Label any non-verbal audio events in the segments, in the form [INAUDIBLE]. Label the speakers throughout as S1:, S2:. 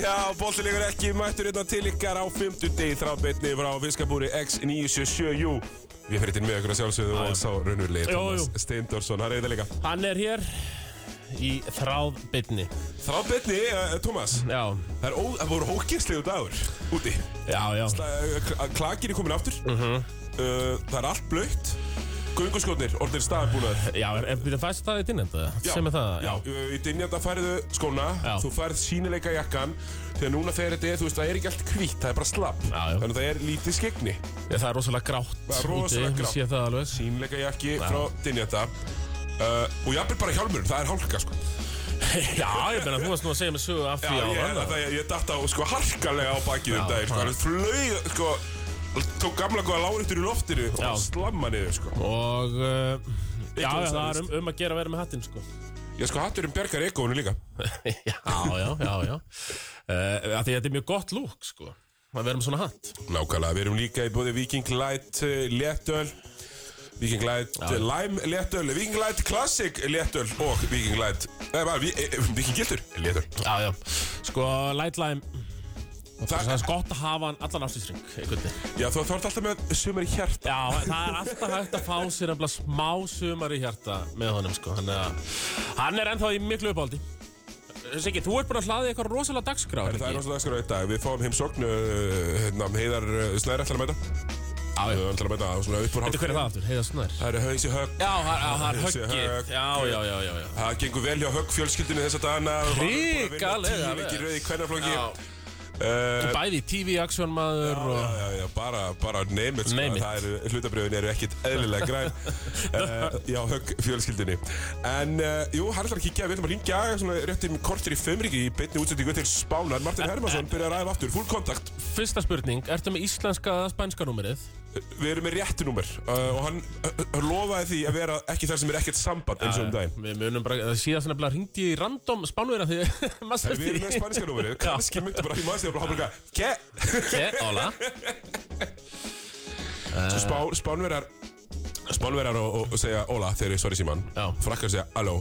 S1: Já, bóttilegur ekki mættur hérna til ykkar á 50 degi þráðbyrni frá Viskabúri X977U. Við fyrir til með ykkur að sjálfsögðu og sá raunverulegi
S2: Jú,
S1: Thomas
S2: jú.
S1: Steindorsson. Hann er þetta líka.
S2: Hann er hér í þráðbytni
S1: Þráðbyrni, uh, Thomas,
S2: Já,
S1: það, er ó, það voru ógeðslegu dagur úti.
S2: já, já
S1: Sla- kl- Klakinn er komin aftur. uh, það er allt blöytt. Gunguskotnir, orðin staðarbúnaður.
S2: Já, er, er, er fæst það í dinnenda?
S1: Já,
S2: Sem er það?
S1: Já, í dynjanda færðu skóna,
S2: Já.
S1: þú færð sínileika jakkan Þegar núna þegar þetta er, þú veist, það er ekki allt hvítt, það er bara slapp
S2: Já, já.
S1: Þannig að það er lítið skegni
S2: Ég, það er rosalega grátt
S1: Það er rosalega
S2: úti,
S1: grátt.
S2: Ég sé það alveg
S1: Sýnleika jakki frá dynjanda uh, Og jafnvel bara hjálmurinn, það er hálka sko
S2: [LAUGHS] Já, ég meina, þú varst nú að segja mig sögu af því
S1: ég,
S2: áðan.
S1: það, ég, ég datt á sko harkalega á bakið um daginn sko,
S2: já.
S1: alveg flög, sko Tók gamla góða lárintur í loftinu
S2: Já.
S1: og slamma niður sko
S2: Og uh, já,
S1: Ekki
S2: já,
S1: ósann,
S2: það er
S1: veist.
S2: um, um að gera að vera með hattinn sko
S1: Ég sko hatturinn bergar ekóinu líka
S2: [LAUGHS] Já, já, já, já uh, af Því þetta er mjög gott lúk sko Að vera með svona hatt
S1: Nákvæmlega, við erum líka í bóði Viking Light eh, léttöl Viking Light eh, Lime léttöl Viking Light Classic léttöl og Viking Light Nei, bara, vi, eh, Viking Gildur léttöl
S2: Já, já Sko, light lime
S1: Þa-
S2: Það er gott að hafa hann allan ástýrsring einhvern veginn
S1: Já, þú þarf alltaf með sumar í hjart
S2: Já, það er alltaf hægt að fá sér nefnilega smá sumar í hjarta með honum sko. hann, er, hann er ennþá í miklu uppáldi Siggi, þú ert búin að hlaði eitthvað rosalega dagskrá
S1: Það er rosalega skar á eitt dag Við fáum heimsókn uh, hérna, Heiðar uh, Snæri ætlar að mæta
S2: Já,
S1: Við ætlar að mæta svona upp úr
S2: Þetta hver er það aftur, heiða snær Já,
S1: Það eru hausi högg
S2: það er- já, það er
S1: Þessi högg.
S2: höggið Já, já, já, já, já.
S1: Það gengur vel hjá högg fjölskyldinu þessa dagana Hann er búinn að vinna Tíu
S2: Hrikalega vel.
S1: vikir rauð í kvennaflóki
S2: já.
S1: uh,
S2: Bæði TV-aksjón maður
S1: Já,
S2: og...
S1: já, já, bara, bara name it, sko.
S2: Name it.
S1: Það eru, hlutabriðin eru ekkit eðlilega
S2: [LAUGHS]
S1: græn uh, Já, högg fjölskyldinni En, uh, jú, hann ætlar að kíkja Við ætlum að ringja svona rétt um kortir í fimmriki Í beinni útsendingu til Spánar Martin
S2: Eh,
S1: Hermansson byrjar að ræða aftur, full kontakt
S2: Fyrsta spurning, ertu með íslenska eða spænska númerið?
S1: Við erum með réttu númer uh, Og hann uh, lofaði því að vera ekki þar sem er ekkert samband eins og
S2: Ah.
S1: um daginn
S2: Við munum bara, það síðast nefnilega hringdi ég í random spánverða því [LAUGHS]
S1: En Við erum með spænska númerið, kannski myndi bara í maður og hann bara, ke,
S2: spánverða Óla
S1: svo spá, spánverjar Spánverjar og, og, og segja Óla þegar ég svar í síman
S2: Já.
S1: Frakkar segja Alló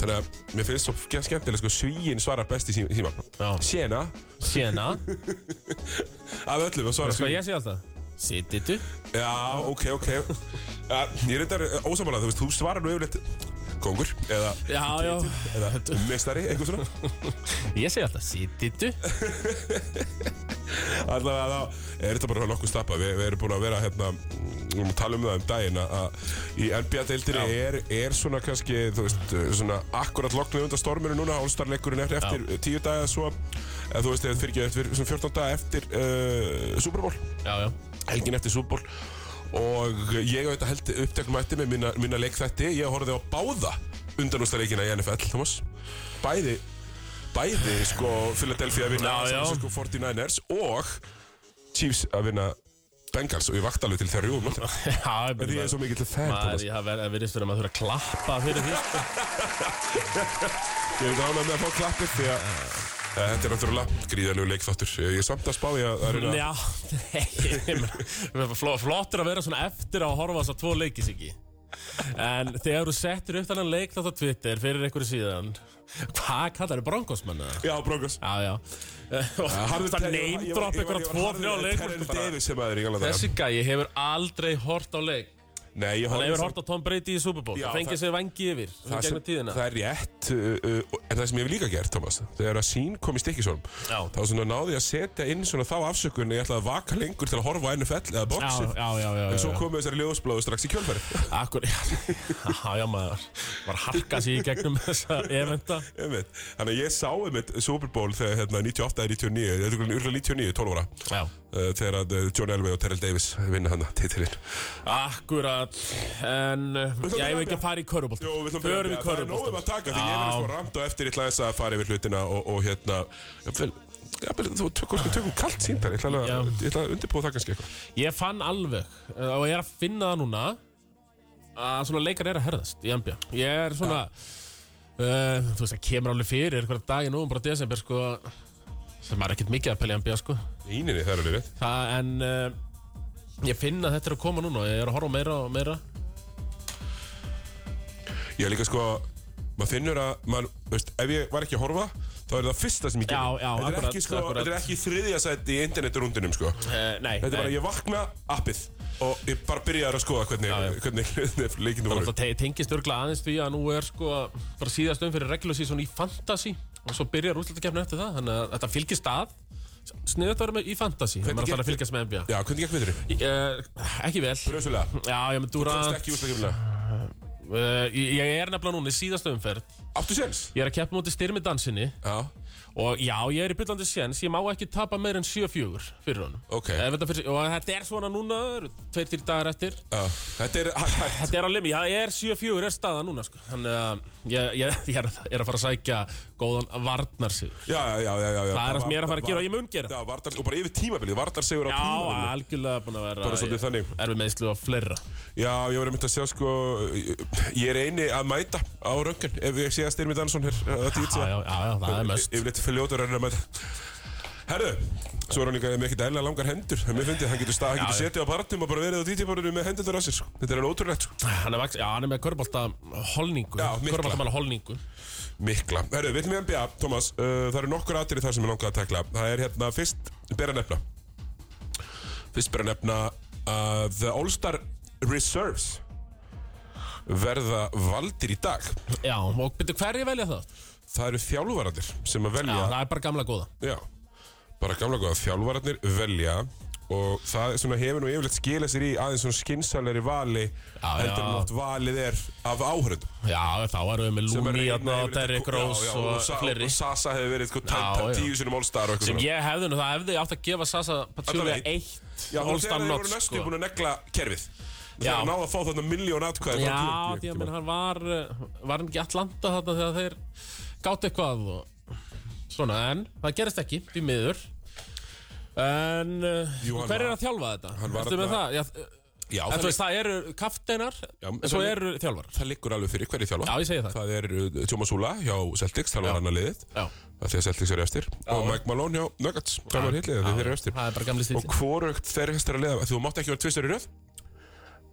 S1: Þannig að mér finnst svo gæð skemmtilega sko, Svíinn svarar best í sí- síman
S2: Já.
S1: Sjena [LAUGHS]
S2: Sjena,
S1: Af öllum að svara
S2: hvað
S1: Svíinn
S2: ég sé alltaf? Sittitu
S1: Já, ok, ok
S2: [LAUGHS]
S1: ja, Ég er reyndar ósamála Þú veist, þú svarar nú yfirleitt Kongur Eða,
S2: Já, já,
S1: eða mestari, eitthvað svona
S2: ég segi alltaf Sittitu
S1: Alltaf að þá er þetta bara nokkuð stappa Við, við erum búin að vera hérna mm, um að tala um það um daginn að- að í NBA-deildinni er, er svona kannski þú veist, svona akkurat loknuð undan storminu núna, All-Star-leikurinn er eftir Já. tíu daga eða svo, eða þú veist, eða fyrir ekki eftir svona 14 daga eftir uh, Super Bowl,
S2: Já, já,
S1: helgin eftir Super Bowl og ég hef þetta held upptekmætti með mína, mína leikþætti, ég horfði á báða undanústaleikina í NFL, Thomas bæði bæði sko Philadelphia að vinna
S2: Já, já.
S1: San Francisco 49ers og Chiefs að vinna Bengals og ég vakti alveg til þrjú um nóttina.
S2: já
S1: Því ég er svo mikill fan
S2: Maður,
S1: Thomas
S2: ég hafa verið stöður að maður þurfa að klappa fyrir því sko.
S1: Ég er gánað með að fá klappið því að eh, Þetta er náttúrulega gríðalegu leikþáttur Eh, Ég er samt að spá ég að, að reyna-
S2: Já, nei, ég meina, fló- flottur að vera svona eftir á að horfa á þess að tvo leikis ekki En þegar þú settir upp þannig leik þátt á Twitter fyrir einhverju síðan Hvað kallar þau bronkosmanna?
S1: Já, Broncos
S2: Já, já Og það neymdrop ykkur á tvo, þrjá leik
S1: Terrell Davis sem aður í gamla daga.
S2: Þessi gæi hefur aldrei hort á leik
S1: Nei, ég
S2: Hann
S1: horfði
S2: hefur
S1: samt-
S2: hort á Tom Brady í Super Bowl
S1: Já,
S2: Það fengið
S1: það-
S2: sér vangi yfir
S1: það, sem,
S2: Gegnum tíðina
S1: það er rétt uh, uh, og- en það sem ég hef líka gert, Thomas þegar að sín kom í stikkisólum
S2: Já.
S1: þá svona náði ég að setja inn svona þá afsökun ég ætlaði að vaka lengur til að horfa á NFL eða
S2: Já,
S1: boxið
S2: já, já, já,
S1: en
S2: já,
S1: svo
S2: já.
S1: komu þessari ljósbláðu strax í kjölfæri
S2: Akkur, [LAUGHS] já, já, já, maður var að harka sig í gegnum þessa eventa
S1: [LAUGHS] Einmitt. Þannig að ég sá einmitt Super Bowl þegar hérna 98 eða 99, þetta er örugglega- örugglega 99, 12 ára
S2: Já.
S1: uh, þegar að uh, John Elway og Terrell Davis vinna hann titilinn.
S2: Akkurat En uh,
S1: ætlum
S2: ég
S1: að
S2: hef
S1: byrja
S2: ekki
S1: að-
S2: að fara í körubolt
S1: Jó, við ætlum að byrja
S2: Förum í
S1: að- Það er nóg um
S2: körubolt
S1: að taka því ég verið sko ramt og eftir ég ætla þess að fara yfir hlutina og, og hérna jafnvel, jafnvel, þú tökum, tökum kalt síntar ég ætla að,
S2: Já.
S1: ég ætla að undirbúa það kannski eitthvað
S2: Ég fann alveg uh, Og ég er að finna það núna Að svona leikar er að herðast í NBA Ég er svona uh, Þú veist, það kemur alveg fyrir Einhverja dag í nógum bara desember sko Sem er ekkert mikið að pelja NBA sko
S1: Íninni, það er alveg rétt
S2: Það en uh, Ég finn að þetta er að koma núna Ég er að horfa á meira og meira
S1: Ég er líka sko maður finnur að, maður, veist, ef ég var ekki að horfa þá er það fyrsta sem ég
S2: Já,
S1: gerir
S2: já,
S1: þetta, er
S2: akkurat,
S1: ekki, sko,
S2: akkurat.
S1: þetta er ekki þriðja sætt í internetrundinum sko.
S2: uh, Nei,
S1: þetta er bara,
S2: nei.
S1: ég vakna appið og ég bara byrjaði að skoða hvernig,
S2: Já, já.
S1: hvernig, hvernig leikinu voru
S2: Það te- tengist örgla aðeins því að nú er sko bara síðast um fyrir regular season í fantasy og svo byrjar útlættakefni eftir það þannig að þetta fylgir stað sniðut að vera með í fantasy þegar
S1: Hvernig
S2: maður þarf að
S1: gekk-
S2: fylgjast með NBA
S1: Já, hvernig gekk viðri?
S2: uh, Ekki vel [LAUGHS]
S1: Bröðsvölega
S2: Já, ég með
S1: Komst
S2: Durant
S1: ekki úrstakjöfnilega
S2: uh, ég, ég er nefnilega núna í síðast umferð
S1: Áttu séns?
S2: Ég er að keppa mútið styrmi dansinni
S1: Já,
S2: og já, ég er í byllandi séns Ég má ekki tapa meir en 7-4 fyrir honum
S1: ok
S2: Ef þetta fyrir, Og þetta er svona núna 2-3 dagar eftir
S1: Já, Þetta er hægt hægt.
S2: Þetta er alveg mér, ég er 7-4 er staða núna sko. Þannig að ég, [LAUGHS] ég, ég er, að- er að fara að sækja góðan varnar sig
S1: Já, já, já, já, já
S2: Það er það sem ég er að fara að gera og ég mun gera
S1: Já, Vardar, og bara yfir tímabilið, Vardar segur á
S2: Já,
S1: tímabilið
S2: algjörlega búin að vera
S1: Bara svolítið
S2: ég-
S1: þannig.
S2: Erfið meðslu á fleira
S1: Já, ég var einmitt að sjá sko Ég ég er eini að mæta á röggun Ef ég sé að Styrmi Dansson hér að þetta
S2: Já,
S1: ítsa
S2: já, já, já, það er mest
S1: Yfirleitt fyrir ljótur er hann að mæta Herðu, svo er hann líka með ekkert eðla langar hendur Það er mér fyndið, hann getur, stað, hann
S2: Já,
S1: getur
S2: já.
S1: setið á barnum og bara verið á DJ-barnum með hendur þar að sér sko. Þetta er alveg ótrúlegt sko.
S2: Hann er, vaks, já, hann er með körbólta holningu
S1: Já, mikla.
S2: Körboltamann holningu
S1: Mikla Herru, við erum í NBA, Thomas uh, Það eru nokkur atrið þar sem ég langaði að tekla Það er hérna fyrst ber að nefna Fyrst ber að nefna að The All-Star Reserves verða valdir í dag
S2: Já, og byrju hverju velja það?
S1: Það eru þjálfvarandir sem að
S2: Já,
S1: velja
S2: það er bara gamla góða
S1: Já, bara gamla góða Þjálfararnir velja og það svona, hefur nú yfirleitt skila sér í aðeins svona skinsalegri vali
S2: Já,
S1: heldur en
S2: já.
S1: oft valið er af áhröndum
S2: Já, þá erum við með Lúni og Derrick
S1: og,
S2: Rose hérna, og
S1: Sa-
S2: fleiri
S1: og Sasa hefur verið sko,
S2: Já, já.
S1: tæ- tíu sinum allstar og eitthvað
S2: Sem
S1: svona.
S2: ég hefði nú, það hefði átt að gefa Sasa Patrúlega
S1: Allavega
S2: eitt
S1: Já, hún þegar
S2: All-Star
S1: þeir
S2: notch,
S1: voru næstu
S2: sko.
S1: búin að negla kerfið
S2: Já.
S1: Þegar náðu að fá þarna miljón atkvæði frá
S2: Já,
S1: Duke,
S2: því
S1: ég
S2: að menn
S1: veit ekki
S2: hann var uh, var hann ekki í Atlanta þarna þegar þeir gátt eitthvað og svona, en það gerist ekki, því miður En uh,
S1: Jú, hann
S2: hver er
S1: var-
S2: að þjálfa þetta?
S1: hann var
S2: Ertu með
S1: þarna-
S2: það? Já,
S1: hvað. Já,
S2: en
S1: það,
S2: þú veist, það eru kafteinar
S1: Já,
S2: en
S1: en
S2: svo
S1: það-
S2: eru þjálfar
S1: það liggur alveg fyrir hverju þjálfa
S2: Já, ég segi það.
S1: Það er uh, Thomas Hula hjá Celtics, það var hann að liðið
S2: Já,
S1: af Því að Celtics eru eftir Og Mike Malone hjá Nuggets, það var hitlið þegar þeir eru eftir
S2: það er bara gamli stíl
S1: Og hvorugt þeir þessara liða Því þú mátt ekki vera tvistur í röð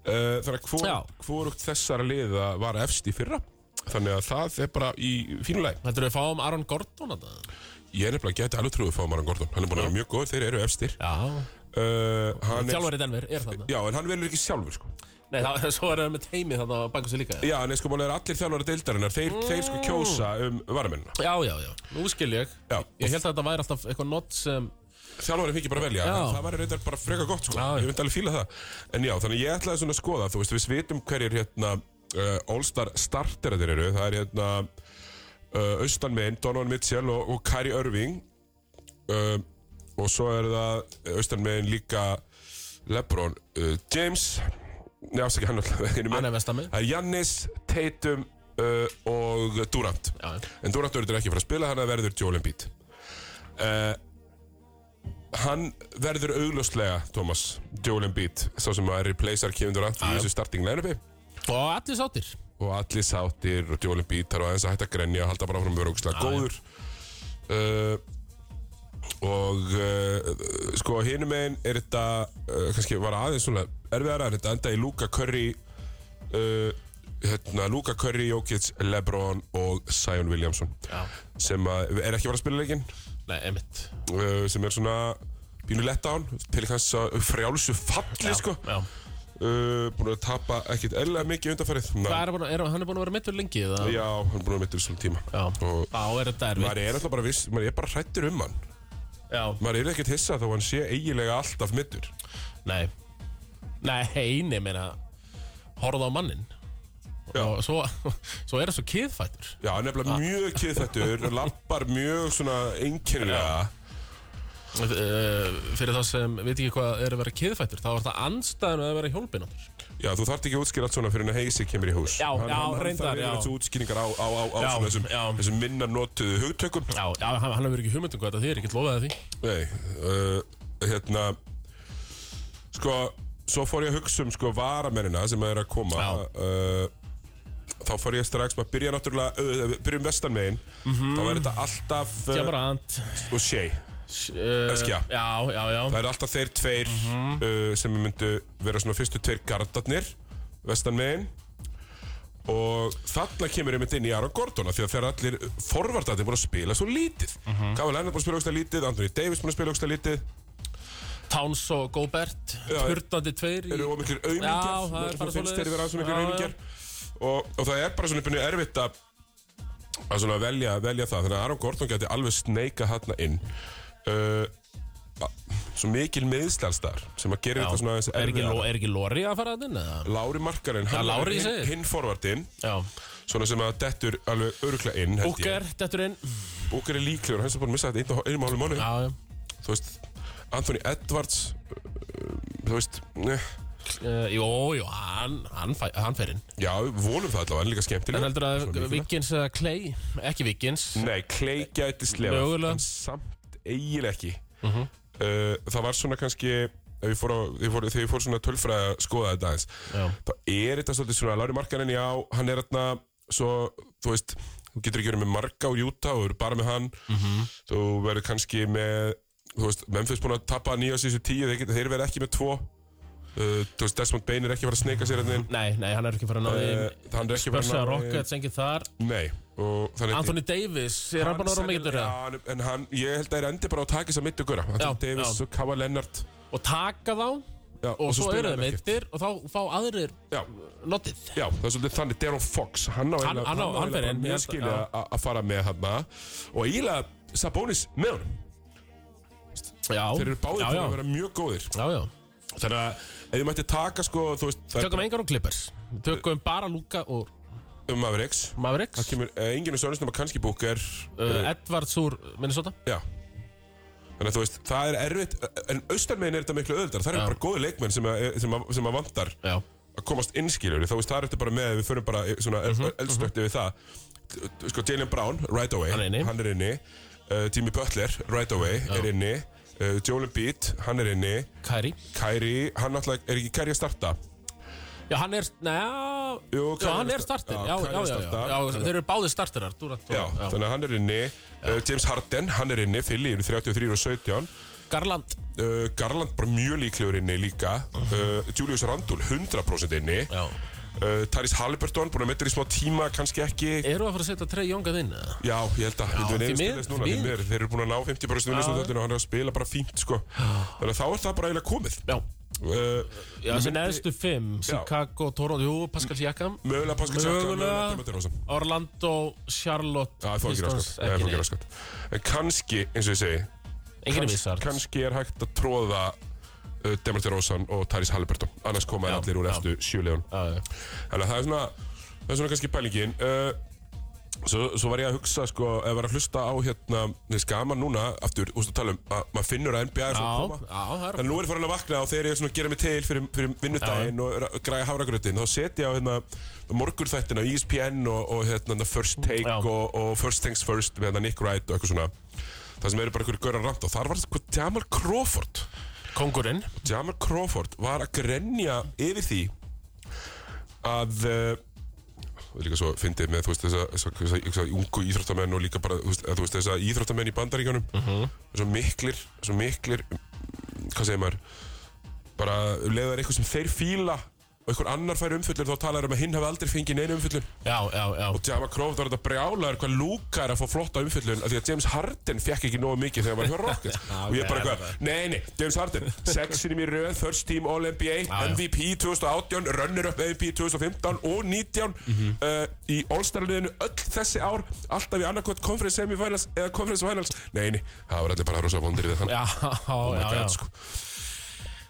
S1: Uh, Þannig að hvor,
S2: Já.
S1: hvorugt þessara liða var efst í fyrra Þannig að það er bara í fínuleg
S2: Þetta eru við fáum Aaron Gordon að það
S1: Ég er nefnilega gæti alveg trúið að fá Maran Gordon Hann er búin að vera mjög góð, þeir eru efstir
S2: Já,
S1: uh, hann er-
S2: þjálfari Denver er þarna
S1: Já, en hann velur ekki sjálfur sko
S2: Nei, það, [LAUGHS] svo eru við með teimi þarna á banku sig líka Já,
S1: Já, en sko, málega er allir þjálfara deildarinnar þeir, þeir sko kjósa um varamennina
S2: já, já, nú skil ég
S1: Já.
S2: Ég held að þetta væri alltaf eitthvað not sem
S1: Þjálfari fengi bara að velja,
S2: Já.
S1: en það var reyndar bara freka gott sko
S2: Já, já.
S1: Ég myndi alveg fíla það En já, þannig ég ætlaði svona að skoða, þú veist, við vitum hverjir hérna uh, All-Star starteratir eru Það er hérna uh, Austan minn, Donovan Mitchell og, og Kari Irving uh, Og svo er það Austan minn líka Lebron uh, James Nei, afsækja hann alltaf [LAUGHS] ekki einu
S2: hann
S1: með.
S2: er vestamenn
S1: Það er Jannis, Tatum uh, og Durant
S2: Já,
S1: En Durant verður ekki að fara að spila, hann verður Joel Embiid uh, Hann verður augljóslega, Thomas, Joel Embiid Sá sem að replacear Kevin Durant í þessu starting line-upi
S2: og allir sáttir
S1: Og allir sáttir og Joel Embiid þarf aðeins að hætta að grenja Halda bara áfram að vera augljóslega góður uh, Og uh, sko hinum megin er þetta uh, Kannski var aðeins svona erfiðara En þetta enda í Luka Curry uh, hérna, Luka Curry, Jokic, Lebron og Zion Williamson
S2: Já,
S1: sem að, er ekki var að spila leikinn
S2: nei, einmitt
S1: uh, sem er svona pínu letdown til hans að frjálsu falli sko uh,
S2: Já.
S1: búin að tapa ekkit eðlilega mikið undanfærið
S2: Hvað
S1: Ná,
S2: er, að búin að- er hann er búin að vera mittur lengi það?
S1: já, hann er búin að mittur svona tíma
S2: Já.
S1: og
S2: Þá er þetta erfið
S1: maður er alltaf bara viss, maður er bara hrættur um hann
S2: Já,
S1: maður er ekkert hissa þó hann sé eiginlega alltaf mittur
S2: nei Nei, eini meina Horða á mannin
S1: Já.
S2: Og svo, [LAUGHS] svo er það svo kiðfættur
S1: já, hann er
S2: Ah.
S1: nefnilega mjög
S2: [LAUGHS]
S1: kiðfættur lappar mjög svona einkennilega
S2: uh, Fyrir þá sem veit ekki hvað er að vera kiðfættur Þá er það anstæðan að vera hjólpináttur
S1: Já, þú þarft ekki að útskýra allt svona fyrir en að heisi kemur í hús.
S2: Já, já,
S1: Hann
S2: reyndar,
S1: þarf
S2: já.
S1: yfirleitt útskýringar á, á, á, á
S2: Já,
S1: svona þessum,
S2: já.
S1: þessum minna notuðu hugtökum.
S2: Já, já, hann, hann hefur ekki hugmyndum hvað þetta þýðir, ég get lofaði því
S1: Nei, uh, hérna, sko, svo fór ég að hugsa um sko varamennina sem er að koma. Uh, þá fór ég strax, maður uh, byrja náttúrulega, uh, byrjum vestanmegin, þá er þetta alltaf
S2: Ég
S1: uh,
S2: bara and
S1: og sé.
S2: Uh,
S1: Eskja.
S2: Já, já, já
S1: Það er alltaf þeir tveir uh, sem myndu vera svona fyrstu tveir gardarnir vestan megin og þarna kemur einmitt inn í Aaron Gordon af því að þegar allir forvartarnir búin að spila svo lítið mm -hmm. Kava Lennart búin að spila ógsta lítið, Anthony Davis búin að spila ógsta lítið
S2: Towns og Gobert
S1: Já.
S2: Hurtandi tveir í
S1: eru of miklir
S2: Já,
S1: auðmingjar
S2: það er bara
S1: finnst
S2: svoleiðis.
S1: þeir vera að svona miklir
S2: Já, já.
S1: auðmingjar og, og það er bara svona pínu erfitt að að svona velja, velja það þannig að Aaron Gordon geti alveg sneika þarna inn uh, a- svo mikil miðslalstar sem að gera
S2: Já.
S1: þetta svona aðeins
S2: Er ekki,
S1: erfiðara.
S2: Lo- er ekki Lori að fara að inn eða?
S1: Lári Markarinn, hann
S2: Já, Lowry,
S1: er
S2: ég
S1: hinn,
S2: segi.
S1: hinn forvardinn
S2: Já
S1: svona sem að dettur alveg örgla inn held ég.
S2: Booker, þetta er inn
S1: Booker er líklegur, hann sem búin að missa þetta einn og- einum og hálfum mánu
S2: Já, já
S1: þú veist, Anthony Edwards uh, þú veist, eh, neh
S2: Uh, jú, jú, hann, hann, fæ, hann fer inn
S1: já, við vonum það allavega, hann er líka skemmtileg
S2: En heldur
S1: Svo
S2: að
S1: mikilvægt.
S2: Vikins eða Clay Ekki Vikins
S1: Nei, Clay gæti slefað
S2: Mögulega. Mhm.
S1: En samt eiginlega ekki uh, Það var svona kannski ef ég fór á, ég fór, Þegar ég fór svona tölfræði að skoða þetta aðeins
S2: Já.
S1: Þá er þetta svolítið svona Lári Markanen, já, hann er þarna Svo, þú veist, þú getur ekki verið með Marka og Júta og verið bara með hann
S2: Mhm.
S1: Þú verður kannski með Þú veist, Memphis búin að tappa nýja síðustu tíu Þeir, geta- þeir verða ekki með tvo uh, Þú veist, Desmond Bain er ekki að fara að sneika sér hérna inn
S2: Nei, nei, hann er ekki fara að ná
S1: Uh,
S2: því
S1: hann er ekki að
S2: Börsa
S1: fara að ná
S2: Rockets, engin þar
S1: Nei, og þannig
S2: Anthony Davis, er hann bara að vera
S1: sennilega-
S2: mikilvægur eða?
S1: Já, hann- en hann, ég held að það er endi bara á takis að mitt og gura Anthony
S2: Já,
S1: Davis
S2: já.
S1: og Kava Lennart
S2: Og taka þá
S1: já,
S2: Og svo
S1: spila
S2: eru
S1: hann
S2: þeir
S1: ekkert.
S2: meittir Og þá fá aðrir
S1: Já,
S2: notið
S1: já, það er svolítið þannig Darren Fox, hann á eiginlega-
S2: hann á-
S1: á
S2: hann fer
S1: eiginlega
S2: inn,
S1: bara mjög
S2: ég held að-
S1: skilja
S2: já.
S1: að að fara með hann og eiginlega Sabonis með honum
S2: Já
S1: þeir eru báðir
S2: Já,
S1: fyrir að
S2: já,
S1: vera mjög góðir
S2: já, já
S1: þannig að ef þið mætti taka sko, þú veist, það
S2: Tökum engar og Clippers Tökum bara Luka og
S1: er um Mavericks það
S2: Mavericks
S1: kemur eh, enginn og Sörnus nema kannski Booker
S2: uh, Edwards úr Minnesota
S1: já Þannig að þú veist, það er erfitt, en austanmegin er þetta miklu öðuldar, það eru bara góði leikmenn sem að, sem að, sem að vantar
S2: Já
S1: að komast innskiljur þá veist það er þetta bara með að við förum bara svona
S2: Mhm,
S1: uh eldstökti við það sko Jalen Brown, right away,
S2: Hann er inni.
S1: hann er inni. Uh, Jimmy Butler, right away, er inni uh, Jolin Beat, hann er inni
S2: Kyrie
S1: Kyrie, hann náttúrulega, er ekki Kyrie að starta?
S2: Já, hann er, neða,
S1: Jú,
S2: já,
S1: Kyrie
S2: hann
S1: er
S2: er
S1: sta-
S2: startir,
S1: já,
S2: já, já,
S1: Kyrie er
S2: já, já,
S1: starter.
S2: já, þeir eru báðir startirar, Durant og-
S1: Já, þannig að hann er inni uh, James Harden, hann er inni, Philly eru 33 og 17
S2: Garland,
S1: uh, Garland bara mjög líklegur inni líka uh, Julius Randall, 100% inni
S2: Mhm. já,
S1: uh, Taris Halliburton, búin að meitra í smá tíma kannski ekki
S2: eru að fara að setja Trey Young að inn, eða?
S1: Já, ég held að þetta er
S2: því
S1: einu
S2: miður,
S1: spilis núna
S2: því
S1: því
S2: miður.
S1: miður. Þeir eru búin að ná 50% vinnisnúðöldinu og hann er að spila bara fínt sko. Þannig að þá er það bara eiginlega komið
S2: Já,
S1: uh,
S2: já, þessi neðstu fimm, Chicago, Toronto, jú, Pascal Siakam,
S1: Mögulega Pascal Saka, mögulega
S2: Mögulega.
S1: Demeter Rósa
S2: Orlando, Charlotte,
S1: Það fór ekki
S2: Pistons,
S1: raskat Það fór ekki
S2: neitt.
S1: raskat En kannski, eins og ég segi
S2: enginn er
S1: kanns-
S2: vissar,
S1: Kannski er hægt að tróða uh, Demeter Rósan og Taris Halliburton Annars koma
S2: Já,
S1: þeir allir úr
S2: já.
S1: efstu sjölegun
S2: Já, já.
S1: Þannig að það er svona Það er svona kannski pælingin uh, Svo, svo var ég að hugsa, sko, ef var að hlusta á hérna, þessi gaman núna, aftur, úrstu að tala um að maður finnur að NBA er svona að
S2: já,
S1: koma.
S2: já, það er,
S1: En nú er ég farin að vakna og þegar ég svona gera mig til fyrir, fyrir vinnudaginn og ra- græja hafragrötin þá set ég á hérna, E morgurþættina ESPN og, og hérna, First Take
S2: Já.
S1: og, og First Things First með hérna, Nick Wright og eitthvað svona það sem eru bara einhverju gaurar rand og þar var sko, Jamal Crawford
S2: kongurinn,
S1: Jamal Crawford var að grenja yfir því að uh, líka svo fyndið með þú veist þessa, þessa, þessa, þessa ungu íþróttamenn og líka bara þú veist, að, þú veist, þessa íþróttamenn í bandaríkjunum svo miklir, svo miklir mm, hvað segir maður bara leiðar eitthvað sem þeir fíla og einhver annar fær umfyllun þá talar um að hinn hafi aldrei fengið neina umfyllun
S2: já, já, já,
S1: og Jamal Crawford var þetta brjálaður hvað Luka er að fá flotta umfyllun af því að James Harden fekk ekki nógu mikið þegar hann var hjá
S2: [LAUGHS]
S1: Rockets og ég er bara eitthvað, nei, nei, James Harden sexinum í röð, first team All-NBA
S2: já.
S1: MVP 2018, runner-up MVP 2015 og 19 uh, í All-Star-liðinu öll þessi ár alltaf í annarkot conference semifinals eða conference finals, nei, nei, það var allir bara rosa vondir við þann
S2: já, já, já,
S1: God,
S2: já.
S1: sko.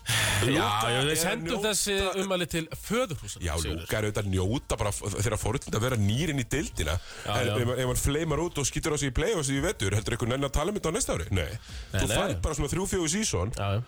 S2: Já, já,
S1: Luka er
S2: við sendum
S1: njóta-
S2: þessi umæli til föðurhúsan
S1: Já, Lúka er auðvitað að njóta bara þeirra fórhundin að vera nýrin í dildina en
S2: já.
S1: ef, ef hann fleimar út og skýtur á sig í play og sig í vetur, heldur eitthvað nenni að tala um þetta á næsta ári? Nei, þú
S2: nei.
S1: fær bara svona þrjú-fjóðu sísón
S2: Já, já,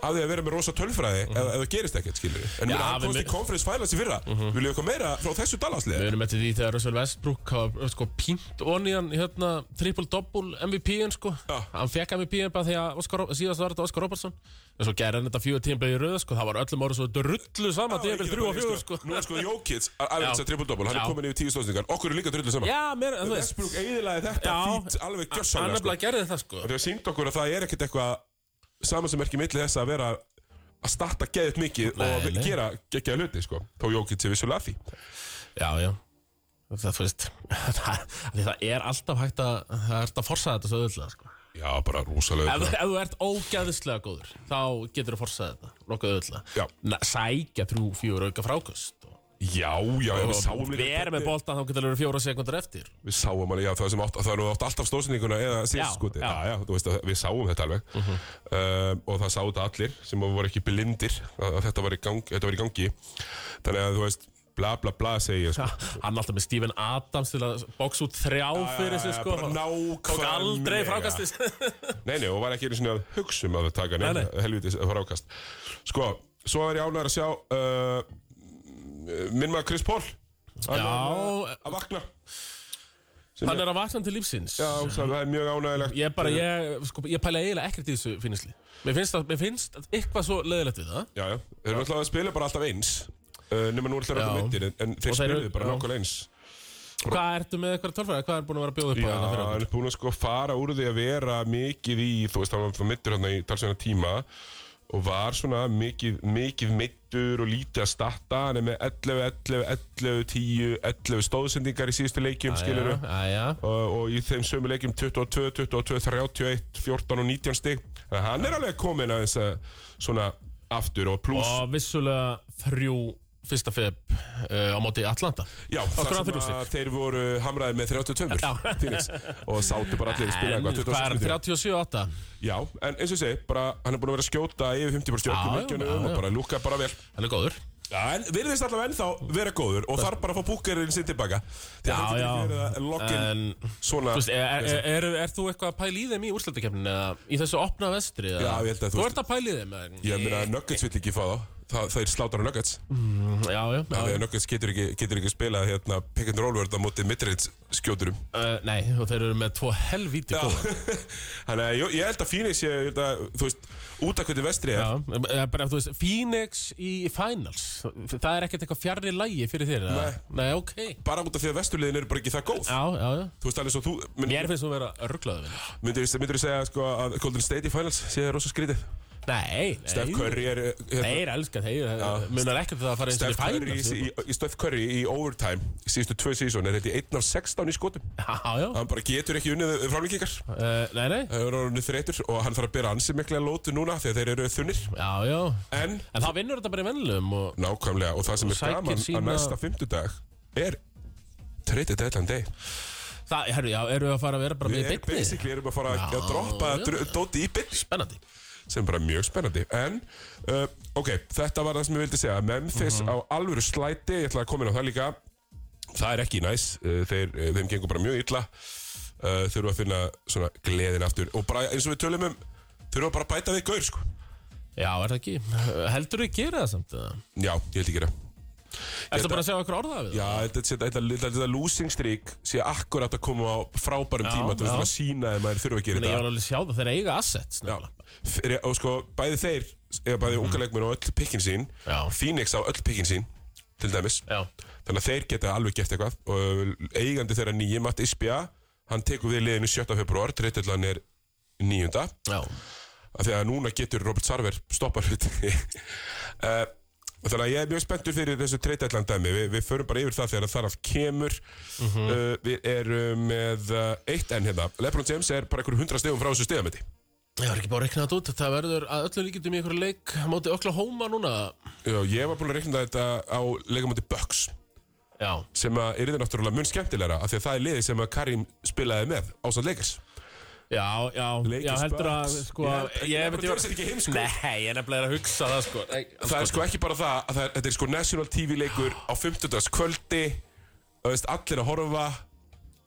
S1: af því að vera með rosa tölfræði ef ef það gerist ekkert, skilur við. En
S2: Mhm. Já,
S1: mér hann
S2: við
S1: komst í
S2: mi-
S1: conference finals í fyrra. Viljum við eitthvað meira frá þessu
S2: Við
S1: Dallasliði?
S2: erum eftir því þegar Russell Westbrook hafa sko pínt onían hérna triple-double MVP-in sko
S1: Já.
S2: Hann fekk MVP-in bara því að Oscar, síðast var þetta Oscar Robertson En svo gerði hann þetta fjögur tíma í röð sko Það var öllum orðið svo drullu sama
S1: Já,
S2: tíma
S1: ekki
S2: þrjú
S1: það
S2: og
S1: bara,
S2: fjögur
S1: sko,
S2: sko
S1: Nú er sko
S2: [LAUGHS]
S1: Jókits að aðeins
S2: Já.
S1: að triple-double, hann
S2: Já.
S1: er komin yfir tíu stóðsningar, okkur er líka drullu saman.
S2: Já, mér, þú veist
S1: Westbrook eiginlega þetta
S2: Já.
S1: fít alveg
S2: Hann
S1: gjörsamlega sko.
S2: nefnilega gerði þetta sko
S1: Það er sínd okkur að það er ekkert eitthvað samansumerki milli þess að vera að starta geðið mikið og
S2: Nei, nei.
S1: gera geggjaða hluti sko. Þó Jókits er vissulega að því.
S2: Já, já Það, þú veist, [LAUGHS] það, því það er alltaf hægt að, það er alltaf að forsa þetta svo öðvöldlega, sko.
S1: Já, bara rosalega.
S2: Ef, ef þú ert ógæðislega góður, þá getur þú forsað þetta, nokkuð
S1: Já.
S2: öðvöldlega. Sækja þrjú, fjúur auka frákust og
S1: Já, já, já, við sáum líka
S2: vera með boltan þá getur það verið fjóra sekundar eftir
S1: Við sáum alveg, já, það sem átt, það er nú átt alltaf stóðsendinguna eða
S2: Já,
S1: síðan skoti,
S2: já. Mhm.
S1: já, já, þú veist að við sáum þetta alveg um, og það sáðu þetta allir sem voru ekki blindir að að þetta var í, gang, þetta var í gangi þannig að þú veist, bla bla bla segi ég, sko.
S2: Ha, hann alltaf með Steven Adams til að bóks út þrjá fyrir sig
S1: já,
S2: sko
S1: bara
S2: tók
S1: nákvæmlega.
S2: aldrei frákastist
S1: Nei, nei, og var ekki einu sinni að hugsa um að það taka neina,
S2: Nei,
S1: helvitis frákast Sko, svo er ég ánægður að sjá uh, minn maður Chris Paul Hann
S2: Já.
S1: er að vakna
S2: hann er að vakna til lífsins
S1: Já, svo það er mjög ánægilegt
S2: ég bara, ég, sko, ég pæla eiginlega ekkert í þessu finnisli mér finnst, að, mér finnst að eitthvað svo leðilegt við það
S1: Já, já, þeir eru alltaf að spila bara alltaf eins uh, Nefnum nú alltaf
S2: Já.
S1: röndum myndir En, en
S2: Og
S1: þeir
S2: þeir eru-
S1: spiluðu bara
S2: já.
S1: nákvæmlega eins
S2: hvað ertu með eitthvað tölfræði, hvað er búin að vera að bjóða upp á
S1: Já,
S2: þetta Hérna fyrir
S1: hann
S2: okkur?
S1: er búin að sko fara úr því að vera mikið í Þú veist, hann var mittur hann í talsveina tíma Og var svona mikið, mikið mittur og lítið að starta Hann er með 11, 11, 11, 10, 11 stóðsendingar í síðustu leikjum, skilur
S2: Já, já, já.
S1: og, og í þeim sömu leikjum 22, 22, 31, 14 og 19 stig Þannig að hann er alveg komin aðeins að svona aftur og pluss
S2: og vissulega þrjú fyrsta feb uh, á móti Atlanta
S1: Já, það
S2: okkur
S1: sem
S2: að
S1: að þeir voru hamraðið með 32 Phoenix og sátu bara allir að spila
S2: en
S1: eitthvað 20
S2: hvað er
S1: sekúndur.
S2: 37-8
S1: Já, en eins og ég segi, bara, hann er búin að vera að skjóta yfir 50 bara
S2: Já,
S1: stjórnum
S2: já, já,
S1: leikjunum
S2: já.
S1: og bara lúka bara vel
S2: hann er góður
S1: Já, en virðist allavega ennþá vera góður og þarf bara að fá búkerinn sinn tilbaka Því
S2: Já,
S1: að hann getur
S2: já.
S1: ekki verið að lokkin
S2: en
S1: svona
S2: Þú veist, er, er, er, er þú eitthvað að pæla í þeim í úrslættakefninu eða í þessu opna vestri? eða?
S1: Já, ég held að þú
S2: þú
S1: veist-
S2: ert að pæla í þeim eða?
S1: Ég meina að Nuggets vill ekki fá þá Það, það er slátar á Nuggets
S2: Mm, Já, já, já.
S1: Þegar Nuggets getur ekki, getur ekki spilað hérna, pick and roll verð á móti midrange skjóturum
S2: Uh, nei, og þeir eru með tvo helvíti góða
S1: [LAUGHS] Þannig að ég, ég held að Phoenix ég, held að, Þú veist, út af hvernig vestri er
S2: Já, eða bara þú veist, Phoenix í finals Það er ekkert eitthvað fjarrir lægi fyrir þér eða? Nei, ok Já,
S1: bara út af því að vesturliðin eru bara ekki það góð
S2: já, já
S1: Þú veist alveg svo þú mynd,
S2: Mér finnst þú að vera örglaðu við
S1: myndir, myndir þú segja sko, að Golden State í finals sé það rosa skrítið
S2: Nei, nei
S1: Steph Curry er eh, hérna,
S2: Þeir elska þeir, það munar ekkert það að fara eins og
S1: Steph
S2: í
S1: Curry
S2: finals
S1: í, í, Steph Curry í overtime í síðustu tvö sísón er hérna í 1 af 16 í skotum
S2: Já, já
S1: hann bara getur ekki unnið frálingingar
S2: uh, Nei, nei
S1: hann er orðinu þreytur og hann þarf að bera ansi mikla lótu núna þegar þeir eru þunnir
S2: Já, já
S1: en
S2: En það vinnur þetta bara í vennlum og
S1: nákvæmlega og það sem er
S2: Sækir
S1: gaman
S2: sína-
S1: að næsta fymtudag er treytið deadline day
S2: það, herru, já, eru við að fara að vera bara
S1: við
S2: með í
S1: erum
S2: beinni?
S1: basically erum að fara að að droppa
S2: já.
S1: dr- dóti í byrni
S2: Spennandi
S1: sem er bara mjög spennandi en uh, ok, þetta var það sem ég vildi segja Memphis
S2: Mhm.
S1: á alvöru slæti ég ætla að koma inn á það líka það er ekki næs, uh, þeir, uh, þeim gengur bara mjög illa uh, þurfa að finna svona gleðin aftur og bara eins og við tölum um þurfa bara að bæta við gaur sko
S2: Já, er það ekki? Heldur þú að gera það samt? eða?
S1: já, ég held ekki það
S2: Ertu bara að segja okkur orðað við það?
S1: Já, þetta, þetta, þetta, þetta, þetta losing streak sé akkurat að koma á frábærum
S2: Já,
S1: tíma þú veist
S2: já.
S1: það sína ef maður þurfa að gera
S2: Nei, ég
S1: þetta
S2: var alveg að sjá það, þeir eiga assets sko.
S1: Já,
S2: nefnilega.
S1: Fyrir- og sko bæði þeir eða bæði mm. unga leikmenn og öll pikkin sín
S2: Mhm. Já.
S1: Phoenix á öll pikkin sín til dæmis
S2: Já,
S1: Þannig að þeir geta alveg gert eitthvað og eigandi þeirra nýjum, Matt Isbja hann tekur við liðinu 7. februar drittillan er nýjunda
S2: já,
S1: af því að núna getur Robert Sarver stoppar hlutinni [LAUGHS] uh, þannig að ég er mjög spenntur fyrir þessu treytallan dæmi Vi, við förum bara yfir það þegar þar að kemur uh, við erum með uh, eitt enn hérna Lebron James er bara einhverjum hundra stegum frá þessu stegamöti
S2: ég var ekki búin að reikna þetta út Það verður að öllu líkjum í einhverju leik Móti Oklahoma núna
S1: ég var búin að reikna þetta á leikamöti Bucks
S2: Já,
S1: sem að er þetta náttúrulega mun skemmtilegra af því að það er liði sem að Karim spilaði með ásand leikars
S2: já, já, já
S1: Lakers,
S2: heldur að
S1: Bucks.
S2: sko,
S1: Ég- ég- ég- ég- ég- ég- ég- ég-
S2: Nei, ég er nefnilega að hugsa það sko Nei,
S1: Það er sko ekki bara það að það er, þetta er sko national TV leikur á 50. kvöldi og veist, allir að horfa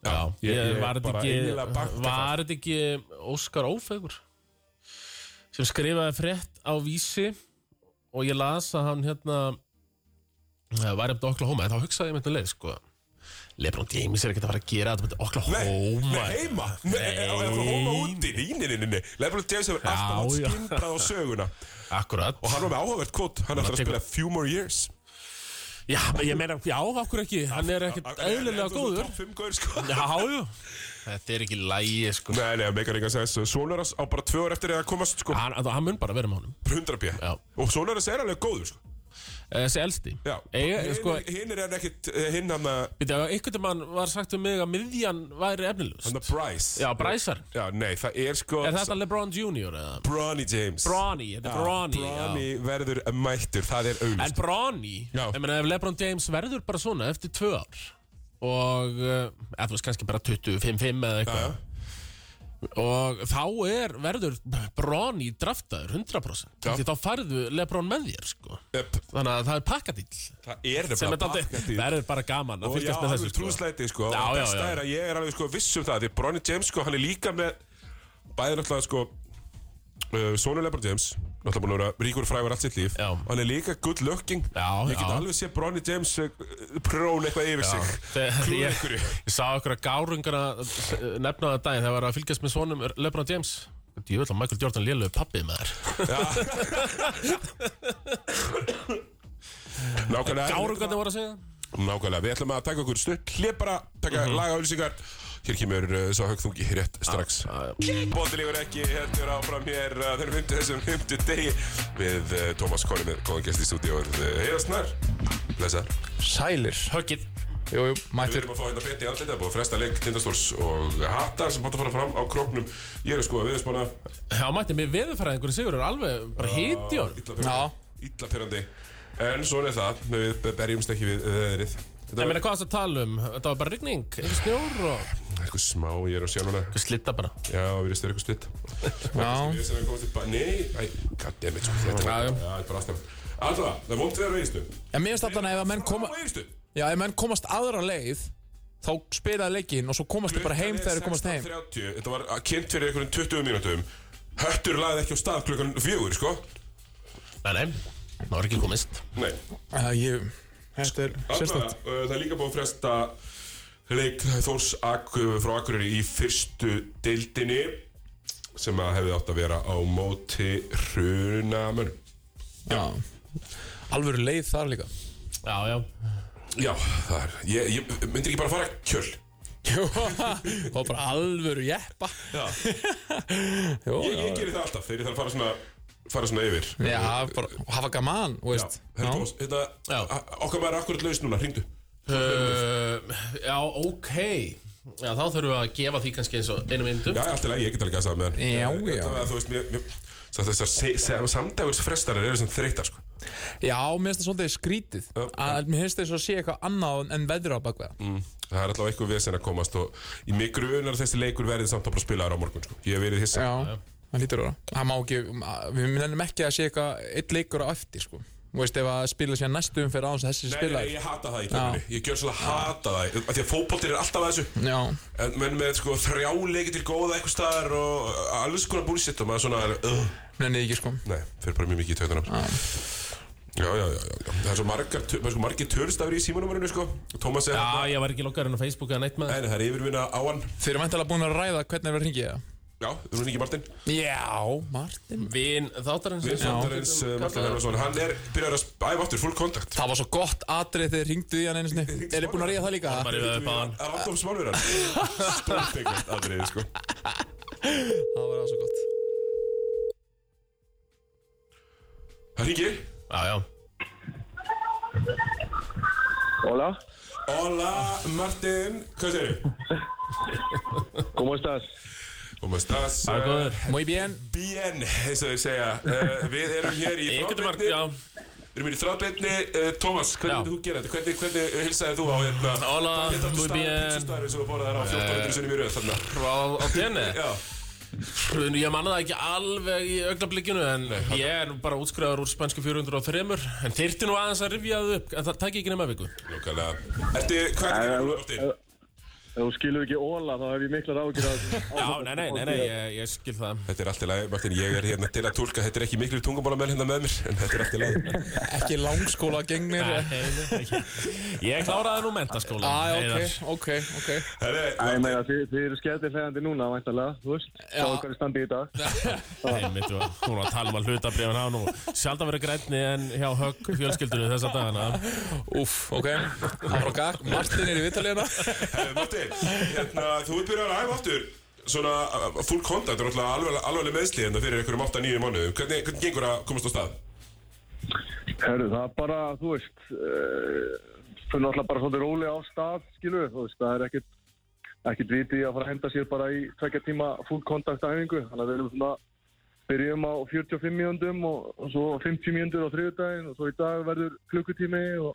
S2: Já,
S1: ég-
S2: ég,
S1: ég
S2: var
S1: bara
S2: þetta
S1: eiginlega
S2: ekki
S1: banka
S2: Var þetta ekki Óskar Ófegur? sem skrifaði frétt á vísi og ég las að hann hérna eh, væri eftir Oklahoma en þá hugsaði ég með þetta leið sko Lebron James er ekkert að fara að gera þetta með Oklahoma
S1: Nei, heima Nei, Oklahoma úti Í níninninni Lebron James hefur alltaf átt
S2: já.
S1: skimbrað á söguna
S2: Akkurat
S1: Og hann var með áhugavert kvot Hann eftir að
S2: tekur-
S1: spila few more years
S2: Já, men ég meina, já, okkur ekki Hann er ekkert eðlilega góður
S1: Fimm góður sko
S2: Já, já Þetta er ekki lægi sko
S1: Nei, nei, það meikar engan sens Sólaras á bara tvö ár eftir að komast sko
S2: Hann, þá- hann mun bara vera með honum
S1: 100 pjö
S2: Já.
S1: Og Sólaras er alveg góður sko
S2: Eh, Þessi elsti
S1: Já
S2: Eiga,
S1: Hinn-
S2: sko,
S1: Hinn er hann ekkit eh, Hinn hann að
S2: Býta, einhvern mann var sagt um mig að miðjan væri efnilegust
S1: Hann að Bryce
S2: Já, Bræsar
S1: Já, nei, það er sko
S2: Er þetta LeBron Jr. eða?
S1: Bronny James
S2: Bronny, þetta er Bronny já.
S1: Bronny verður mættur Það er auglust
S2: En Bronny,
S1: Já.
S2: ég meina ef LeBron James verður bara svona eftir tvö ár Og, eh, eða þú veist kannski bara 25-5 eða eitthvað Og þá er, verður Bronny draftaður 100%
S1: Já.
S2: Því þá færðu LeBron með þér sko
S1: Yep,
S2: Þannig að það er pakkadýll
S1: Það er
S2: sem
S1: nefnilega
S2: er dálítið-
S1: bakkandi.
S2: Það er bara gaman að
S1: Og já,
S2: fylgjast með
S1: alveg
S2: þessu sko.
S1: trúðslæti sko
S2: Já,
S1: Og
S2: já,
S1: besta
S2: já.
S1: er að ég er alveg sko viss um það Því Bronny James sko, hann er líka með Bæði náttúrulega sko uh, Sónu Lebron James Náttúrulega búin að vera ríkur og frægur allt sitt líf
S2: Já.
S1: Hann er líka good looking
S2: Já,
S1: Ég get
S2: já.
S1: alveg sé Bronny James uh, Prón eitthvað yfir sig
S2: Þegar
S1: Klúður
S2: ég, [LAUGHS]
S1: einhverju.
S2: ég sá okkur að gárungana nefna það daginn þegar var að fylgjast með svonum Lebron James Ég vil að Michael Jordan lélugu pappið með [LAUGHS] þér
S1: Nákvæmlega
S2: Gárungarnir voru að segja
S1: Nákvæmlega, við ætlum að taka okkur stutt Hlið bara, taka mm -hmm. lagaulýsingar Hér kemur uh, svo högþungi rétt strax
S2: Ah.
S1: Bóttilegur ekki, heldur áfram hér uh, Þegar fymtu þessum fymtu degi Við uh, Tómas Kóli með góðan gest í stúdíu uh, Heiðasnar, blessar
S3: Sælir
S2: Höggið
S3: Jú, jú,
S1: Við
S3: mættur
S1: erum að fá hérna beti andlita Búið að fresta leik tindastóls og hattar Sem bátt að fara fram á króknum Ég er að skoða viðspána
S2: Já, mætti mig veðurfræðingur Sigur er alveg bara hiti á honum.
S3: Já.
S1: Ítla pyrrandi En svona er það, við berjumst ekki við öðrið Þetta
S2: Ég
S1: er
S2: meina hvað það tala um Þetta var bara rigning, einhver snjór og
S1: eitthvað smá, ég er að sjá núna
S2: slitta bara
S1: Já, við erum styrkur stutt
S3: Já,
S1: Ég sem er komast í bæ... Nei, æ, goddammit sko, þetta var...
S2: Já, já.
S1: Já, þetta er bara aðstæðan. Alltaf, það er vondt við að veistu.
S3: en mér finnst alltaf að ef að menn, koma,
S1: Á veistu.
S3: já, ef menn komast aðra leið Þá spilaði leikinn og svo komast þau bara heim þegar þau komast heim
S1: 16.30, þetta var kynnt fyrir einhverjum 20 mínútum. Höttur lagði ekki á stað klukkan fjögur, sko.
S2: Nei, nei, það var ekki komist
S1: Nei.
S3: uh, ég, Þetta er
S1: Alltaf,
S3: sérstætt
S1: uh, það er líka búið að fresta leik Þórs Ak frá Akureyri í fyrstu deildinni sem að hefði átt að vera á móti hrunamönn.
S3: Alvöru leið þar líka [LAUGHS]
S2: Já, já
S1: Já, það er, ég, ég myndi ekki bara fara að kjöl.
S3: Jú, það var bara alvöru jeppa
S1: Já.
S3: [LAUGHS] Jú,
S1: Ég,
S3: já,
S1: ég gerir það alltaf þegar ég þarf að fara svona, fara svona yfir
S3: já, bara hafa gaman, þú
S1: Já,
S3: veist
S1: herra Bós, þetta,
S2: Já.
S1: a- okkar maður er akkurat laus núna, hringdu
S2: uh, Já, ok Já, þá þurfum við að gefa því kannski eins og einu myndu
S1: Já, allt í lagi, ég get alveg að sagða með hann
S3: Já, já.
S1: Það var að þú veist, mér, mér, svo þessar se- se- samdægursfrestarar eru sem þreytar, sko
S3: Já, mér finnst það svolítið skrítið
S1: Já.
S3: að Mér finnst þess að sé eitthvað annað en veðra á bakveða
S1: Það er alltaf eitthvað vesen að komast og í mig grunar að þessi leikur verði samt að bara spila þar á morgun, sko Ég hef verið hissa
S3: Já, það lítur að vera Það má ekki, við nefnum ekki að sé eitthvað eitt leikur á eftir sko Þú veist ef að spila sér næstu umferð án þess að þessi
S1: Nei,
S3: spila
S1: nei, ég hata það í kemurni, ég gjör svolítið að hata það af Því að fótboltir er alltaf að þessu
S3: Já,
S1: En menn með sko, þrjá leiki til góða eitthvað staðar og alls konar búlsitt og maður svona er, uh,
S3: nefnir ekki sko
S1: Nei, fyrir bara mjög mikið í tautunar
S2: Ah.
S1: Já, já, já, já, já. Það er svo margar, það er svo margir törstafir í símanúmerinu, sko Tómas er
S2: Já, ég var ekki lokkarinn á Facebook eða neitt með
S1: En það er yfirvinna á hann
S3: Þeir eru vantilega búin að ræða hvernig er verið að ringið það
S1: Já, þú erum ekki Martin
S3: Já, Martin
S2: Vin þáttarins eh,
S1: Við samtarins uh, Martin Hermansson Hann er byrjar að æfa aftur full contact
S3: Það var svo gott atrið þegar þið ringdu í hann einu sinni Er þið búin að ríða það líka?
S2: Bara yfir það báðan
S1: Random smálverðar Stórfengast aðrið, sko
S3: Það var það svo gott
S1: Hann ringir
S2: Já, já
S4: Hola,
S1: Hola, Martin Hvað segir þið?
S4: ¿cómo estás?
S1: Koma stas
S2: Það er góður
S3: Muy bien
S1: Bien, eins og þau segja uh, Við erum hér í
S2: Ég getur marg,
S1: þráðbeinni
S2: já
S1: Við erum hér í þráðbeinni uh, Tómas,
S2: Já.
S1: hvernig myndir þú gera þetta? Hvernig, hvernig hilsaði þú á hérna
S2: Hola, muy bien.
S1: Pítsustæri sem þú borðað þar á 1400 sinni mjög röð Þarna
S2: Frá á tenni
S1: Já,
S2: Ég manna það ekki alveg í augnablikinu En ég er nú bara útskrifaður úr spænsku 403 En þyrti nú aðeins að rifja það upp En það tæki ekki nema viku
S1: lókala Ertu, hvað er þetta?
S4: Ef þú skilur ekki óla þá hef ég mikla ráðgjur að...
S2: [LAUGHS] Já, nei, nei, nei, nei ég, ég skil það
S1: Þetta er allt í lagi, Martin, ég er hérna til að tólka Þetta er ekki miklu tungumálamenn hérna með mér En þetta er allt í lagi
S3: Ekki langskóla gengnir
S2: [LAUGHS] Nei, nei, nei. Ég kláraði nú mentaskóla
S3: Æ, ok, ok, ok
S1: Herri,
S4: Æ, meina, þið, þið eru skemmtilegandi núna, væntalega, þú veist,
S3: Já.
S4: þá hvað er standið í dag.
S2: Einmitt, og hún var að tala um að hlutabrifin hann og sjaldan verið grænni en hjá högg fjölskyldunni þessa dagana
S3: Úff, ok Það var okkar, Martin er í vitalíðina
S1: herri, Martin, hérna, þú ert byrjar að æfa aftur Svona uh, full contact og náttúrulega alveg, alveg meðsli hérna fyrir einhverjum 8-9 mánuðum hvernig, hvernig gengur að komast á stað?
S4: Herru, það er bara, þú veist, uh, þau náttúrulega bara svolítið róli á stað, skilur, þú veist, það er ekkert, ekkert vitið að fara að henda sér bara í tvekja tíma full contact æfingu, þannig að við erum svona, byrjum á 45 mínúndum og, og svo 50 mínúndur á þriðdaginn og svo í dag verður klukkutími og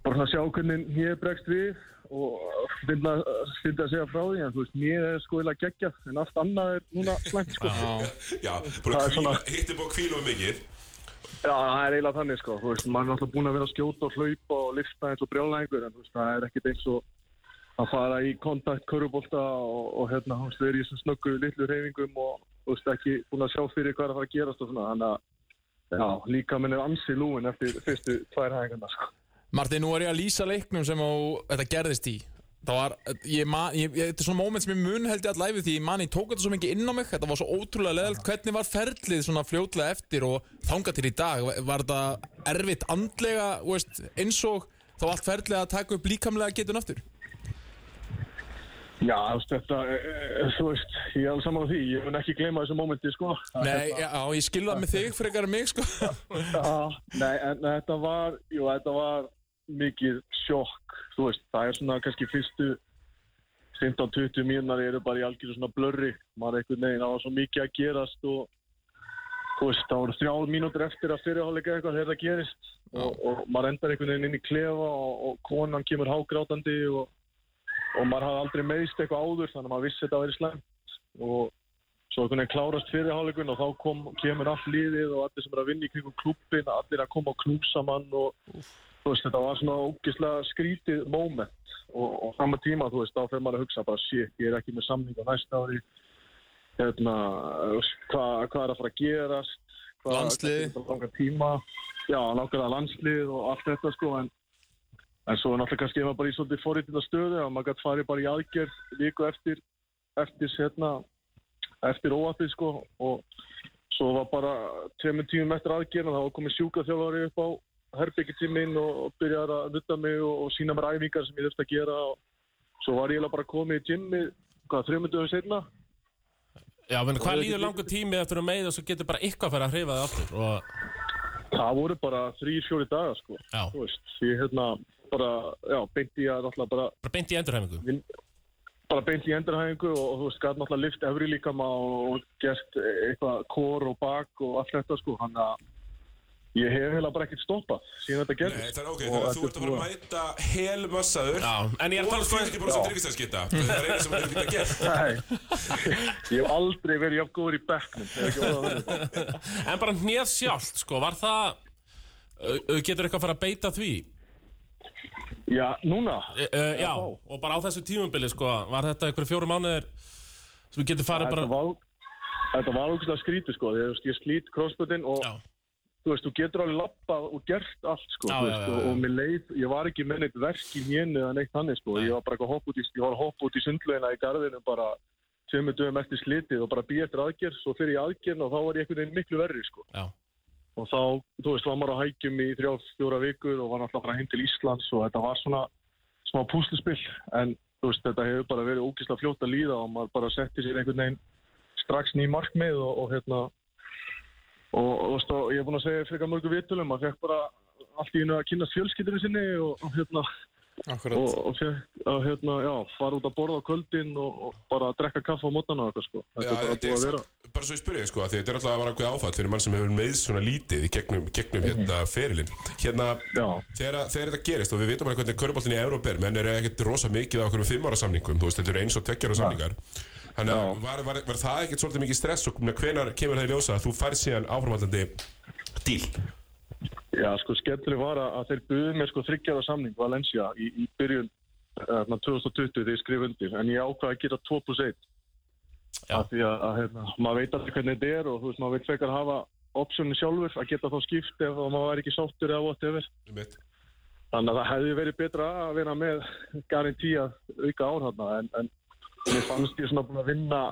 S4: bara svona sjá hvernig nýið bregst við og finna, finna að segja frá því, en þú veist, nýið er sko eða geggjað, en allt annað er núna slæmt, sko.
S1: Já, búin að
S4: Það er
S1: kvíla,
S4: svona-
S1: hittir búin að kvíla um mikið
S4: Já, það er eiginlega þannig sko, þú veist, maður er náttúrulega búinn að vera að skjóta og hlaupa og lifta eins og brjála einhver, en þú veist, það er ekkit eins og að fara í kontakt, körubólta og, og hérna, þú veist, verið í þessum snöggu litlu reyfingum og, þú veist, ekki búinn að sjá fyrir hvað er að fara að gerast og svona, þannig að, já, líka minn er ansi lúin eftir fyrstu tvær hæðingarna sko.
S3: Martin, nú er ég að lýsa leiknum sem á, þetta gerðist í Það var, ég man, ég, ég, þetta er svona moment sem ég mun held ég all læfið því ég man, ég tók þetta svo mikið inn á mig, þetta var svo ótrúlega leðalt, hvernig var ferlið svona fljótlega eftir og þanga til í dag, Var- var þetta erfitt andlega, þú veist, eins og þá allt ferlið að taka upp líkamlega getun aftur?
S4: Já, þú veist, þetta, e, e, þú veist, ég er alveg saman á því, ég mun ekki gleyma þessu mómenti sko. Það-
S3: Nei, já, ég skilða með þig frekar en mig, sko.
S4: Já, nei, en þetta var, jú, þetta var mikið sjokk, þú veist, það er svona kannski fyrstu 15-20 mínar eru bara í algjörðu svona blurri, maður einhvern veginn, það var svo mikið að gerast og þú veist, það voru þrjár mínútur eftir að fyrirháleika eitthvað þegar það gerist og, og maður endar einhvern veginn inn í klefa og, og konan kemur hágrátandi og, og maður hafði aldrei meðist eitthvað áður þannig að maður vissi þetta að vera slæmt og svo einhvern veginn klárast fyrir hálfleikum og þá kom, kemur allt liðið og allir sem er að vinna í kringum klubbin, allir að koma og knúsa mann og þú veist, þetta var svona ógislega skrítið moment og, og sama tíma, þú veist, þá fyrir maður að hugsa bara shit, ég er ekki með samning á næsta ári hérna, þú veist, hvað hva er að fara að gerast hvað
S3: Landslið.
S4: hvað er að langa tíma já, langar að landslið og allt þetta sko, en En svo náttúrulega kannski ef maður bara í svolítið forritina stöðu og maður gæti farið bara í aðgerð viku eftir, eftir, hérna, eftir óattið sko og svo var bara tveimur tímum eftir aðgerð og þá var komið sjúkaþjálfari upp á herbyggitíminn og, og byrjaði að nutta mig og, og sína mér æfingar sem ég þurfti að gera og svo var ég eiginlega bara komið í gymmi hvað, þreymundum setna
S2: Já, menn, hvað líður langur tími eftir að meiða og svo getur bara eitthvað fyrir að hreyfa það aftur og,
S4: það voru bara þrý, fjóri dagar sko
S2: Já,
S4: þú veist, ég hérna bara, já, beinti ég að náttúrulega bara
S2: bara beint í endurhæfingu
S4: vin- bara beint í endurhæfingu og, og þú veist, gæti náttúrulega lift efri líkama og, og gert eitthvað kór og bak og allt þetta sko, hann að ég hef heila bara ekkert stoppað síðan þetta
S1: Nei,
S4: gerðist
S1: það er ok,
S4: Og
S1: þannig að þú
S4: þetta
S1: ert að fara að mæta helmassaður
S2: Já, en ég er að
S1: Og
S2: tala um sko
S1: 40% ríkistagsgeta Það er eina sem þú getur gert
S4: Nei, ég hef aldrei verið jafn góður í bekknum það er ekki orðað að vera
S2: En bara hnið sjálft, sko, var það ö- ö, Getur eitthvað að fara að beita því?
S4: Já, núna
S2: Ö, ö, Já, og bara á þessu tímumbili, sko Var þetta einhverjum fjórum mánuðir sem getur farið
S4: Þetta
S2: bara
S4: var, þetta var okkur skrítið sko, ég, ég slít crossbötin og
S2: Já,
S4: þú veist, þú getur alveg lappað og gert allt sko,
S2: Já, já,
S4: þú veist,
S2: já,
S4: og,
S2: já.
S4: og mér leið, ég var ekki með neitt verk í ménu eða neitt þannig sko, ég var bara eitthvað hopp út í, ég var að hoppa út í sundleina í garðinu bara tveimur dögum eftir slitið og bara býja eftir aðgerð, svo fyrir ég aðgerð og þá var ég einhvern veginn miklu verri sko.
S2: já,
S4: Og þá, þú veist, var maður á hækjum í þrjá, fjóra vikur og var náttúrulega bara heim til Íslands og þetta var svona smá púsluspill, en þú veist, þetta hefur bara verið ógislega fljótt að líða og maður bara setti sér einhvern veginn strax ný markmið og, og hérna, og, og stó, ég er búinn að segja frekar mörgu vitulum maður fekk bara allt í einu að kynna fjölskyldinu sinni og, og hérna og,
S3: Akkurat.
S4: og, fekk, og hérna, já, fara út að borða á kvöldin og, og bara að drekka kaffa á mótana og eitthvað sko,
S1: Já,
S4: þetta er bara
S1: þetta
S4: búið
S1: er
S4: að vera
S1: samt- Bara svo ég spurði, sko, af því þetta er alltaf að vera ákveð áfall fyrir mann sem hefur með svona lítið í gegnum, gegnum hérna ferilinn Hérna,
S4: já,
S1: þegar, þegar þetta gerist og við vitum alveg hvernig köruboltin í Európa er menn eru ekkert rosa mikið á okkur um fimm ára samningum þú veist, þetta eru eins og tveggjara samningar Þannig að var, var, var það ekkert svolítið mikið stress og hvenar kemur það í ljósa að þú fær síðan áframhaldandi díl
S4: já, sko, skemmtileg var að, að þeir buðu mér sko þryggjara samning Valencia í, í byrjun hérna, 2020 þegar ég skrif undir en ég ákvaði að gera 2 plus 1
S2: Já.
S4: af því að, að hérna, maður veit aldrei hvernig þetta er og þú veist maður veit frekar hafa optionni sjálfur að geta þá skipt ef maður væri ekki sáttur eða whatever
S1: Einmitt.
S4: þannig að það hefði verið betra að vera með garantí að auka ár hérna en, en mér fannst ég svona búin að vinna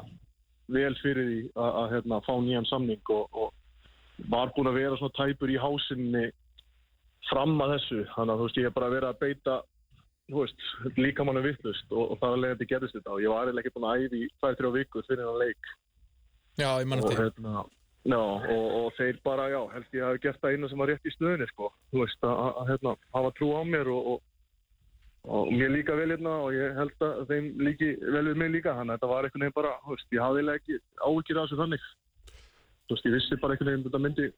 S4: vel fyrir því að, að hérna, fá nýjan samning og, og var búin að vera svona tæpur í hásinni fram að þessu þannig að þú veist ég hef bara verið að beita þú veist, líka manna vittlust og, og það er að leiða þetta gerðist þetta og ég var eiginlega ekki búin að æði í 2-3 vikur fyrir hann leik
S3: Já, ég mann
S4: og,
S3: eftir
S4: hérna, já, og, og þeir bara, já, held ég hafi gert það einu sem var rétt í stöðinni, sko. Þú veist, að, að, að hérna, hafa trú á mér og, og, og mér líka vel hérna og ég held að þeim líki, vel við mig líka, þannig að þetta var einhvern veginn bara, þú veist, ég hafði eiginlega ekki áhyggjur af þessu þannig. Þú veist, ég vissi bara einhvern veginn að þetta myndi,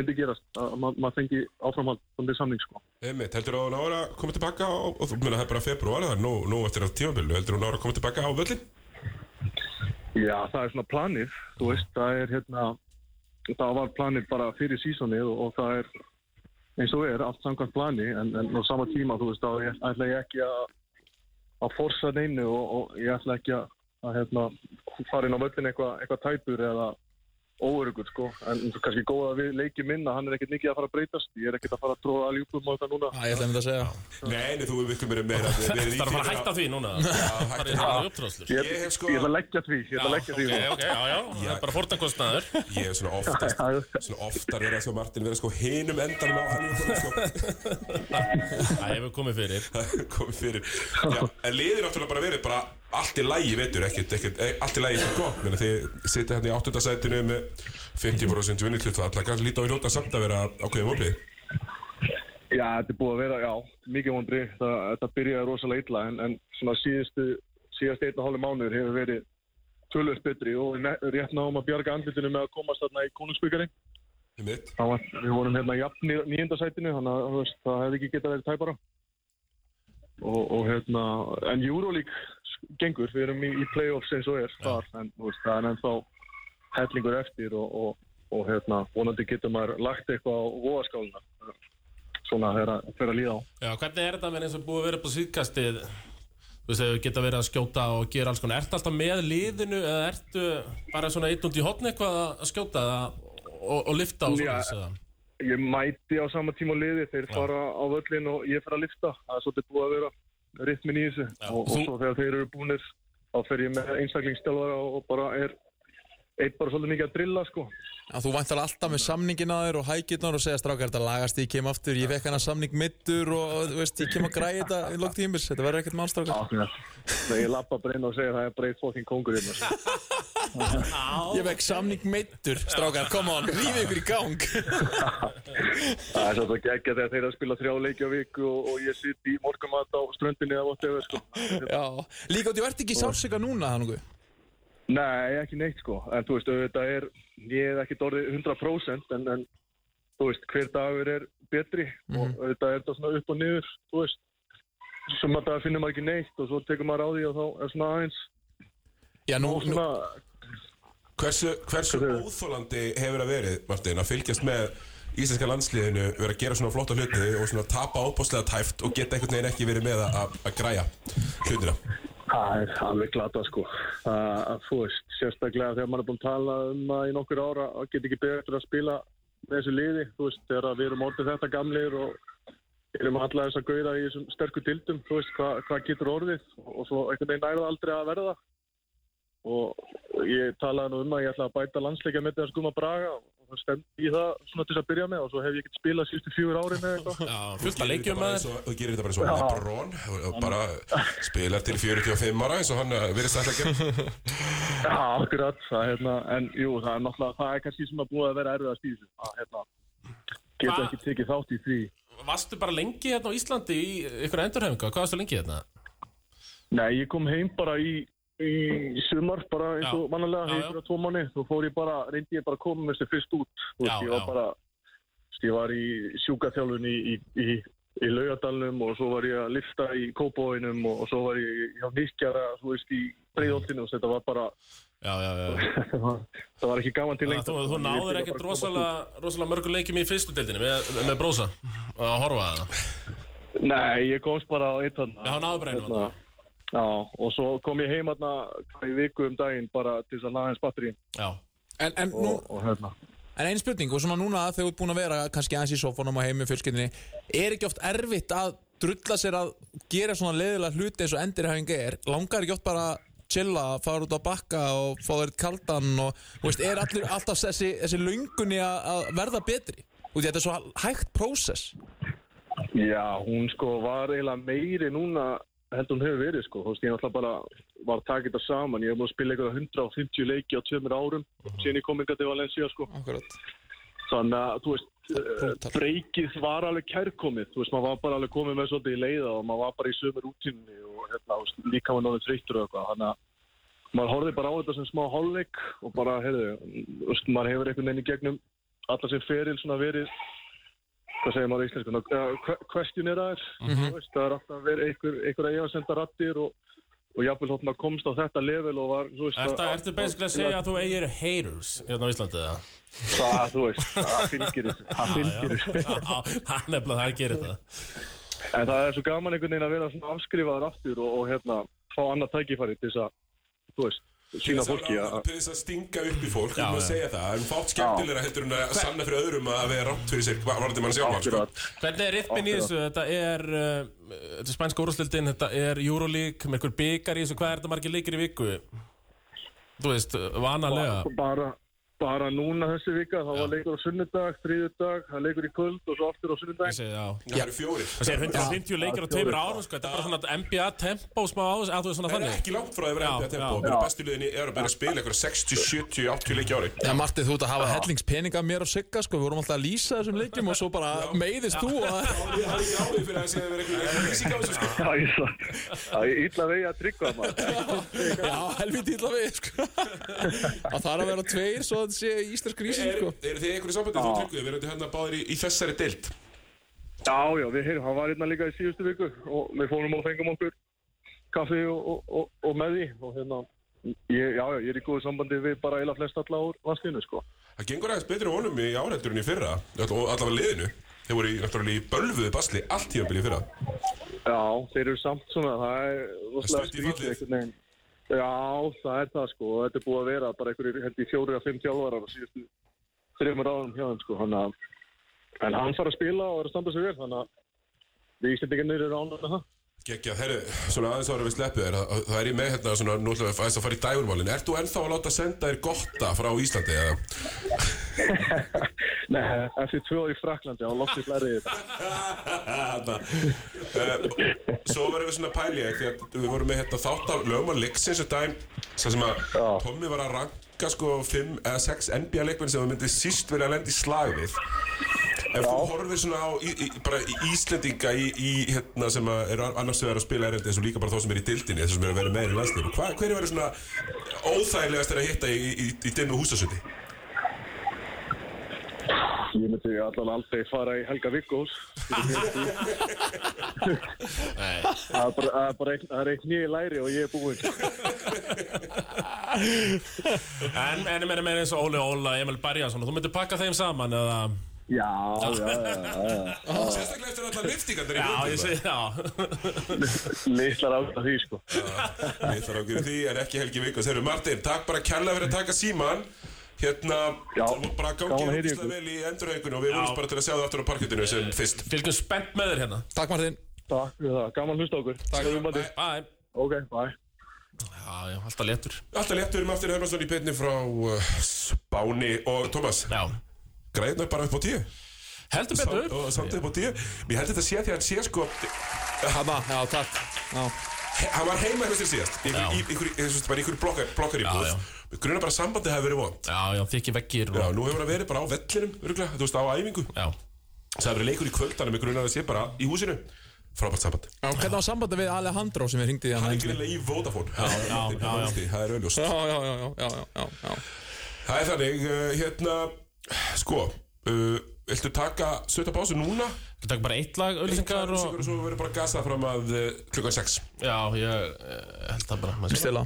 S4: myndi gerast, að ma- maður fengi áframhald þannig samning, sko.
S1: Einmitt, um heldur þú að hún ára að koma tilbaka á, og þú meina það er bara februar, það er nú, nú eftir að tímabilinu, heldur þú að hún ára að koma tilbaka á völlin?
S4: Já, það er svona planið, þú veist, það er hérna, það var planið bara fyrir sísonið og, og það er eins og er allt samkvæmt plani en, en á sama tíma, þú veist, þá ég- ætla ég ekki að, að forsa neinu og, og ég ætla ekki að, að hérna, fara inn á völlin eitthvað eitthva tæpur eða óörugur, sko, en eins og kannski góða við leikið minna, hann er ekkert mikið að fara að breytast, ég er ekkert að fara að tróða að ljúpum á þetta núna.
S3: Já, ég ætla einmitt að segja
S1: Nei, nei, þú er miklu meira
S2: [LAUGHS]
S1: meira Það
S2: Það er að fara að hætta því núna Það er
S1: hætta
S2: eitthvað uppdráslur
S4: Ég,
S1: Ég
S4: ég,
S1: hef sko-
S4: ætla að leggja því, ég ætla að leggja því.
S2: ok, ok, já, já, það er bara fórtankostnaður [LAUGHS]
S1: Ég er svona oftast, svona oftar vera svo Martin, vera sko hinum endanum á hann
S2: [LAUGHS]
S1: sko,
S2: Það hefur komið fyrir
S1: komið fyrir Já, en liðir náttúrulega bara verið bara allt í lægi, veitur, ekkert, ekkert, e- allt í lægi er gott, menn þið sitja hérna í áttundasætinu með 50% vinnutlut, það kannski lítið á hljóta samt að vera ákveðið mópið.
S4: Já, þetta er búið að vera, já, mikið vondri. Það, það byrjaði rosalega illa en, en svona síðustu, síðast einn og hálfu mánuður hefur verið tölvöld betri og við ne- rétt náum að bjarga andlutinu með að komast þarna í konungsbyggari.
S1: Einmitt.
S4: Það var, við vorum hérna jafnir nýjöndasætinu, þannig að þú veist, það hefði ekki getað verið tæpara. Og, og hérna, en Euroleague gengur, við erum í, í playoffs eins og er þar, en þú veist, það er ennþá hellingur eftir og, og, og hérna, vonandi getur maður lagt eitthvað á voðaskáluna, svona þegar að- þegar að líða á.
S2: Já, hvernig er þetta með eins og búið að vera upp á síðkastið Þú veist, hefur geta verið að skjóta og gera alls konar Ertu alltaf með liðinu eða ertu bara svona eitt undir hotni eitthvað að skjóta það og, og lifta og
S4: Já.
S2: svona þess að
S4: Ég mæti á sama tíma á liði, þeir fara á völlin og ég fer að lifta. Það er svolítið búið að vera rytmin í þessu. Og, og
S2: Þú-
S4: svo þegar þeir eru búinir, þá fer ég með einstaklingsstjálfara og og bara er eitt bara svolítið mikið að drilla, sko.
S3: að þú væntar alltaf með samningin að þér og hækirnar og segja strákar þetta lagast, ég kem aftur, ég fekk hana samning middur og, og þú veist, ég kem að græja þetta í lók tímis, þetta verður ekkert málstrákar
S4: Þegar ég lappa bara inn og segja það er bara eitt fokking kongur hérna. sko.
S3: Ég fekk samning middur, strákar, come on, rífi ykkur í gang
S4: Það er svolítið geggja þegar þeir eru að spila þrjá leiki á viku og, og ég sitt í morgumat á ströndinni eða whatever, sko.
S3: Já, líka út, ég verð ekki sársöka núna þannig
S4: Nei, ekki neitt sko, en þú veist, auðvitað er, ég hef ekki orðið 100% en, en þú veist, hver dagur er betri og auðvitað er þetta svona upp og niður, þú veist, sem að það finnir maður ekki neitt og svo tekur maður á því og þá er svona aðeins,
S3: Já, nú,
S4: og
S3: nú,
S4: svona,
S1: Hversu, hversu
S4: Hversu?
S1: óþólandi hefur það verið, Martin, að fylgjast með íslenska landsliðinu, vera að gera svona flotta hluti og svona tapa óbáslega tæft og geta einhvern veginn ekki verið með að- að að græja hlutina?
S4: það er alveg glata sko, að, að þú veist, sérstaklega þegar maður er búin að tala um að í nokkur ára að geta ekki betur að spila með þessu liði, þú veist, þegar að við erum orðið þetta gamlir og erum alla þess að gauða í þessum sterku dildum, þú veist, hvað hva getur orðið og svo einhvern veginn nærða aldrei að verða og ég talaði nú um að ég ætla að bæta landsleika með þess guma braga og það stemdi í það svona til þess að byrja með og svo hef ég ekkert spilað síðustu fjúur árin eða eitthvað
S2: Já, fullt að leikjum
S1: Bara
S2: að
S1: eins og- Þú gerir þetta bara eins og Lebron og- og bara spilar til 45 ára eins og hann eh, virðist alltaf að gera.
S4: Já, akkurat, það, hérna, en jú, það er náttúrulega, það er kannski sem að búið að vera erfiðast í þessu, að hérna, geta
S2: Hva-
S4: ekki tekið þátt í því.
S2: Varstu bara lengi hérna á Íslandi í ykkur endurhefinga? Hvað varstu lengi hérna?
S4: Nei, ég kom heim bara í, í sumar, bara eins
S2: Já.
S4: og
S2: Já,
S4: mannalega,
S2: já.
S4: heim fyrir tvo mánu, þú fór ég bara, reyndi ég bara að koma með þessu fyrst út,
S2: Já,
S4: þú veist, ég var
S2: já.
S4: bara, þú veist, ég var í sjúkaþjálfun í, í, í, í laugadalnum og svo var ég að lifta í kópóinum og, og svo var ég hjá nýskjara, þú veist, í breyðoltinu og þetta var bara,
S2: Já, já, já
S4: það var ekki gaman til
S2: Þannig
S4: lengt.
S2: að Þú, þú náður ekkert rosalega, rosalega mörgum leikjum í fyrstu deildinni með, með brósa að horfa að það
S4: Nei, ég komst bara á eitt hann.
S2: Já, hann náði bara einu
S4: Hérna.
S2: þarna.
S4: Já, og svo kom ég heim hérna í viku um daginn bara til þess að laga hans batterín
S2: Já,
S3: En, en, nú,
S4: og, og hérna.
S3: en einn spurning, og svona núna þegar þú ert búin að vera kannski aðeins í sofunum og heim með fjölskyldinni Er ekki oft erfitt að drulla sér að gera svona leiðilega hluti eins og endirhæfing er Langar ekki oft bara að chilla, fara út á bakka og fá þér eitt kaldan og þú veist, er allir alltaf þessi, þessi löngunni að að verða betri Út í þetta er svo hægt prósess
S4: Já, hún sko var eiginlega meiri núna heldur hún hefur verið sko. Þú veist, ég náttúrulega bara var að taka þetta saman. Ég hef múið að spila eitthvað 150 leiki á tveimur árum uh -huh. síðan ég kom inga til Valencia sko.
S3: Akkurat
S4: Þannig að, þú veist,
S3: Brútal.
S4: eh, breykið var alveg kærkomið. Þú veist, maður var bara alveg komið með svolítið í leiða og maður var bara í sömur útínni og hérna, þú veist, líka maður náðið þreyttur og eitthvað. Þannig að maður horfið bara á þetta sem smá hálfleik og bara, heyrðu, þú veist, maður hefur einhvern veginn í gegnum alla sem feril svona verið hvað segir maður í íslensku, uh, questioneraðir, mm
S2: Mhm.
S4: veist, það er alltaf að vera einhver, einhverja efasemda rattir og, og jafnvel þótt maður komst á þetta level og var, þú veist,
S2: ertu, ertu
S4: Sko,
S2: basically að
S4: hérna.
S2: segja að þú eigir haters hérna á Íslandi eða?
S4: það, þú veist, það fylgir þessu, það fylgir þessu.
S2: Já, það er nefnilega það að gera þetta
S4: En það er svo gaman einhvern veginn að vera svona afskrifaður aftur og, og hérna, fá annað tækifæri til þess að, þú veist, sína fólki að...
S1: Til þess að stinga upp í fólk,
S2: Já,
S1: um að
S2: já.
S1: segja það En fátt skemmtilegra heldur en að sanna fyrir öðrum að vera rátt fyrir sér Varði mann sjálfan, sko
S4: Akkurat.
S2: Hvernig er rippin í þessu? Þetta er, uh, þetta er spænska úrúslildin, þetta er Euroleague með einhver byggar í þessu, hvað er þetta margir leikir í viku? Þú veist, vanalega
S4: Bara, bara núna þessi vika, þá var leikur á sunnudag, þriðudag, það er leikur í kvöld og svo aftur á sunnudag. [LAUGHS]
S2: Ég segi, já.
S1: Það eru fjórir
S2: Það segir 150 leikir á tveimur árum, sko, þetta er bara svona NBA-tempo smá á þessu, að þú veist svona
S1: Það er
S2: þannig
S1: ekki langt frá því að vera
S2: Já,
S1: NBA tempo
S2: já.
S1: og Bara bestu liðin í Európa er að spila eitthvað 60, 70, 80 leiki á ári
S3: Já, Martið, þú ert að hafa hellingspeninga mér og Sigga, sko, við vorum alltaf að lýsa þessum leikjum og svo bara meiðist þú að...
S1: Ég hafði ekki ári fyrir að segja að vera eitthvað lýsing á þessu, sko
S4: Það er svo- það er illa vegi að tryggva maður.
S3: Já, helviti illa við, sko. Það þarf að vera tveir, svo að þetta sé íslensk grísin,
S1: Er,
S3: sko.
S1: er þið einhverju sambandi þú trygguðu? Við erum hérna báðir í, í þessari deilt
S4: Já, já, við heyrum, hann var hérna líka í síðustu viku og við fórum og fengum okkur kaffi og, og, og, og með því og hérna, ég, já, já, ég er í góðu sambandi við bara eila flest alla úr vaskinu, sko.
S1: Það gengur aðeins betur á honum í áreildur en í fyrra öll- og allavega liðinu Þeir voru í, náttúrulega í bölvuðu basli allt tíðanbili í fyrra
S4: Já, þeir eru samt svona, það er rosalega
S1: Stutt í
S4: skrítið
S1: fallið.
S4: einhvern veginn. Já, það er það sko, og þetta er búið að vera bara einhverjir, held ég, fjóri að fimm þjálfarar á síðustu þreymur árum hjá þeim sko, hann að, en hann fara að spila og er að standa sig vel, þannig að við Íslandingarnir eru ánægð með það.
S1: Gekja, herru, svona aðeins ára við sleppu þér það, það er í með hérna svona nútlega aðeins að fara í dægurmálin Ert þú ennþá að láta senda þér gotta frá Íslandi eða?
S4: Nei, eftir tvö ár í Fraklandi, hann loksist lærið þetta.
S1: Þarna. Eh, Svo verðum við svona pæli eh, því að við vorum með hérna, þátt af lögman leiksins og dæm sem sem að
S4: Já.
S1: Tommi var að ranka sko 5 eða 6 NBA leikmenn sem þú myndið síst verið að lenda í slag við Ef þú horfir svona á í, í, bara í Íslendinga í, í hérna sem að eru annars vegar að spila erindi eins og líka bara þá sem er í dildinni þess sem er að vera með í landslíf Hva, hver er verið svona óþægilegast er að hitta í, í, í dimmu húsasundi?
S4: Ég myndi allan aldrei fara í Helga Viggós. Það er bara- það er bara einn- það er eitt nýja læri og ég er búinn.
S2: En, en ég meina meina eins og Óli Óla, Emil Berjason, þú myndir pakka þeim saman eða
S4: Já, já, já, já, já.
S1: Sérstaklega eftir allar liftingandir í
S2: Ah. Já,
S1: höndum,
S2: ég segi, [LAUGHS] já
S4: Lítlar átt af því sko.
S1: Við þarfum að gera því en ekki Helgi Vikkos Herru Martin, takk bara kærlega fyrir að taka síman Hérna,
S4: Já,
S1: og bara
S4: gaman
S1: gangi
S4: að heyra í
S1: ógislega
S4: ykkur.
S1: vel í endurhaugun og við vonumst bara til að sjá það aftur á parkettinu sem fyrst
S2: Fylgjum spennt með þér hérna
S3: Takk, Martin.
S4: Takk fyrir það, gaman hlusta okkur Takk fyrir það
S2: Bye
S4: Ok, bye
S2: Já, já, alltaf léttur
S1: Alltaf létt, við erum aftur Hermansson í beinni frá uh, Spáni og Tómas,
S2: Já
S1: græðinu bara upp á tíu
S2: Heldur betur
S1: og samt upp á tíu Mér held þetta sé því að hann sé sko
S3: Hanna, já, takk. Já.
S1: he- hann var heima eitthvað sem síðast í einhverju- í einhverju- þú veist, bara í einhverju blokkar- blokkaríbúð
S2: Já,
S1: gruna bara að sambandi hafi verið vond
S2: Já, já, þykki veggir
S1: Já,
S2: og
S1: nú hefur hann verið bara á vellinum, örugglega, þú veist, á æfingu
S2: Já
S1: Það hefur verið leikur í kvöldanum, ég gruna að það sé bara í húsinu Frábært samband
S3: Já, Hvernig var sambandið við Alejandro sem við hringdið í hann?
S1: Það er greinilega í Vodafone Það er [LAUGHS]
S2: já,
S1: Martin Hallsti,
S2: já, já.
S1: Það er auðljóst
S3: Já, já, já, já, já, já, já.
S1: Það er þannig, uh, hérna Sko, uh, viltu taka Sötta básu núna?
S2: Við takum bara eitt lag, auðlýsingar og
S1: Sigur og svo verður bara gasað fram að uh, klukkan 6
S2: Já, ég eh, held það bara maður sé-
S3: Stila.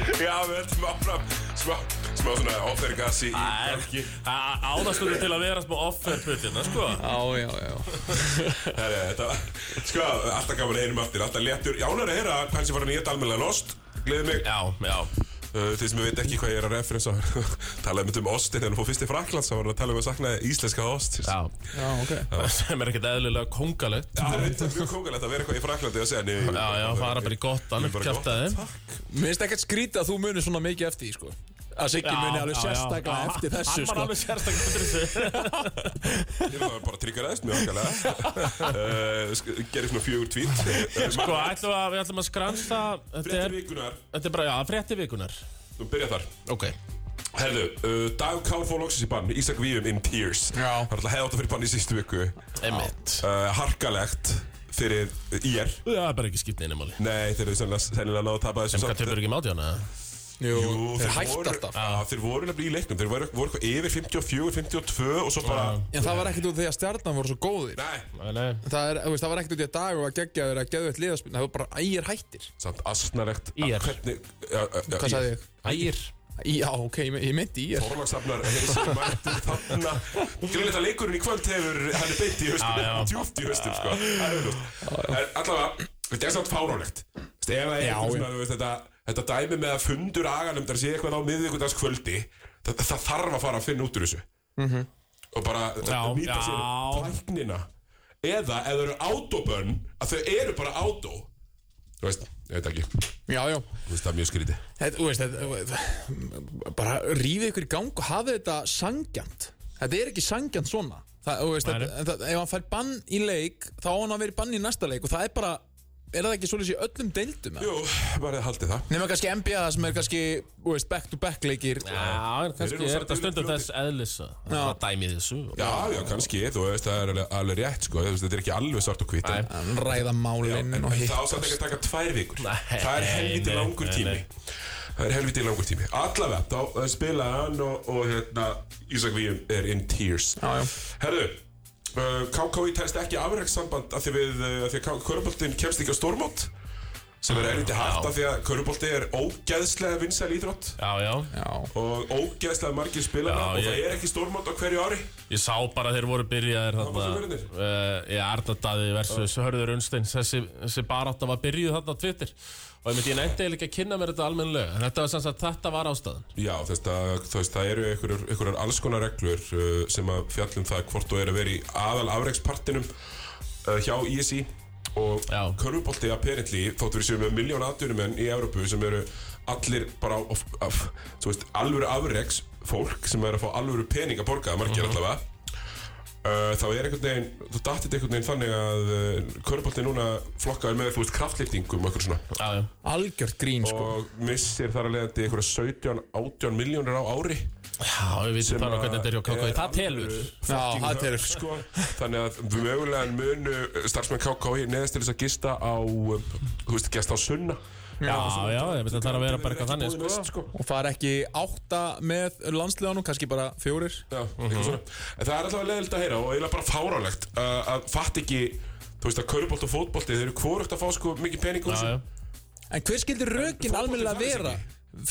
S1: Já, við heldum áfram Smá smá svona offer gasi í
S2: Það er ekki Það áðastundu til að vera smá offer putina, sko
S3: Já, já, já
S1: Herri, þetta var, sko, alltaf gaman að heyrum aftur, alltaf léttur. Ég ánægður að heyra hvað hans er farin í þetta almennilega lost. Gleðið mig.
S2: Já, já
S1: Uh, Þið sem veit ekki hvað ég er að referensa, [LAUGHS] talaði mitt um ostin þegar hann fór fyrst í Fraklands, þá var hann að tala um að sakna íslenska ost.
S2: Já
S3: Já, ok
S2: Sem er ekkert eðlilega kongalegt
S1: Já, það er eitthvað mjög kókalegt að vera eitthvað í Fraklandi að segja nei,
S2: Já, já, fara bara í gottan,
S1: Bara í
S2: kjaftaði
S3: Mér finnst ekkert skrítið að þú munir svona mikið eftir því, sko Að Siggi muni alveg sérstaklega eftir þessu,
S2: Ah, Hann var
S3: sko
S2: alveg sérstaklega eftir þessu [LAUGHS]
S1: Ég var bara að tryggja ræðist mjög okkarlega Gerir Eh, svona fjögur Eh, tvít
S2: [LAUGHS] Sko, ætlum að, við ætlum að skransa Þetta
S1: Frettir
S2: er,
S1: vikunar,
S2: þetta er bara, já, frétti vikunar
S1: þú byrja þar
S2: Ok
S1: Herðu, uh, Dag Kár fór loksins í bann Ísak Víum in tears
S3: Já.
S1: Það er alltaf hefðátt að fyrir bann í sístu viku uh,
S2: Emitt
S1: Harkalegt fyrir IR
S2: Það er bara ekki skipt neina máli
S1: Nei, þeir eru sennilega, sennilega náðu að tapa þessum
S2: Sem hvað töpur ekki máti hana
S3: Jú,
S1: Jú,
S3: þeir
S1: voru-
S3: hægt alltaf
S1: Já, Þeir voru nefnilega í leiknum Þeir voru, voru eitthvað yfir 54, 52 og svo bara
S3: En það var ekkert út af því að stjarnan voru svo góðir
S1: Nei,
S2: Nei, nei
S3: Það, er, þú veist, það var ekkert út í að dag og að gegja þeirra að geða eitt liðaspil Það var bara ægir hættir
S1: samt asnaregt
S2: IR.
S1: Hvernig, ja, ja, ja,
S3: Hvað sagði ég?
S2: Ægir
S3: Í, já, ok, ég, me- ég myndi í er
S1: Þorlagsafnar hefur mættið þarna Greinleitt að leikurinn í kvöld hefur hann er beint í
S2: Já, já.
S1: haustum, djúft í haustum sko. Það er auðvitað. En allavega, þetta er samt fáránlegt Þú veist, ef það er eitthvað svona, þú veist, þetta, þetta dæmi með að fundur aganum þar sé eitthvað á miðvíkundags kvöldi það, það þarf að fara að finna út úr þessu og bara
S2: Mhm. Já,
S1: nýta
S2: já.
S1: sér tæknina eða ef það eru autobönn að þau eru bara auto Þú veist, ég veit ekki Þú
S3: Já, já
S1: veist, það er mjög skrítið
S3: Þetta, þú veist, þetta, bara rífið ykkur í gang og hafið þetta sangjant. Þetta er ekki sangjant svona. Það, þú veist,
S2: Nei.
S3: þetta, en það, ef hann fær bann í leik, þá á hann að vera í bann í næsta leik og það er bara, er það ekki svolítið í öllum deildum?
S1: Jú, bara haldið það
S3: Nefnum kannski NBA sem er kannski, þú veist, back-to-back leikir.
S2: Já, en
S1: Þeir eru
S2: kannski er þetta
S1: samt
S2: stundum
S1: yfir
S2: þess eðlisa Það er bara dæmið þessu
S1: Já, já, kannski, þú veist, það er alveg, alveg rétt, sko, þú veist, þetta er ekki alveg svart og hvitt en,
S2: Nei.
S3: Hann ræða málinn
S1: en
S3: og
S1: það
S3: hitt.
S1: ásamt ekki að taka tvær vikur
S2: Nei,
S1: Það er helviti
S2: nei,
S1: langur
S2: nei,
S1: tími
S2: nei.
S1: Það er helviti langur tími Allavega, þá eh, spilaði hann og, og hérna, Ísak Víum er in tears
S3: Já, já.
S1: Herðu, uh, KKI telst ekki afrækssamband af því við, uh, af því að Köruboltin kemst ekki á stórmót sem er erindi hart af því að Körubolti er ógeðslega vinsæl íþrótt
S2: Já, já,
S3: Já.
S1: og ógeðslega margir spilara
S2: Já,
S1: og það
S2: ég-
S1: er ekki stórmót á hverju ári
S2: ég sá bara þeir voru byrjaðir þarna
S1: voru verðir.
S2: uh, Ég Arnardaði versus Hörður Unnsteins Þessi, þessi barátta var byrjuð þarna á Twitter Og ég myndi ég nefndi eiginlega ekki að kynna mér þetta almennilega En þetta var sem sagt, þetta var ástæðan
S1: Já, þess að, þú veist, það eru einhverjar, einhverjar alls konar reglur uh, sem að fjallum það hvort þú er að vera í aðal afreikspartinum uh, hjá ISI og
S2: Já.
S1: körfubolti apparently þótt við séum með miljón atvinnumenn í Evrópu sem eru allir bara of, of, þú veist, alvöru afreiks fólk sem er að fá alvöru pening að borga margir allavega Uh, þá er einhvern veginn, þú dattið einhvern veginn þannig að uh, körfubolti núna flokkaður með, þú veist, kraftlýftingum og eitthvað svona
S2: Já, já,
S3: Algjört grín, sko.
S1: og missir þar að leiðandi einhverja 17-18 miljónir á ári
S2: já ég veit
S1: sem
S2: bara
S1: að
S2: hvernig þetta er hjá KKI
S1: er
S2: Það telur
S1: alvöru
S3: Já,
S1: fucking
S3: það
S1: högg,
S3: telur.
S1: sko. Þannig að mögulega munu starfsmenn KKI neðast til þess að gista á um, Þú veist, gesta á sunna
S2: Já, já, ég veit að það er að vera bara eitthvað þannig
S1: Ekki
S2: sko.
S1: búið næst, sko.
S3: Og það er ekki átta með landsliðanum, kannski bara fjórir.
S1: Já,
S2: Mhm.
S1: eitthvað svona. En það er alltaf leðilt að heyra og eiginlega bara fáránlegt uh, að fatt ekki Þú veist að kaurubolt og fótbolti, þeir eru hvorugt að fá sko mikið pening úr
S2: Já,
S1: þessu.
S2: já,
S3: En hver skildir rökin
S1: fótbolti
S3: almennilega
S1: þarf
S3: vera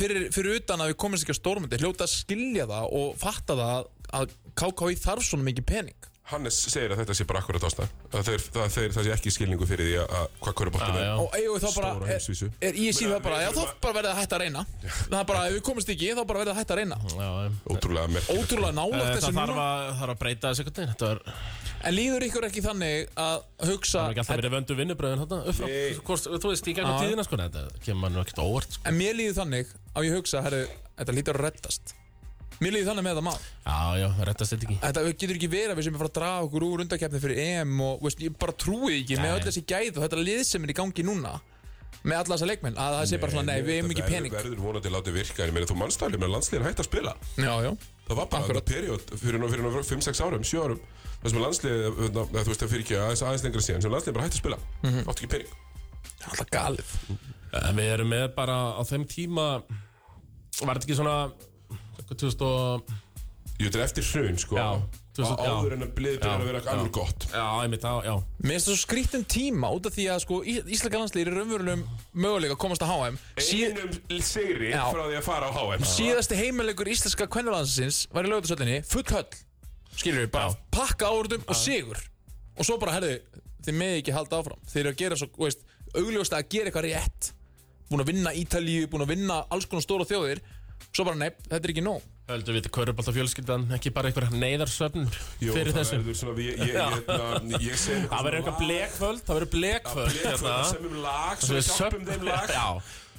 S3: fyrir, fyrir utan að við komumst ekki á stórmundi hljóta að skilja það og fatta það að- að KKI þarf svona mikið pening
S1: Hannes segir að þetta sé bara akkurat ástæðan. Að Þeir, það, þeir, það sé ekki skilningu fyrir því að, að hvað kauruboltin
S2: já,
S1: er.
S2: já.
S3: og eigum við þá bara
S1: Stóra
S3: er,
S1: heimsvísu.
S3: er ég síðan
S1: Meina,
S3: það bara,
S1: við
S3: já þá
S1: þurfum að-
S3: bara verðið að hætta að reyna það er bara, ef við komumst ekki, þá bara verðið að hætta að reyna
S2: já, já.
S1: Ótrúlega merkilegt.
S3: ótrúlega nálægt
S2: Það
S3: þessu
S2: þarf
S3: núna
S2: að, þarf að breyta þessu einhvern veginn Þetta var
S3: en líður ykkur ekki þannig að hugsa
S2: Það er ekki alltaf verið vöndu vinnubröðin hérna upp frá
S1: Nei.
S2: Hvort, Þú veist, í gegnum
S3: Já.
S2: tíðina sko, þetta kemur mann ekkert á óvart sko.
S3: en mér líður þannig að ég hugsa, herru, þetta lítur að reddast mér líður þannig með þetta mál
S2: Já, já, rettast þetta ekki
S3: Þetta getur ekki verið að við sem er fara að draga okkur úr undarkeppni fyrir EM og veist, ég bara trúi ekki með
S2: Nei.
S3: öll þessi gæð og þetta lið sem er í gangi núna með alla þessa leikmenn að það sé bara svona, nei, við hefum ekki pening
S1: Það verður vonandi látið virka, en ég meina þú mannstæli með landsliðin hægt að spila.
S3: Já, já,
S1: Það var bara
S3: Akkurat.
S1: þetta period fyrir, nú- fyrir, fyrir 5-6 árum, 7 árum þar sem landsliðið, hérna, eða þú veist það fyrir ekki aðeins, aðeins lengra síðan, sem landsliðið bara hætti að spila
S2: Mhm.
S1: átti ekki pening
S3: það er alltaf galið
S2: En Við erum með bara á þeim tíma Var þetta ekki svona eitthvað 2000 og
S1: Ég veit, eftir hrun, sko
S2: Já.
S1: Á-
S2: 2000,
S1: áður
S2: já.
S1: en að bliðið byrjar
S2: Já,
S1: að vera
S2: já.
S1: alveg gott
S2: Já, einmitt, á, já.
S3: Mér finnst það svo skrítum tíma út af því að sko, Íslaka landsliðir er raunverulegum möguleika að komast að HM Síð,
S1: einum sigri
S3: Já.
S1: frá því að fara á HM
S3: Síðasti heimilegur íslenska kvennalandsins var í lögutasöllinni full höll Skilur við, bara pakka áhörðum og sigur Og svo bara, herðu, þið meði ekki halda áfram Þeir eru að gera svo, þú veist, augljóst að gera eitthvað rétt Búin að vinna Ítalíu, búin að vinna alls konar stóra þjóðir Svo bara, nei, þetta er ekki nóg
S2: Höldum við þetta körubalta fjölskyldan, ekki bara einhver neyðarsöfn
S1: Jú,
S2: fyrir
S1: það
S2: þessu.
S1: verður svona, ég, ég, ég, hérna, ég, ég segi
S2: Það verður eitthvað blekföld, það verður blekföld.
S1: Blekföld sem um lag, svo við hjálpum þeim lag
S2: Já,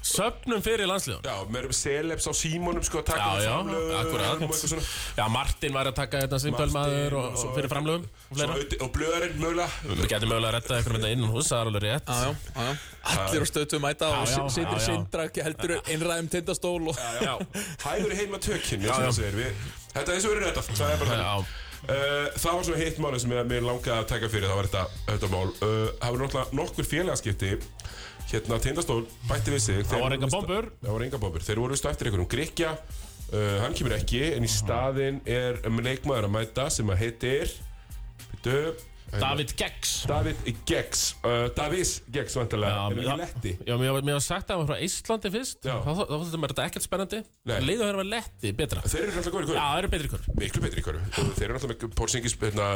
S2: söfnum fyrir landsliðun.
S1: Já, með erum celebs á símónum sko að taka
S2: Já,
S1: við
S2: já,
S1: framlögum
S2: akkurat.
S1: og eitthvað svona.
S2: Já, Martin var að taka þetta sem
S1: Martin
S2: tölmaður og, og
S1: og-
S2: fyrir framlögum og
S1: Svo
S2: fleira.
S1: auðvitað- Og blöðurinn mögulega
S2: Við getum mögulega að retta eitthvað með þetta innan hús, það er alveg rétt.
S3: Já, já, já. Allir á stöðtum mæta og
S2: já,
S3: si-
S2: já,
S3: situr
S2: já.
S3: sindra, heldur einræðum tindastól og...
S2: Já,
S1: Hæður heima tökinn, eins
S2: Já,
S1: og
S2: já.
S1: það segir við, Þetta er eins og verið rettað, það er bara
S2: Já.
S1: þannig Uh, það var svona hitt málið sem ég, mér langaði að taka fyrir það var þetta, þetta mál uh, Það var náttúrulega nokkur félagaskipti Hérna Tindastól bætti við sig
S2: Það
S1: Þeir
S2: var
S1: voru
S2: enga
S1: víst-
S2: bombur.
S1: Það voru enga bombur Þeir voru vist eftir einhverjum Grekja uh, Hann kemur ekki
S2: Mhm.
S1: En í staðinn er um, leikmaður að mæta sem að heitir Bíddu, hérna,
S2: David Geggs.
S1: David Geggs uh, Davis Geggs vantilega Er
S2: já,
S1: ekki letti
S2: já, mér mér var sagt að það var frá Íslandi fyrst,
S1: Já.
S2: þá þá þótti mér þetta ekkert spennandi.
S1: Nei.
S2: Leiðu að vera letti, betra.
S1: Þeir eru alltaf góður í
S2: Já,
S1: hverju
S2: það eru betri kvör.
S1: miklu betri í hverju og þeir eru náttúrulega með Porzingis, hérna,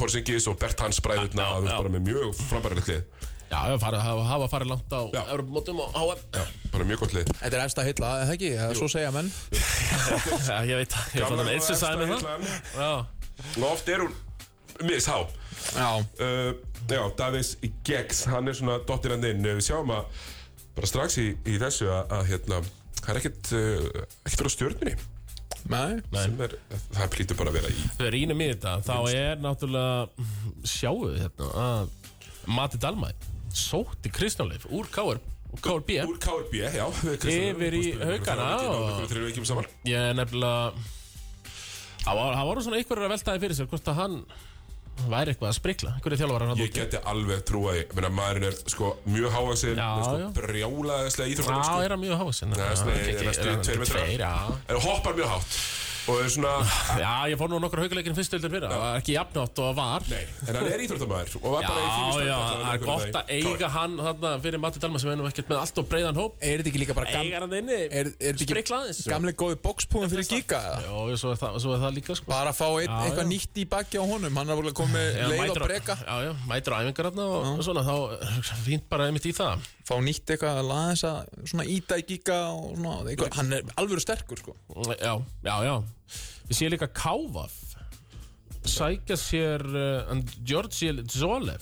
S1: Porzingis og Bert Hans bræðurna
S2: Já,
S1: og
S2: já.
S1: bara með mjög frambarilegt lið
S2: Já, það farið- hafa hafa farið langt á
S1: Já.
S2: Europamótum og HM.
S1: bara mjög gott lið
S3: Þetta er efsta heilla, er það ekki? Eða Svo segja menn.
S2: Já, ég veit það, ég fann
S1: Gamla
S2: að
S1: góða
S2: Itzi sagði mér það.
S1: efsta hillan.
S2: Já,
S1: og oft er hún mishá
S3: Já.
S1: uh, já, Davies Geggs hann er svona dottir hann inn Uh, við sjáum að bara strax í, í þessu að, að hérna það er ekkert uh, ekkert verið á stjórnminni
S3: Nei.
S1: sem er það plítur bara að vera í
S2: þau rínum í þetta, þá er náttúrulega, sjáu við hérna, að Mati Dalmæ sótti Kristjánleif úr KR, og KRB.
S1: úr KRB, já við Kristján-
S2: Yfir í
S1: við- við-
S2: Haukana
S1: við- við-
S2: og-
S1: við- við- við- við- saman.
S2: Ég er nefnilega, það var- það voru svona einhverjur að veltaði fyrir sér, hvort að hann væri eitthvað að sprikla, einhverju þjálfvarar hann
S1: Ég geti alveg trúa því, menn að maðurinn er sko mjög hávaxinn,
S2: Já,
S1: sko,
S2: já.
S1: brjálaðislega
S2: Já,
S1: íþróttan, sko.
S2: er hann mjög að hafa sinna.
S1: Það er svona, ég er næstu tveir
S2: Tveir,
S1: metrar
S2: já.
S1: En hoppar mjög hátt Og er svona,
S2: Já, ég fór nú nokkra hauguleikinn fyrstöldur fyrir, það var ekki jafnátt og var.
S1: nei, en hann er íþróttamæður Og var
S2: Já,
S1: bara í fínu
S2: já,
S1: standi,
S2: það er gott að eiga hann þarna fyrir Matti Dalma sem er nú ekkert með allt og breiðan hóp
S3: Er þetta ekki líka bara gam...
S2: Eigar hann inni,
S3: Er, er þetta ekki
S2: sprikla aðeins
S3: gamli góði bokspúin fyrir Giga? eða?
S2: Jó, svo er það, svo er það líka sko
S3: Bara að fá ein,
S2: Já,
S3: eitthvað
S2: já.
S3: nýtt í bakki á honum. Hann er volið að koma með
S2: Já,
S3: leið
S2: mætir
S3: og breka.
S2: Já, já, mætir á æfingar hann og, og svona, þá eh, fínt bara einmitt í það
S3: Fá nýtt eitthvað að laða þess að svona íta í Giga og svona. Eitthvað. Hann er alvöru sterkur sko.
S2: Já, já, já Við séum líka Kávaf Sækja sér uh, Georgi Zolev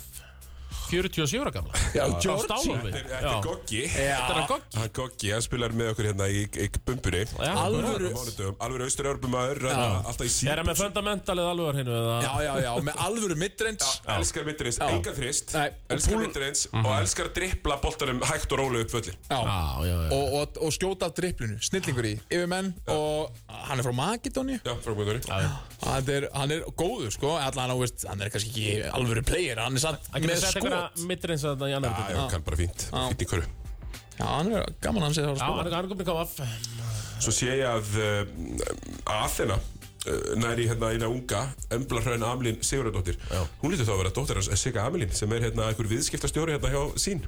S2: 47 ára gamla
S3: Já,
S2: Á stálhólfi.
S1: Þetta er- þetta
S2: Já.
S1: er Goggi
S2: Þetta er að gogg
S1: Hann Goggi, hann spilar með okkur hérna í, í bumbunni
S2: Já.
S1: Alvöru Alvöru austur-örbumaður Alltaf í
S2: Er hann
S1: síp
S2: með fundamentalið alveg var hennu
S3: Já, já, já. Með alvöru midrange.
S1: Elskar mittreins, enga þrist
S3: Nei, og
S1: Elskar
S3: púl-
S1: mittreins Og
S2: Mhm.
S1: elskar að drippla boltanum hægt og rólu upp völlin
S3: Já.
S2: Já, já, já
S3: Og, og, og skjóta af dripplinu, snillingur í, yfir menn og hann er frá Makedóni
S1: Já, frá Guðdóri
S3: hann er, hann er góður sko, allan á, veist, hann er kannski ekki alvöru player, hann er samt
S2: Hann
S3: með
S2: getur sett
S3: skot
S2: einhverja mittrins að það í annar
S1: Já, hann kann bara fínt Fínt í hverju
S3: Já, hann er gaman hans er
S2: Já, hann
S3: að spila
S2: er hann er komin í Kávaf
S1: Svo sé ég að uh, Athena uh, næri hérna eina unga Embla Hraun Amlin Sigurðardóttir Hún lítur þá að vera dóttir hans Sigga Amlin sem er hérna einhver viðskiptastjóri hérna hjá sín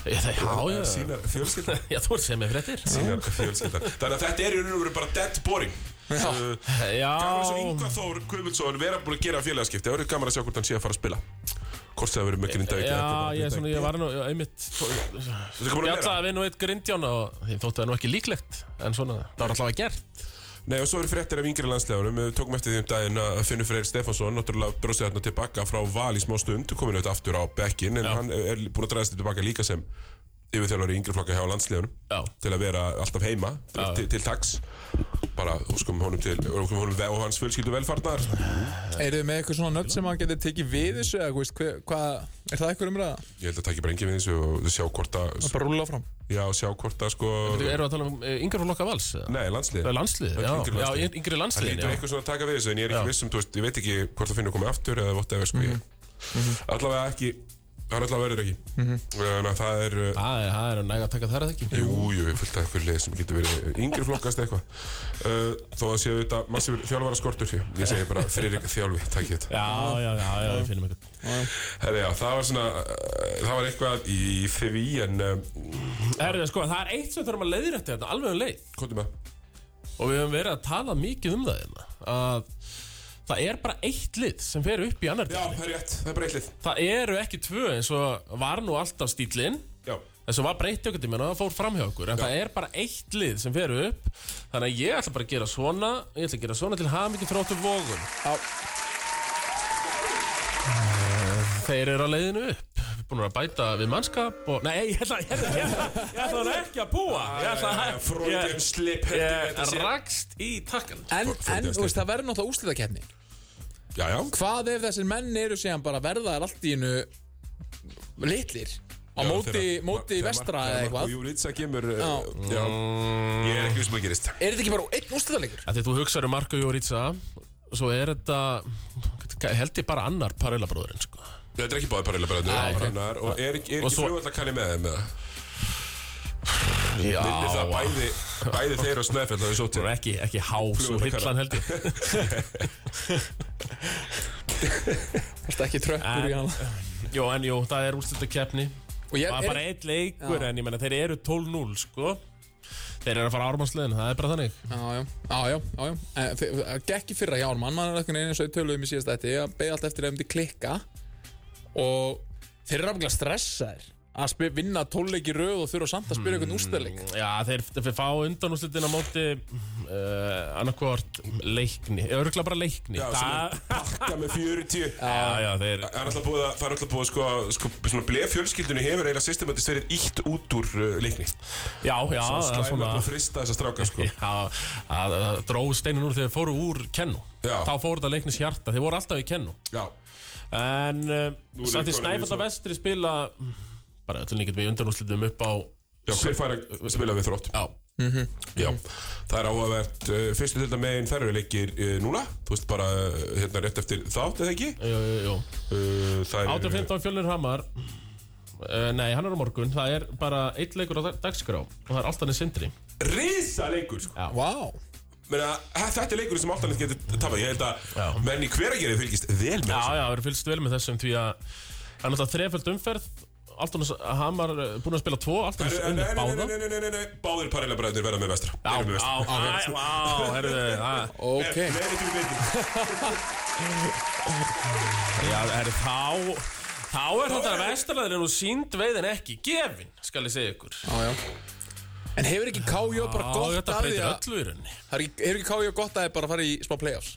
S1: Eh,
S2: Já, já, já
S1: Sínar fjölskyldar
S2: Já, þú ert sem er fréttir
S1: Sínar fjölskyldar Þannig að þetta er í raun og veru bara dead boring Uh,
S2: Já
S1: Gaman svo Inga Þór Guðmundsson vera búin að gera félagaskipti Það verður gaman að sjá hvort hann sé að fara að spila Hvort það verður með grindavík eða
S2: Já,
S1: bara
S2: ég, er
S1: Grindavík.
S2: svona, ég var nú já, einmitt
S1: Þetta er komin að meira.
S2: Gjallaði við nú eitt grindjón og því þóttu það nú ekki líklegt En svona, það var allavega gert
S1: Nei og svo eru fréttir af yngri landslegarum Við tókum eftir því um daginn að Finnur Freyr Stefánsson Náttúrulega bróðsið hérna tilbaka frá val í smá stund Komin auðvitað aftur á bekkin En hann er búin að dræðast tilbaka líka sem Yfirþjálfari yngri flokka hjá
S2: Já.
S1: landslegarum Til að vera alltaf heima til, til, til tags Bara óskum honum til Óskum honum ve- og hans fullskildu velfarnar
S3: Eru þið með eitthvað svona nöfn sem hann getur tekið við þessu eða, þú veist, hver, hvað, er það eitthvað umræða?
S1: Ég held að takki bara engin við þessu Og sjá hvort að
S3: Bara rúla fram
S1: Já sjá hvort að sko
S2: Þú eru að tala um eh, yngri frá lokka vals eða?
S1: Nei
S2: Það
S1: landslið
S2: er landslið,
S1: Öll
S2: já,
S1: yngri landsliðin.
S2: já, yngri
S1: Það
S2: landsliðin
S1: lítur
S2: já. Mhm.
S1: eitthvað svona að taka við þessu En ég er ekki viss um, þú veist Ég veit ekki hvort það finnur komið aftur Eða vott eða sko ég Allavega ekki hann alltaf verður ekki
S2: Mhm.
S1: þannig að það er uh,
S2: Það er, það er næg að taka þar að ekki
S1: Jú, jú, ég fylgta einhver leið sem getur verið yngri flokkast eitthvað uh, Þó að séu þetta massífur þjálfara skortur Ég ég segi bara Friðrik þjálfi, takk ég þetta
S2: Já, já, já, já, við finnum eitthvað
S1: Herri, já, það var svona, uh, það var eitthvað í því en uh,
S2: Herðu, sko, það er eitt sem þurfum að leiðrætti þetta alveg um leið
S1: Kondum að,
S2: og við höfum verið að tala mikið um það hérna að það er bara eitt lið sem fer upp í annar
S1: já,
S2: dildinni
S1: það er rétt, það er bara eitt lið
S2: það eru ekki tvö eins og var nú alltaf stílinn
S1: Já,
S2: þess að var breytt okkur tíma það fór fram hjá okkur en það er bara eitt lið sem fer upp þannig að ég ætla bara að gera svona ég ætla að gera svona til hafa mikið þróttu vógun
S3: Já.
S2: þeir eru á leiðinu upp Við erum búin að bæta við mannskap og... Nei, ég ætla, ég ætla, ég ætla, ég ætla nú ekki að búa Ég ætla að...
S1: Fröndin Eh, slip heldur við þetta
S2: Ég
S1: sé
S2: rakst í takkan
S3: En,
S1: Fór- fór
S3: en
S1: þetta
S3: þú veist, það verður náttúrulega úslitakeppni
S1: Já, já,
S3: Hvað ef þessir menn eru síðan bara verðaðar allt í hennu litlir á
S1: Já,
S3: móti,
S1: þegar-
S3: móti
S1: þegar Mark-
S3: vestra eða
S1: þegar Marko
S3: eitthvað
S1: Júlitsa kemur uh,
S3: Já.
S1: Já,
S2: Mm.
S1: ég er ekki viss um að gerist
S3: Er þetta ekki bara einn úslitalegur?
S2: Þegar þú hugsaður um Marko Jóritsa Svo er þetta Held ég bara annar parölabróðurinn sko.
S1: Þetta er ekki báði parilla bara
S2: Nei, ok.
S1: okay. Og er, er ekki
S2: Og svo-
S1: flugvall að kanni með þeim eða?
S2: Já
S1: Minni það bæði, bæði þeir og Snæfell Það er svo til
S2: Það er ekki, ekki há Svo
S1: Flugvöllakara.
S2: hillan held ég
S3: Þetta ekki tröppur í
S2: En-
S3: hann
S2: Jó en jú Það er úrstöldu keppni
S3: Og ég
S2: Það er bara
S3: er
S2: einn leikur En ég menna þeir eru 12-0 sko Þeir eru að fara ármannslegin Það er bara þannig
S3: Já, já, já, já, já, já. En þi- Það gekk í fyrra hjá Ármann, maður er eitthvað eins og við töluðum í síðast þetta Ég beði allt eftir ef myndi klikka Og þeir eru afgjörlega stressaðir Að spyr, vinna tólleik í röð og þurfa samt að spyrja eitthvað úslitaleik
S2: Já þeir, þeir fá undan úrstildin Á móti uh, Annarkvort Leikni Örgla bara leikni
S1: Já, sem er pakka með 40
S2: Já já þeir
S1: Það er alltaf búið að, það er alltaf búið að sko, sko svona blef fjölskyldunni hefur eiginlega systematist verið ítt út úr uh, leikni.
S2: Já já
S1: Það
S2: það er
S1: slæma
S2: svona
S1: og frista þessa stráka sko.
S2: Já, það það dró steinin úr þegar þeir fóru úr kennu
S1: Já.
S2: Þá fóru þetta leiknis hjarta, þeir voru alltaf í kennu
S1: Já.
S2: En uh,
S1: Nú er
S2: samt í
S1: þeir komin í
S2: snæfalla
S1: svona-
S2: vestri spila mm, Bara til líka við undanúslitum upp á
S1: Já, hver fær að spila við þrótt?
S2: Já, Mhm.
S1: Já. Það er áhugavert. Uh, fyrstu til dæmi einn þærri leikir uh, núna. Þú veist bara uh, hérna rétt eftir þátt eða ekki.
S2: jú, jú, jú
S1: Uh, það er...
S2: 8.15 fjölnir Hamar uh, Nei, hann er á morgun Það er bara eitt leikur á dag- dagskrá Og það er alltaf niður sindri
S1: Risa leikur sko.
S3: Vá
S1: Meina, hæ- þetta er leikurinn sem alltaf neitt getur tapað. Ég held
S2: Já.
S1: að menn í hveragerið fylgist vel með
S2: Já,
S1: þessu.
S2: já, við erum fylgst vel með þessum Því að það er náttúrulega þreföld umferð Alltaf Hamar eh, búin að spila tvo Alltaf
S1: Nei, nei, nei, nei,
S2: niður unnið báða
S1: nei, nei, nei, nei, nei. Báðir parallelabræðinir verða með vestra.
S2: Já,
S1: Eru með
S2: já,
S1: vestra. Eh,
S2: já, já, herðu, það
S3: Ok,
S1: Nei, nei, nei, nei, nei.
S2: Já, er þá Þá er þetta að vestarlæðin er nú sínd veiðin ekki gefin, skal ég segja ykkur
S3: já, já En hefur ekki KJ bara
S2: Já,
S3: gott
S2: þetta
S3: að því
S2: breytir
S3: að
S2: öllu í rauninni
S3: Það er ekki- Hefur ekki KJ gott að því bara að fara í smá play-offs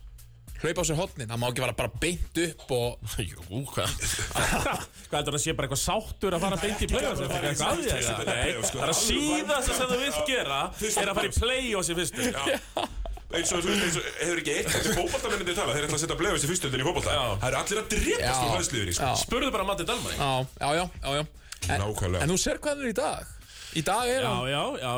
S3: Hlaupa á sér hotnin, það má ekki vera bara beint upp og
S2: [LAUGHS] Jú, hvað Hvað heldur hann að sé bara eitthvað sáttur að fara beint í play-offs Þetta er eitthvað að því að Nei, sko, það er að síðast sem þú vilt gera er að fara í play-offs í fyrstu Já,
S1: eins og, eins og hefur ekki eitt þetta er fótballtamennir tala, þeir ætla að setja blefast í fyrstundin í fótballta
S2: Já.
S1: það eru allir að drepast úr hlæðsliður í sko.
S3: Já.
S2: Spurðu bara Matti Dalmæ
S3: Já, já, já, já, já. En,
S1: Nákvæmlega.
S3: en þú sér hvað hann er í dag Í dag er
S2: Já, Mm.
S3: hann
S2: já, já,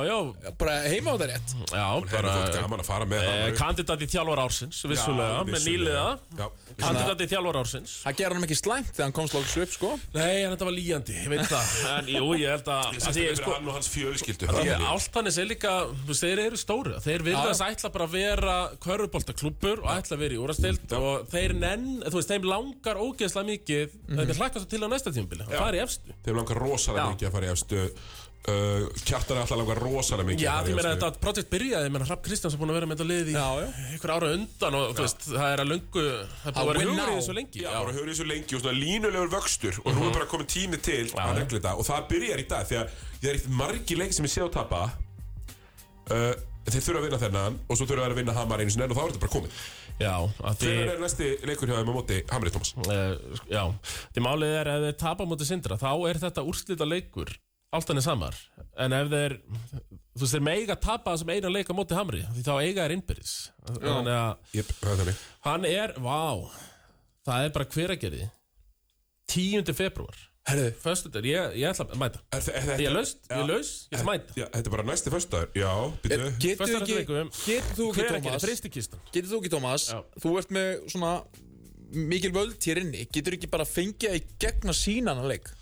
S2: já,
S3: bara heima á það rétt
S2: já
S1: það er fólk
S2: bara
S1: gaman að fara með
S2: eh,
S1: það
S2: Kandidat í þjálfar ársins, vissulega, með nýliða
S1: nýliða
S2: Kandidat í þjálfar ársins
S3: Það gerði hann ekki slæmt þegar hann komst lóksu upp sko
S2: Nei, en þetta var líjandi, ég veit það En jú, ég held að að því ég, sko,
S1: hann og hans fjölskyldu
S2: Því að Áltanis er líka, þú veist, þeir eru stóri Þeir virðast ætla bara að vera körfuboltaklúppur og ætla að vera í úrastild og þeir nenn, þú veist, þeim langar ógeðslega mikið mm
S3: Mhm.
S2: -hmm. þeir hlakkast til á næsta tímabili það er í efstu
S1: þeim langar rosalega
S2: Já.
S1: mikið að fara í efstu uh, kjartan er alltaf langar rosalega mikið
S2: Já,
S1: að fara í
S2: því meina
S1: efstu.
S2: þetta projekt byrjaði, meina Hrapp Kristjáns er búin að vera með þetta lið í
S3: Já, já.
S2: einhver ára undan og þú veist, það er að löngu það er búin
S3: Að
S2: að vera
S3: win
S2: hugur í
S3: now.
S2: þessu lengi
S1: Já, bara höfum þessu lengi og svona línulegur vöxtur og
S2: Mhm.
S1: nú er bara komið tími til að regla þetta og það byrjar í dag því að það er eitt margi leik sem ég sé á tapa uh, þeir þurfa að vinna þennan og svo þurfa þeir að vinna hamar einu sinni enn og þá er þetta bara komið
S2: Já, að því
S1: Hvenær er næsti leikur hjá þeim á móti Hamri Thomas?
S2: Uh, já, því málið er ef þeir tapa á móti sindra þá er þetta úrslita leikur alltaf niður samar en ef þeir, þú veist þeir mega tapa þessum eina leik á móti hamri því þá eiga þeir innbyrðis þannig að
S1: Jep, það er þannig
S2: hann er, vá það er bara hveragerði 10. februar
S3: Herðu,
S2: Föstudag, ég, ég ætla að mæta
S1: er, þe- er,
S2: Ég
S1: þetta,
S2: er laust, ég er laus, ég ætla að mæta
S1: já, þetta er bara næsti föstudagur Já, býtu
S3: eh, getur þú
S2: Föstudag
S3: ekki,
S2: leikum.
S3: getur þú ekki
S2: Hveragerði,
S3: Tómas
S2: fristikistan
S3: Getur þú ekki Tómas,
S2: Já.
S3: þú ert með svona mikil völd hér inni Getur þú ekki bara fengið að gegna sína hann að leik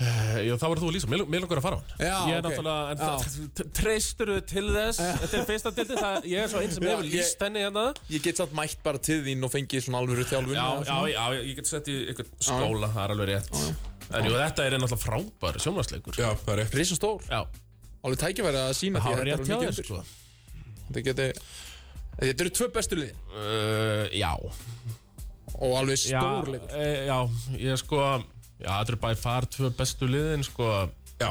S2: Eh, Já, þá var þú að lýsa, mér mér langar að fara á hann
S3: Já,
S2: Ég er
S3: ok.
S2: náttúrulega, en
S3: Já. Eh.
S2: það treystur þau til þess Þetta er fyrsta dildin, það, ég er svo einn sem
S3: Já,
S2: hefur
S3: ég-
S2: lýst henni hérna
S3: Ég get samt mætt bara til þín og fengið svona alvöru þjálfun
S2: Já,
S3: og
S2: já,
S3: svona.
S2: já, ég get sett í einhvern skóla, það er alveg rétt En jú, þetta er náttúrulega frábær sjónvarsleikur
S1: Já, það er rétt
S3: Risa stór,
S2: Já,
S3: alveg tækifæri að sína
S2: það er
S3: því að
S2: rétt hjá þér sko
S3: þetta alveg undir Þetta geti Þetta eru tvö bestu lið
S2: Uh, Já,
S3: og alveg
S2: já,
S3: stór leikur
S2: e, já, ég sko Já, þetta eru bæði far tvö bestu liðin sko
S1: Já,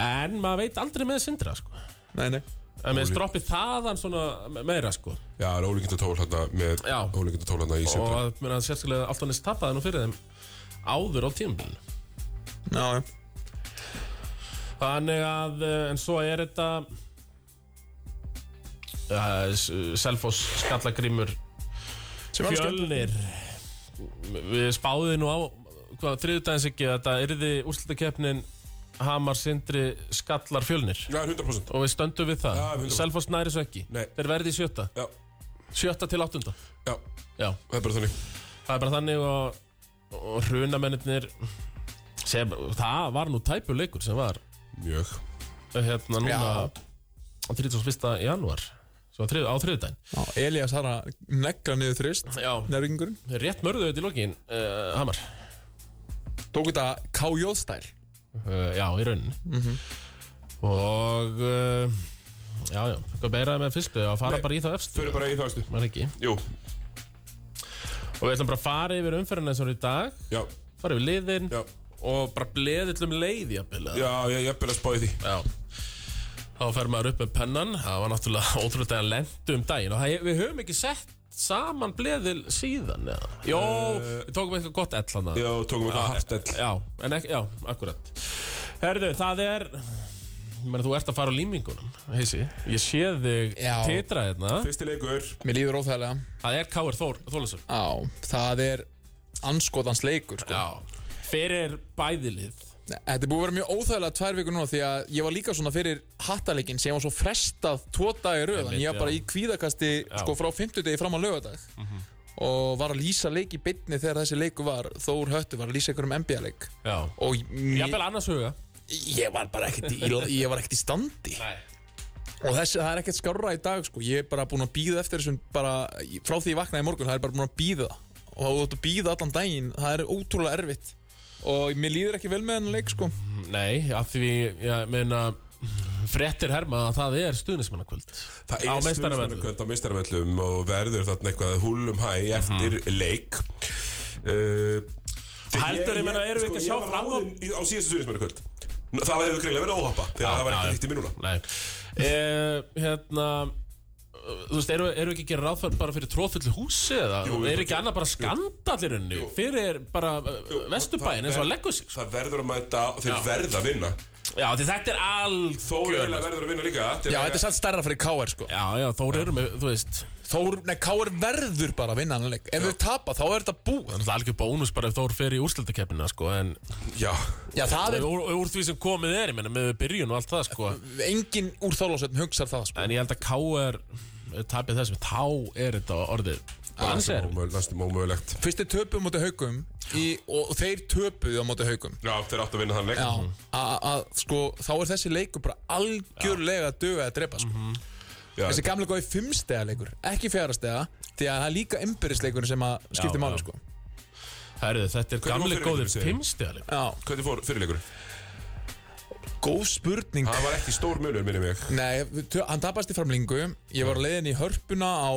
S2: En maður veit aldrei með sindra sko
S3: Nei, nei
S2: En með stroppið þaðan svona meira sko
S1: já, það er ólíkinda tól hérna með
S2: Já.
S1: ólíkinda tól hérna í
S2: og
S1: sindra
S2: að meina, sérstaklega allt hann er tappaði nú fyrir þeim áður á tímabilinu
S3: Já, já
S2: þannig að eh, en svo er þetta uh, Selfoss skallagrímur
S3: Sem er alveg skemmt.
S2: fjölnir við spáðum nú á hvað þriðudagins ekki að þetta yrði úrslutakeppnin Hamar Sindri skallar fjölnir
S1: Já, 100%
S2: og við stöndum við það
S1: Já, 100%.
S2: Selfoss næri svo ekki
S1: Nei.
S2: þeir verði í sjötta
S1: Já,
S2: sjötta til áttunda
S1: já,
S2: já
S1: það er bara þannig
S2: það er bara þannig og, og hrunamennir sem, það var nú tæpur leikur sem var
S1: Mjög
S2: hérna núna
S3: Já.
S2: á 31. janúar svo á, þrið, á þriðudaginn
S3: Já, Elías þar að negla niður þrist
S2: Já.
S3: Nærvingurinn
S2: rétt mörðu þetta í lokin uh, Hamar,
S3: Tók þetta KJ-stæl
S2: uh, já í rauninni og uh, já já, hvað beiraði með fyrstu að fara
S1: Nei,
S2: bara í það efstu
S1: Fyrir bara í það, veistu
S2: maður ekki
S1: Jú,
S2: og við ætlum bara að fara yfir umferðina eins og í dag
S1: já,
S2: fara yfir liðin
S1: já
S2: og bara bleðillum leið jafnvel, eða?
S1: Já, ég ég er bara að spá í því
S2: Já Þá fer maður upp með pennan Það var náttúrulega [LAUGHS] ótrúlega að lendu um daginn Og það, við höfum ekki sett saman bleðil síðan eða? Jó, við tókum eitthvað gott ell hana
S1: Já, tókum eitthvað hart ell
S2: Já, en ekki, já, akkurat Herðu, það er Menni, þú ert að fara á límingunum heisi. Ég sé þig
S3: Já.
S2: titra hérna
S1: Fyrsti leikur
S3: Mér líður óþægilega
S2: Það er K.R. Þór, Þólasur
S3: Já, það er anskotans leikur sko.
S2: Já Fyrir bæðilið
S3: Þetta er búið að vera mjög óþægilega tvær vikur núna því að ég var líka svona fyrir hattaleikin sem var svo frestað tvo dagi röð en ég var bara í kvíðakasti sko frá 50 degi fram á lögadag
S2: Mhm.
S3: og var að lýsa leik í bytni þegar þessi leiku var Þór Höttu var að lýsa einhverjum NBA-leik
S2: Já
S3: og ég,
S2: Jafnvel annars huga
S3: ég var bara ekkert í, ég var ekkert í standi
S2: Nei
S3: og þessi, það er ekkert skárra í dag sko. ég er bara búin að býða eftir þessum bara, frá því ég vaknaði í morgun, það er bara búin að býða og þú ert að býða allan daginn það er ótrúlega erfitt og mér líður ekki vel með hennar leik sko.
S2: Nei, af því, ég meina Frettir herma að það er stuðnismannakvöld
S1: Það
S2: Á
S1: er
S2: meistaravöllum.
S1: stuðningsmannakvöld á meistarvellum og verður þarna eitthvað húlum hæ eftir
S2: Mhm.
S1: leik uh,
S2: Heldur, ég meina, erum við ekki að sjá fram
S1: á
S2: á-
S1: Á síðastu stuðningsmannakvöld Það hefur greinlega verið óhappa Þegar það var
S2: já,
S1: ekki
S2: já.
S1: líkt í mínúna
S2: Nei e, Hérna Þú veist, eru, eru ekki að gera ráðfært bara fyrir tróðfullu húsi eða?
S1: Jú, jú,
S2: er ekki
S1: jú.
S2: annað bara skandalirunni fyrir bara vesturbæin eins og að leggu sig? sko?
S1: Það verður að mæta og þeir
S2: Já.
S1: verða að vinna
S2: Já, því þetta er allt
S1: Þó eiginlega verður að vinna líka til
S3: já,
S1: að-
S3: þetta er satt stærra fyrir KR sko.
S2: Já, já, Þór eru með, þú veist
S3: Þór, nei, KR verður bara að vinna hennar leik ef þau tapa, þá er þetta búið
S2: Það er alveg bónus bara ef Þór fer í úrslitakeppnina sko, en
S1: Já,
S3: já, það er,
S2: úr, úr því sem komið er, ég menna, með byrjun og allt það sko.
S3: enginn úr þálásveitin hugsar það sko.
S2: En ég held að eh, K.R. tapið þessum, þá er þetta orðið Þannig
S1: það
S2: er
S1: er ómögulegt- næstum ómögulegt
S3: fyrst er töpuð mútið haugum í, og, og þeir töpuðu á mútið haugum
S1: Já, þeir áttu að vinna þann leik
S3: Já, að- að sko, þá er þessi leikur bara algjörlega dög að drepa sko.
S1: Já,
S3: Þessi gamla góði fimmstega leikur, ekki fjárastega Því að það er líka umbyrðisleikur sem að
S2: Já,
S3: skiptir máli
S2: já.
S3: sko.
S2: Herðu, þetta er
S1: Hvernig
S2: gamli
S1: fór
S2: góðir
S1: fyrirleikurinn, segirðu?
S2: pimstjali
S3: Já,
S1: Hvernig fór fyrirleikur?
S3: góð spurning
S1: Það var ekki stór munur, minni mig
S3: Nei, við tö- hann tapast í framlingu Ég var á leiðin í hörpuna á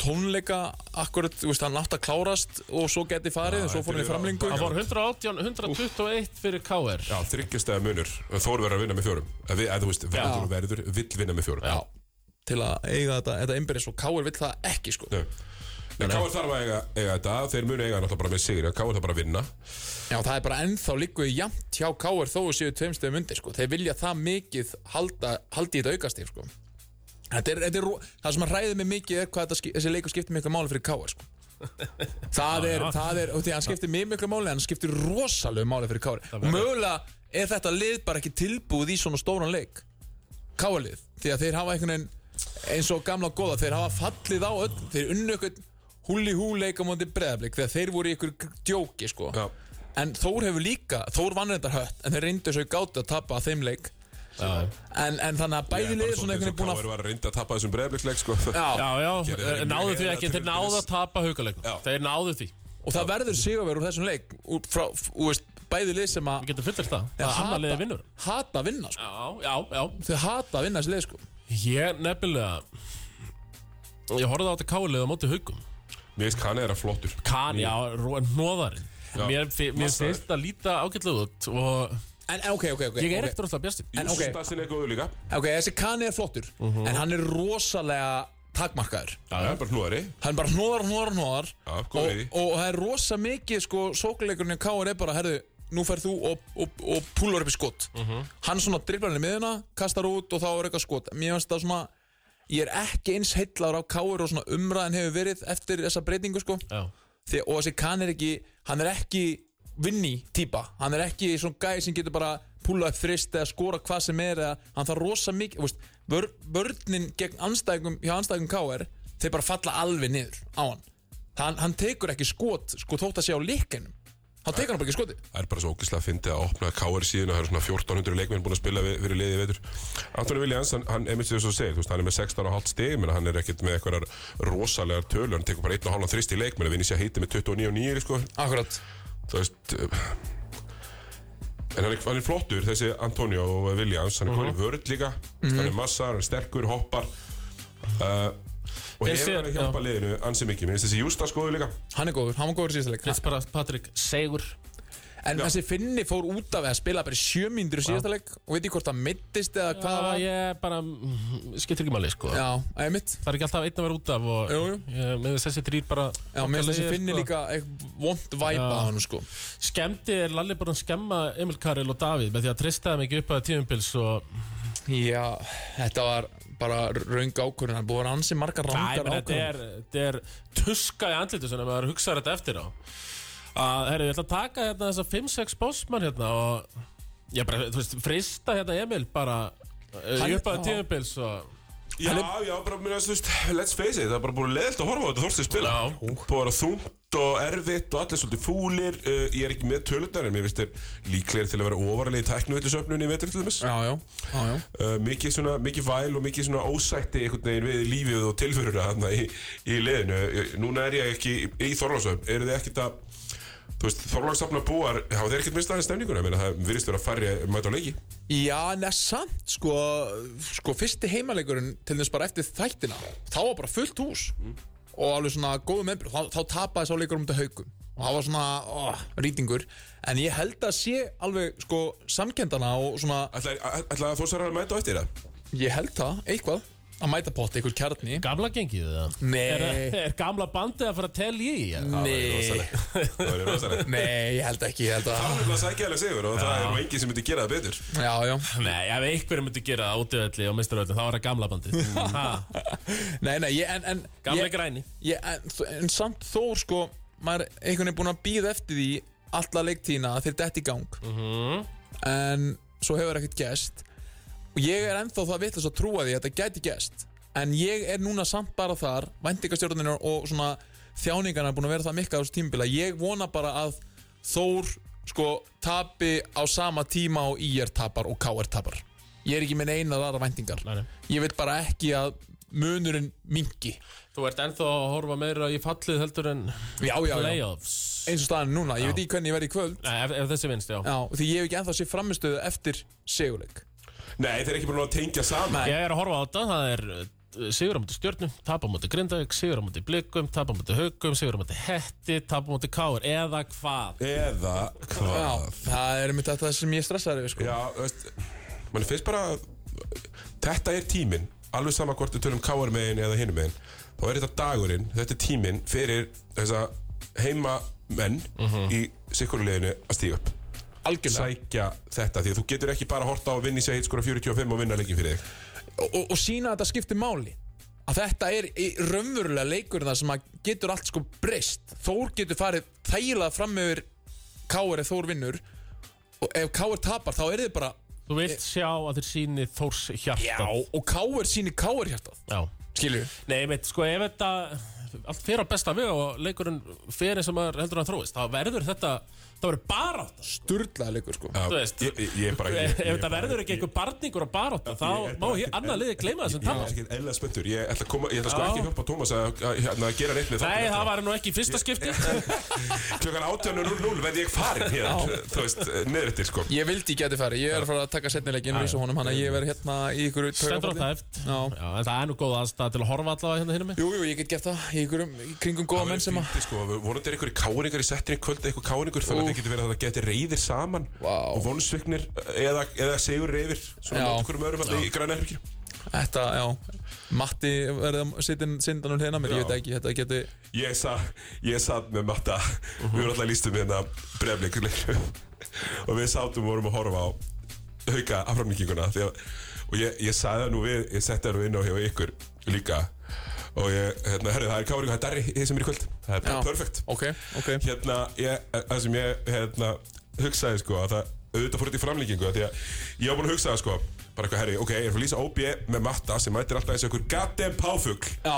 S3: tónleika Akkurat, þú veist, hann átt að klárast Og svo geti farið, og svo fór hann
S1: þetta
S3: í
S1: er-
S3: framlingu
S2: Það fór 118, 121 fyrir KR
S1: Já, þryggjastega munur Þór verður að vinna með fjórum Ef við- ef Þú veist, verður, verður, vill vinna með fjórum
S3: Já, til að eiga þetta, þetta umbyrðis Og Káir vill það ekki sko.
S1: Nei. Nei, Káur þarf að eiga, eiga þetta, þeir munu eiga náttúrulega bara með sigri, Káur þarf bara að vinna.
S3: Já, það er bara ennþá líku í jæmt hjá Káir þó að séu tveimstöðum undir, sko. Þeir vilja það mikið halda, haldi í þetta aukastíf, sko. Þetta er, þetta er, ro- það sem að ræði mig mikið er hvað þetta, skip- þessi leikur skiptir miklu máli fyrir Káir, sko. Það er, það er, og því að hann skiptir mjög miklu máli, en hann skiptir rosalegu máli fyrir Káir. Og mögulega er þetta lið bara ekki tilbúið í svona stóran leik. Káir-lið. Því að þeir hafa einhvern veginn, eins og gamla góða, þeir hafa fallið á öll, þeir unnu einhvern húli hú leik á móti breðablik, þegar þeir voru í ykkur djóki, sko.
S1: Já.
S3: En Þór hefur líka, Þór vann reyndar hött En þeir reyndu svo í gátu að tapa að þeim leik en, en þannig að bæði liðir svona einhvern veginn búin að
S1: Káir var að reynda að tappa þessum breyðbliksleik sko
S3: Já,
S2: Já, já,
S1: Gerðu þeir
S2: eh, náðu
S1: mjög
S2: því
S1: vel
S2: ekki,
S1: að
S2: þeir
S1: tilbaka
S2: náðu
S1: þess.
S2: að tapa haugaleiknum
S1: Já.
S2: Þeir náðu því,
S3: og það verður sigurverð úr þessum leik Úr frá, úr veist, bæði lið sem að
S2: við getum fullert það Það er
S3: hata-
S2: annað liðið vinnur
S3: Hata að vinna, sko
S2: Já, já, já
S3: Þau hata að vinna þessi lið, sko
S2: Ég nefnilega Ég horfði á þetta kálið á móti haugum
S1: Mér veist kanni er að flottur
S2: Kan, já, hnoðarinn
S1: Já.
S2: Mér, fi- mér
S1: Massaður.
S2: finnst að líta ágætlega út og
S3: En ok, ok, ok
S2: ég er
S3: ok.
S2: eftir alltaf bjastin
S3: En ok.
S1: Jústassin er góður líka
S3: Ok, þessi Kani er flottur
S2: Mhm.
S3: En hann er rosalega takmarkaður
S1: Það er bara hlúðari
S3: Hann bara hnóðar, hnóðar, hnóðar
S1: Já,
S3: og,
S1: góð í því.
S3: og það er rosa mikið sko, Sókuleikurinn í K.R. er bara Herðu, nú ferð þú og, og, og púlar upp í skot Hann svona driblar hann í miðuna Kastar út og þá er eitthvað skot Mér finnst það svona Ég er ekki eins heillar á K.R. og svona umræðan hefur verið Eftir þessa breytingu sko
S2: Já,
S3: Því, Og þessi Kani er ekki Hann er ekki vinni típa Hann er ekki svona gæði sem getur bara púla upp þrist eða skora hvað sem er eða, hann þarf rosa mikið þú veist, vör, vörninn gegn anstæðingum hjá anstæðingum KR þeir bara falla alveg niður á hann hann, hann tekur ekki skot sko þótt að sé á líkinum hann tekur hann bara ekki skoti
S1: Það er bara svo ógislega að fyndi að opna KR síðan það eru svona 1400 leikmenn búin að spila við- fyrir liðið í veitur Antoni Viljans, hann, hann einmitt þess að segja þú veist, hann er með 16 og hálft stig menn hann er ekkert með eitthvað rosalegar tölur hann tekur bara 1 og hálfan þrist í leikmenn að vinni sér heiti með 29 og 9 sko.
S3: Akkurat
S1: þú veist eh, en hann er, hann er flottur þessi Antonio og Viljans hann er komin í vörð líka hann er massar, hann er sterkur, hoppar uh, og hefur
S2: Finnst þér-
S1: hann að hjálpa liðinu ansi mikið, mér finnst þessi Jústas góður líka
S3: hann er góður, hann var góður síðasta leik
S2: finnst bara Patrik Segur
S3: en þessi Finni fór út af að spila bara í sjö mínútur í síðasta leik og veit ég hvort það mittist eða hvað það
S2: Það
S3: var
S2: ég bara, mm, skiptir ekki máli sko
S3: já, einmitt
S2: Það er ekki alltaf einn að vera út af og
S3: Jú, jú.
S2: Ég, með þessi drýr bara
S3: já, mér finnst þessi
S2: Sko.
S3: Finni líka eitthvað vond væpa á hann sko
S2: Skemmti er Lalli búinn að skemma Emil Karel og Davíð með því að treysta þeim ekki upp að tíumpils og
S3: Já, þetta var bara raung ákvörðin, það er búið að vera ansi
S2: Æ,
S3: margar rangar
S2: menn, þetta
S3: ákvörðin
S2: er, þetta er tuska í andlitu sem maður hugsaður þetta eftir á að, herru, ég ætla að taka hérna þessa 5-6 bósmann hérna og ég bara, þú veist, frista hérna Emil bara eh,
S3: Hann-
S2: upp að
S3: já.
S2: tíumpils og
S1: Já, já, bara mér finnst, þú veist, let's face it það er bara búin leðilt að horfa á þetta þorstið spila
S2: Já.
S1: búin að vera þungt og erfitt og allir svolítið fúlir uh, ég er ekki með tölutnar en mér finnst þér líklegir til að vera ofarlega í tæknuvillisöfnunni í vetur til þess
S3: Já, já, já, já
S1: uh, mikið svona, mikið væl og mikið svona ósætti einhvern veginn við lífið og tilfyruna þarna í, í liðinu. Ég- Núna er ég ekki í Þorláksöfn, eru þið ekkert að þú veist, Þorláksöfna búar hafa þeir ekkert mistað aðeins stemninguna, Ég meina, það virðist vera færri að mæta á leiki.
S3: Já, nesamt, sko, sko, fyrsti heimalegurinn til þess bara eftir þættina Þá var bara fullt hús Og alveg svona góðum meðbrú Þá, þá tapaði sá leikur um þetta haugum Og það var svona, ó, rýtingur En ég held að sé alveg, sko, samkendana Og svona,
S1: Ætlaði að Þorsárar að mæta á eftir það?
S3: ég held það, eitthvað Að mæta potti, einhver kjarni
S2: gamla gengið það er,
S3: Nei,
S2: [LAUGHS] er gamla bandið að fara að telja í það?
S3: nei,
S1: Það verður rosalega.
S3: nei, ég held ekki, ég held
S1: Það
S3: að
S1: er bara sækjæðilega sigur og það er nú enginn sem myndi gera það betur.
S3: Já, já
S2: Nei, ef einhverjum myndi gera það útöðalli og misturöðalli þá var það gamla bandið [LAUGHS] Ha,
S3: Nei, nei, ég, en, en
S2: Gamla
S3: ég,
S2: græni
S3: ég, en, þ- en samt þó sko maður einhvern veginn búin að býða eftir því alla leiktína að þeir detti í gang
S2: Mhm.
S3: -hmm. en svo hefur ekkert gæst og ég er ennþá það vitlaust að trúa því að þetta gæti gæst en ég er núna samt bara þar vendingastjórnirnar og svona þjáningarna búin að vera það mikka á þessu tímbil að ég vona bara að Þór sko tapi á sama tíma og IR tapar og KR tapar ég er ekki með einar aðra vendingar
S2: Nei, nei.
S3: ég vil bara ekki að munurinn mingi
S2: Þú ert ennþá að horfa meira í fallið heldur en
S3: já, já, já,
S2: playoffs
S3: eins og staðan er núna ég
S2: Já.
S3: veit ekki hvernig ég verði í kvöld
S2: Nei, ef, ef þessi vinst, já
S3: já, því ég hef ekki ennþá sé framistöðu eftir seguleik
S1: Nei, þeir eru ekki búin að tengja saman.
S2: Ég er að horfa á þetta, það er uh, sigur á móti stjörnum, tap á móti grindaug, sigur á móti blikum, tap á móti haugum, sigur á móti hetti, tap á móti káur, eða hvað?
S1: Eða
S3: já,
S1: hvað?
S3: það er mitt þetta sem ég stressaði við sko.
S1: Já, þú veist, mann finnst bara að þetta er tíminn, alveg sama hvort við tölum káar megin eða hinum megin þá er þetta dagurinn, þetta er tíminn fyrir þessa heimamenn
S2: Mhm.
S1: í sikkurleginu að stíga upp
S3: algjörlega
S1: sækja þetta því að þú getur ekki bara að horta á að vinna í sig skora 45 og vinna leikin fyrir þig
S3: og, og, og sína að þetta skiptir máli að þetta er í- raunverulega leikur þar sem að getur allt sko breyst Þór getur farið þægilega fram yfir Káur ef Þór vinnur og ef Káur tapar þá er þið bara
S2: Þú vilt sjá að þeir síni Þórs hjarta.
S3: og Káur sínir Káur hjartað
S2: Já.
S3: skilju
S2: Nei, ég veit, sko, ef þetta allt fyrir á besta veg og leikurinn fyrir eins og maður heldur að hann þróist, þá verður þetta það verður barátt
S3: Sturlaði leikur sko
S2: Þú veist.
S1: Ég, ég, ég er
S2: [LAUGHS]
S1: bara
S2: Ef
S1: ég- ég er
S2: þetta
S1: bara-
S2: verður ekki
S1: ég-
S2: einhver barningur á barátt þá
S1: Ég er
S2: má
S1: bara
S2: hér
S1: ekkert-
S2: annað liðið gleyma þessum
S1: Ég er
S2: tapast
S1: ekki eðla spenntur, ég ætla, að koma, ég ætla sko
S2: Já.
S1: ekki að hjálpa Tómas að, að, að, að gera neitt með
S2: Nei,
S1: þáttinn
S2: það
S1: eftir.
S2: var nú ekki í fyrsta skipti
S1: Klukkan 18.00 verði ég farin hér, þú veist, niður eftir sko
S3: Ég vildi ekki að þið fari, ég er að fara að taka setnilegin og vísa honum Þannig að ég verð hérna í ykkur
S2: Stendur á
S3: taugafalli.
S2: tæft
S3: Já.
S2: Já, en það er nú góð aðstæða til að horfa allavega hérna hinum mig
S3: Jú, jú, ég get gert það í ykkur kringum góða
S1: Það
S3: menn sem
S1: verður
S3: að
S1: fínt, sko, vonandi er einhverjir káringar í settinni kvöld eitthvað káringar þannig að
S3: Úf.
S1: það getur verið að það getur reyðir saman
S3: Vá.
S1: og vonsviknir eða, eða segur reyðir svona
S3: Já.
S1: mót okkur um öðrum alltaf í græna erfingir
S3: Þetta, já, Matti verði að sitja sindanum hérna mér,
S1: Já.
S3: ég veit ekki, þetta geti
S1: Ég sa, ég satt með Matta við vorum alltaf lístum hérna brefleikur [LAUGHS] og við sátum og vorum að horfa á hauka aframlíkinguna því að og ég, ég sagði það nú við, ég setti það nú inn á hjá ykkur líka og ég, hérna, herri, það er káringar, það er darri í sem er í kvöld það er bara
S3: Já.
S1: perfekt
S3: Ok, ok
S1: hérna, ég, það sem ég hérna, hugsaði sko að það auðvitað fór þetta í framlíkingu af því að ég var búin að hugsa það sko bara eitthvað herri, ok, ég er fyrir að lýsa OB með matta sem mætir alltaf eins og einhver goddamn páfugl
S3: Já,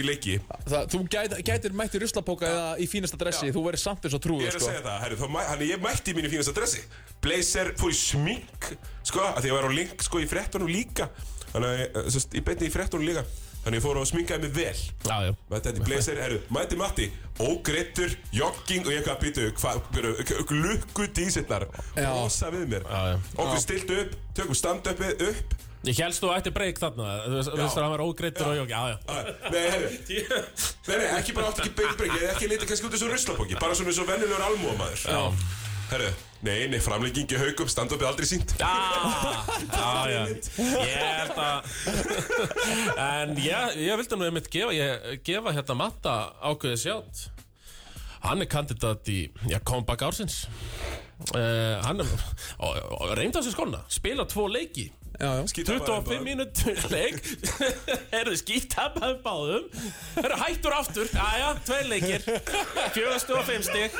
S1: í leiki
S3: það, þú gæt, gætir mætt í ruslapóka eða í fínasta dressi, þú verður samt eins og trúður
S1: ég
S3: sko.
S1: er að segja það, herri, þá, mæ- hann ég mætti í mínu fínasta dressi blazer, fór í smink sko, af því að ég var á link sko í frettunum líka þannig að ég, eh, sest, ég beinti í frettunum líka þannig að ég fór og sminkaði mig vel
S2: Já, já
S1: Mætti þetta í blazer, herru, mætti Matti Ógreittur, jogging og ég hvað býtu hvað- hvað- Glukku dísirnar
S3: Já.
S1: Rosa við mér
S2: já.
S1: Okkur stilt upp, tökum standupið upp
S2: Ég helst þú ætti breyk þarna Þú veist þú veist að hann var ógreittur og jók Já, já
S1: Æ, Nei, herru, nei, nei, ekki bara átt ekki beigbrengi Ekki lítið kannski út eins og ruslapóki Bara svona eins og vennilegur almúamæður Herru, nei, nei, framlengingi haukum Standupið aldrei sínt
S2: Já, já, Ah, já Ég held að En ég, ég vildi nú einmitt gefa, ég, gefa hérna matta ákveðið sjátt Hann er kandidat í, já, comeback ársins Uh, hann er og- og reyndi á sér skona spila tvo leiki
S3: Já, já,
S1: Skítapaður
S2: 25
S1: bara.
S2: mínút leik [LAUGHS] eru skítapaður báðum eru hættur aftur aðja, tveir leikir 45 stig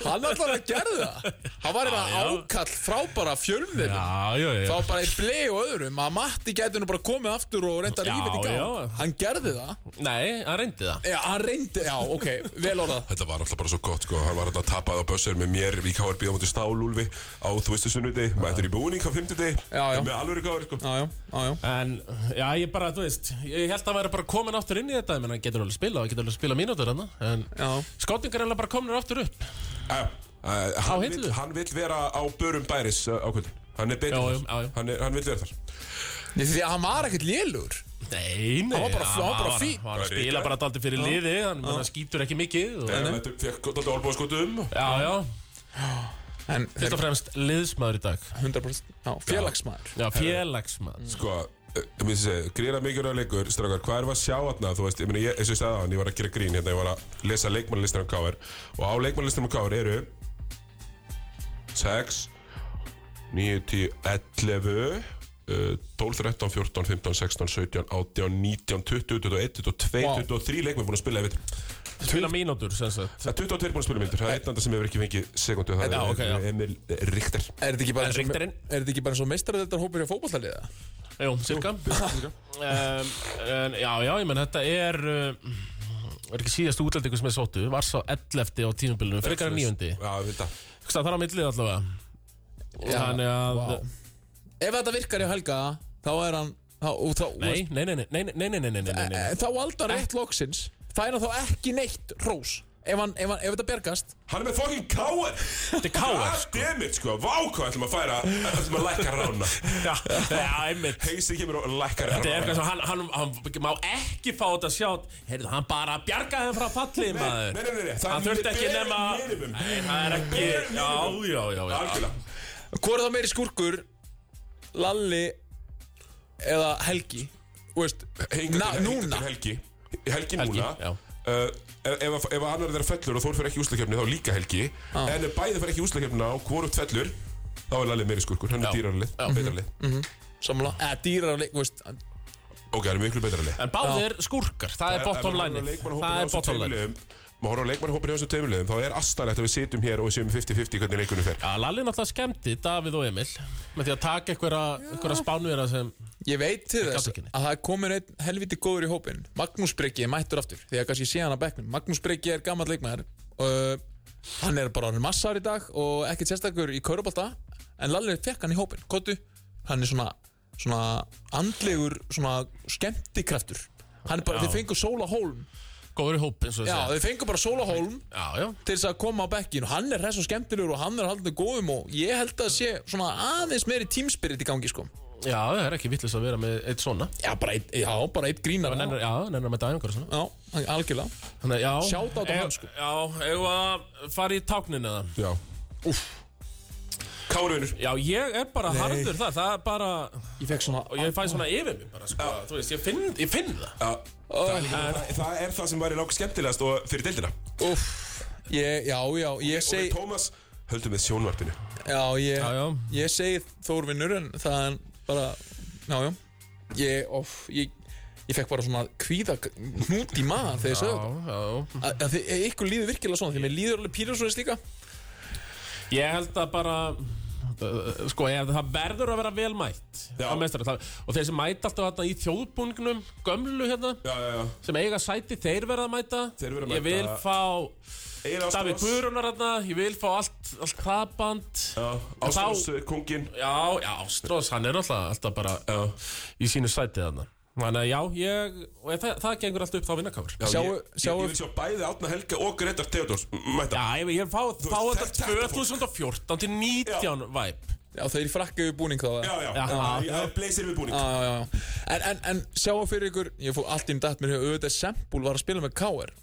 S3: hann allavega gerði það Hann var
S2: Já,
S3: eitthvað
S2: já.
S3: ákall frábara fjölmið
S2: já, já, já
S3: Það var bara í blei og öðrum að Matti gæti nú bara komið aftur og reynda
S2: Já,
S3: rífið í gang
S2: já.
S3: Hann gerði það
S2: nei, hann reyndi það
S3: Já, hann reyndi, já, ok, vel orðað
S1: Þetta var alltaf bara svo gott sko, hann var alltaf tapað á bössur með mér í KRB á mútu stálúlfi á þú veistu sunnuti, mættur í búning á fymtuti,
S3: Já, já.
S1: með alvöru KR sko.
S3: Já, já, já, já
S2: En, já, ég bara, þú veist, ég held að hann væri bara komin aftur inn í þetta, menn hann getur alveg spila, hann getur alveg spila mínútur hann, en
S3: Já.
S2: skotningar er alveg bara komin aftur upp.
S1: Já, já. Uh, Eh, hann,
S2: hillu?
S1: vill, hann vill vera á börum bæris uh, á kvöldin Hann er betur
S2: Já,
S1: þar.
S2: já, já, já.
S1: Hann, er, hann vill vera þar
S3: Nei, Því að hann var ekkert lélur
S2: Nei, nei.
S3: Hann var bara- hann var bara fín.
S2: Hann var að
S1: Bara
S2: spila
S1: ríkari.
S2: bara daldi fyrir liði, hann, hann skýtur ekki mikið. Og,
S1: Hann fekk alltaf olbúið skotu um
S2: já, já,
S3: En
S2: fyrst og fremst liðsmaður í dag.
S3: 100% já, félagsmaður
S2: Já, félagsmaður.
S1: Sko, uh, grína mikilvæg leikur, strákar, hvað er að sjá þarna? Þú veist, ég meni, ég, eins og ég sagði á hann, ég var að gera grín hérna, ég var að lesa leikmannlistan um KR Og á leikmannlistan um KR eru 6, 9, 10, 11 uh, 12, 13, 14, 15, 16, 17, 18, 19, 20, 21, 22,
S3: Vá.
S1: 23 leikmenn búin að spila yfir
S2: Spila mínútur, sem sagt.
S1: Það er 22 búin að spila myndur, það er einn andan sem hefur ekki fengið sekundu, það
S2: Já,
S1: er
S2: ok, já.
S1: Emil Ríkter.
S3: Er þetta ekki bara eins og-
S2: Reyktarinn.
S3: er þetta ekki bara eins og meistaradeldar hópur hjá fótballtaliða?
S2: Jú, cirka. um, en, já, já, ég menn, þetta er... Uh, er ekki síðast útlendingu sem er sóttu var sá 11. á tímabilinu, frekar en 9.
S1: Já, þetta.
S2: Það er á millið allavega Þannig að
S3: vá. Ef þetta virkar hjá Helga, þá er hann þá, og þá,
S2: Nei, nei, nei, nei, nei, nei, nei, nei, nei, nei, nei.
S3: þá aldar rétt loksins fær hann þá ekki neitt rós ef, hann, ef, hann, ef þetta bergast
S1: Hann er með fucking káar!
S2: Þetta er káar
S1: Goddammit, sko, vá hvað ætlum að færa, ætlum að lækka rána.
S2: Já, já, einmitt
S1: Heisi kemur og lækkar
S2: Þetta er
S1: rána.
S2: eitthvað sem hann, hann, hann má ekki fá þetta sjátt Heyrðu, hann bara bjargaði þeim frá falli maður
S1: nei, nei, nei, nei, það er
S2: Hann þurfti ekki
S1: bare
S2: nema
S1: minimum.
S2: Nei, það er ekki Já, já, já, já
S1: Algjörlega.
S3: Hvor er þá meiri skúrkur Lalli eða Helgi Þú veist,
S1: Hinga
S3: na,
S1: til, hinga
S3: núna
S1: til helgi. Helgi núna.
S2: já.
S1: Uh, ef, ef ef annar þeirra fellur og Þór fer ekki í úslakefni þá líka Helgi
S2: Ah.
S1: En ef bæði fer ekki í úslakefnina og hvorugt fellur Þá er Lalli meiri skurkur, hann er
S2: Já. Mhm.
S1: dýrarlið, betralið
S3: samla, eða dýrarleik þú veist, hann-
S1: Ok, hann er miklu betralið
S2: En báðir skúrkar, það er bottom line Það er bottom line
S1: Má horfa á leikmannhópin hjá þessum tveimilegum Þá er astanlegt að við sitjum hér og við séum 50-50 hvernig leikunum fer
S2: Já, Lalli náttúrulega skemmti Davíð og Emil með því að taka einhverja, einhverja spánvera sem
S3: ég veit til
S2: gat
S3: þess
S2: ekki neitt.
S3: að það er komin einn helviti góður í hópin Magnús Breki er mættur aftur því að kannski sé hann að bekknum Magnús Breki er gammal leikmaður uh, Hann er bara orðinn massar í dag og ekkert sérstakur í kaurabólta En Lalli fekk hann í hópin, kottu Hann er svona, svona andlegur, svona skemmtikraftur Hann er
S2: Já.
S3: bara, þeir fengu Sóla Hólm
S2: Góður í hóp, eins og
S3: Já,
S2: þessi
S3: þeir fengu bara Sóla Hólm
S2: Já, já
S3: til þess að koma á bekkin og hann er hress og skemmtilegur og hann er haldinu góðum og ég held að sé svona aðeins meiri tímspirit í gangi sko
S2: Já, það er ekki vitlis að vera með eitt svona
S3: Já, bara eitt, já, bara eitt grínar
S2: Nennar,
S3: Já,
S2: já, nennar með þetta æfingar og svona
S3: hann- algjörlega
S2: Þannig, að, já
S3: Shout out á
S2: Ef-
S3: hann, sko.
S2: Já, eigum við að fara í táknin eða
S1: Já Kárunur
S2: Já, ég er bara harður það Það er bara
S3: Ég fekk svona
S2: Og ég fæ svona yfir mig bara, sko Þú veist, ég finn, ég finn það
S1: Já Það, er líka, það, það er það sem væri langt skemmtilegast og fyrir deildina
S3: Uff ég, Já, já, ég
S1: Og við
S3: segi
S1: Tómas höldum við sjónvarpinu
S3: Já, ég,
S2: Já, já.
S3: ég segi Þórvinnur en það er bara Já, já Ég, of, ég, ég fekk bara svona kvíða hnút í maðan þegar ég
S2: Já,
S3: segi þetta
S2: já
S3: Að- að þið- Ykkur líður virkilega svona því mér líður alveg pýrur svo líka
S2: Ég held að bara uh, Sko, ég, það verður að vera vel mætt
S1: Já.
S2: á meistara. það, Og þeir sem mæta alltaf þarna í þjóðbúningnum Gömlu hérna
S1: Já, já, já
S2: Sem eiga sæti, þeir verða að mæta
S1: Þeir verða að
S2: Ég vil
S1: mæta.
S2: fá
S1: Egil
S2: Davíð
S1: Ástrós
S2: Guðrúnar hérna Ég vil fá allt, allt það band
S1: Já, Ástrós, þá... kongin
S2: Já, já, Ástrós, hann er alltaf, alltaf bara í sínu sætið hann Þannig að já, ég, og það, það gengur alltaf upp þá vinnakáfur Já,
S3: Sjáu-
S1: ég, ég,
S3: sjáu-
S1: ég vil sjá bæði Átna Helga og Gretar Theodors Mæta
S2: ég, ég fá, fá
S1: veist,
S2: þetta
S1: þetta-
S2: 2014 til 19 væp
S3: Já, þeir frakka yfir búning þá
S1: Já, já,
S2: Já.
S1: já, já Blazer við búning
S3: já, já, já. En, en, en sjáu fyrir ykkur Ég fór allt í um dætt mér hefur auðvitað Sempúl var að spila með KR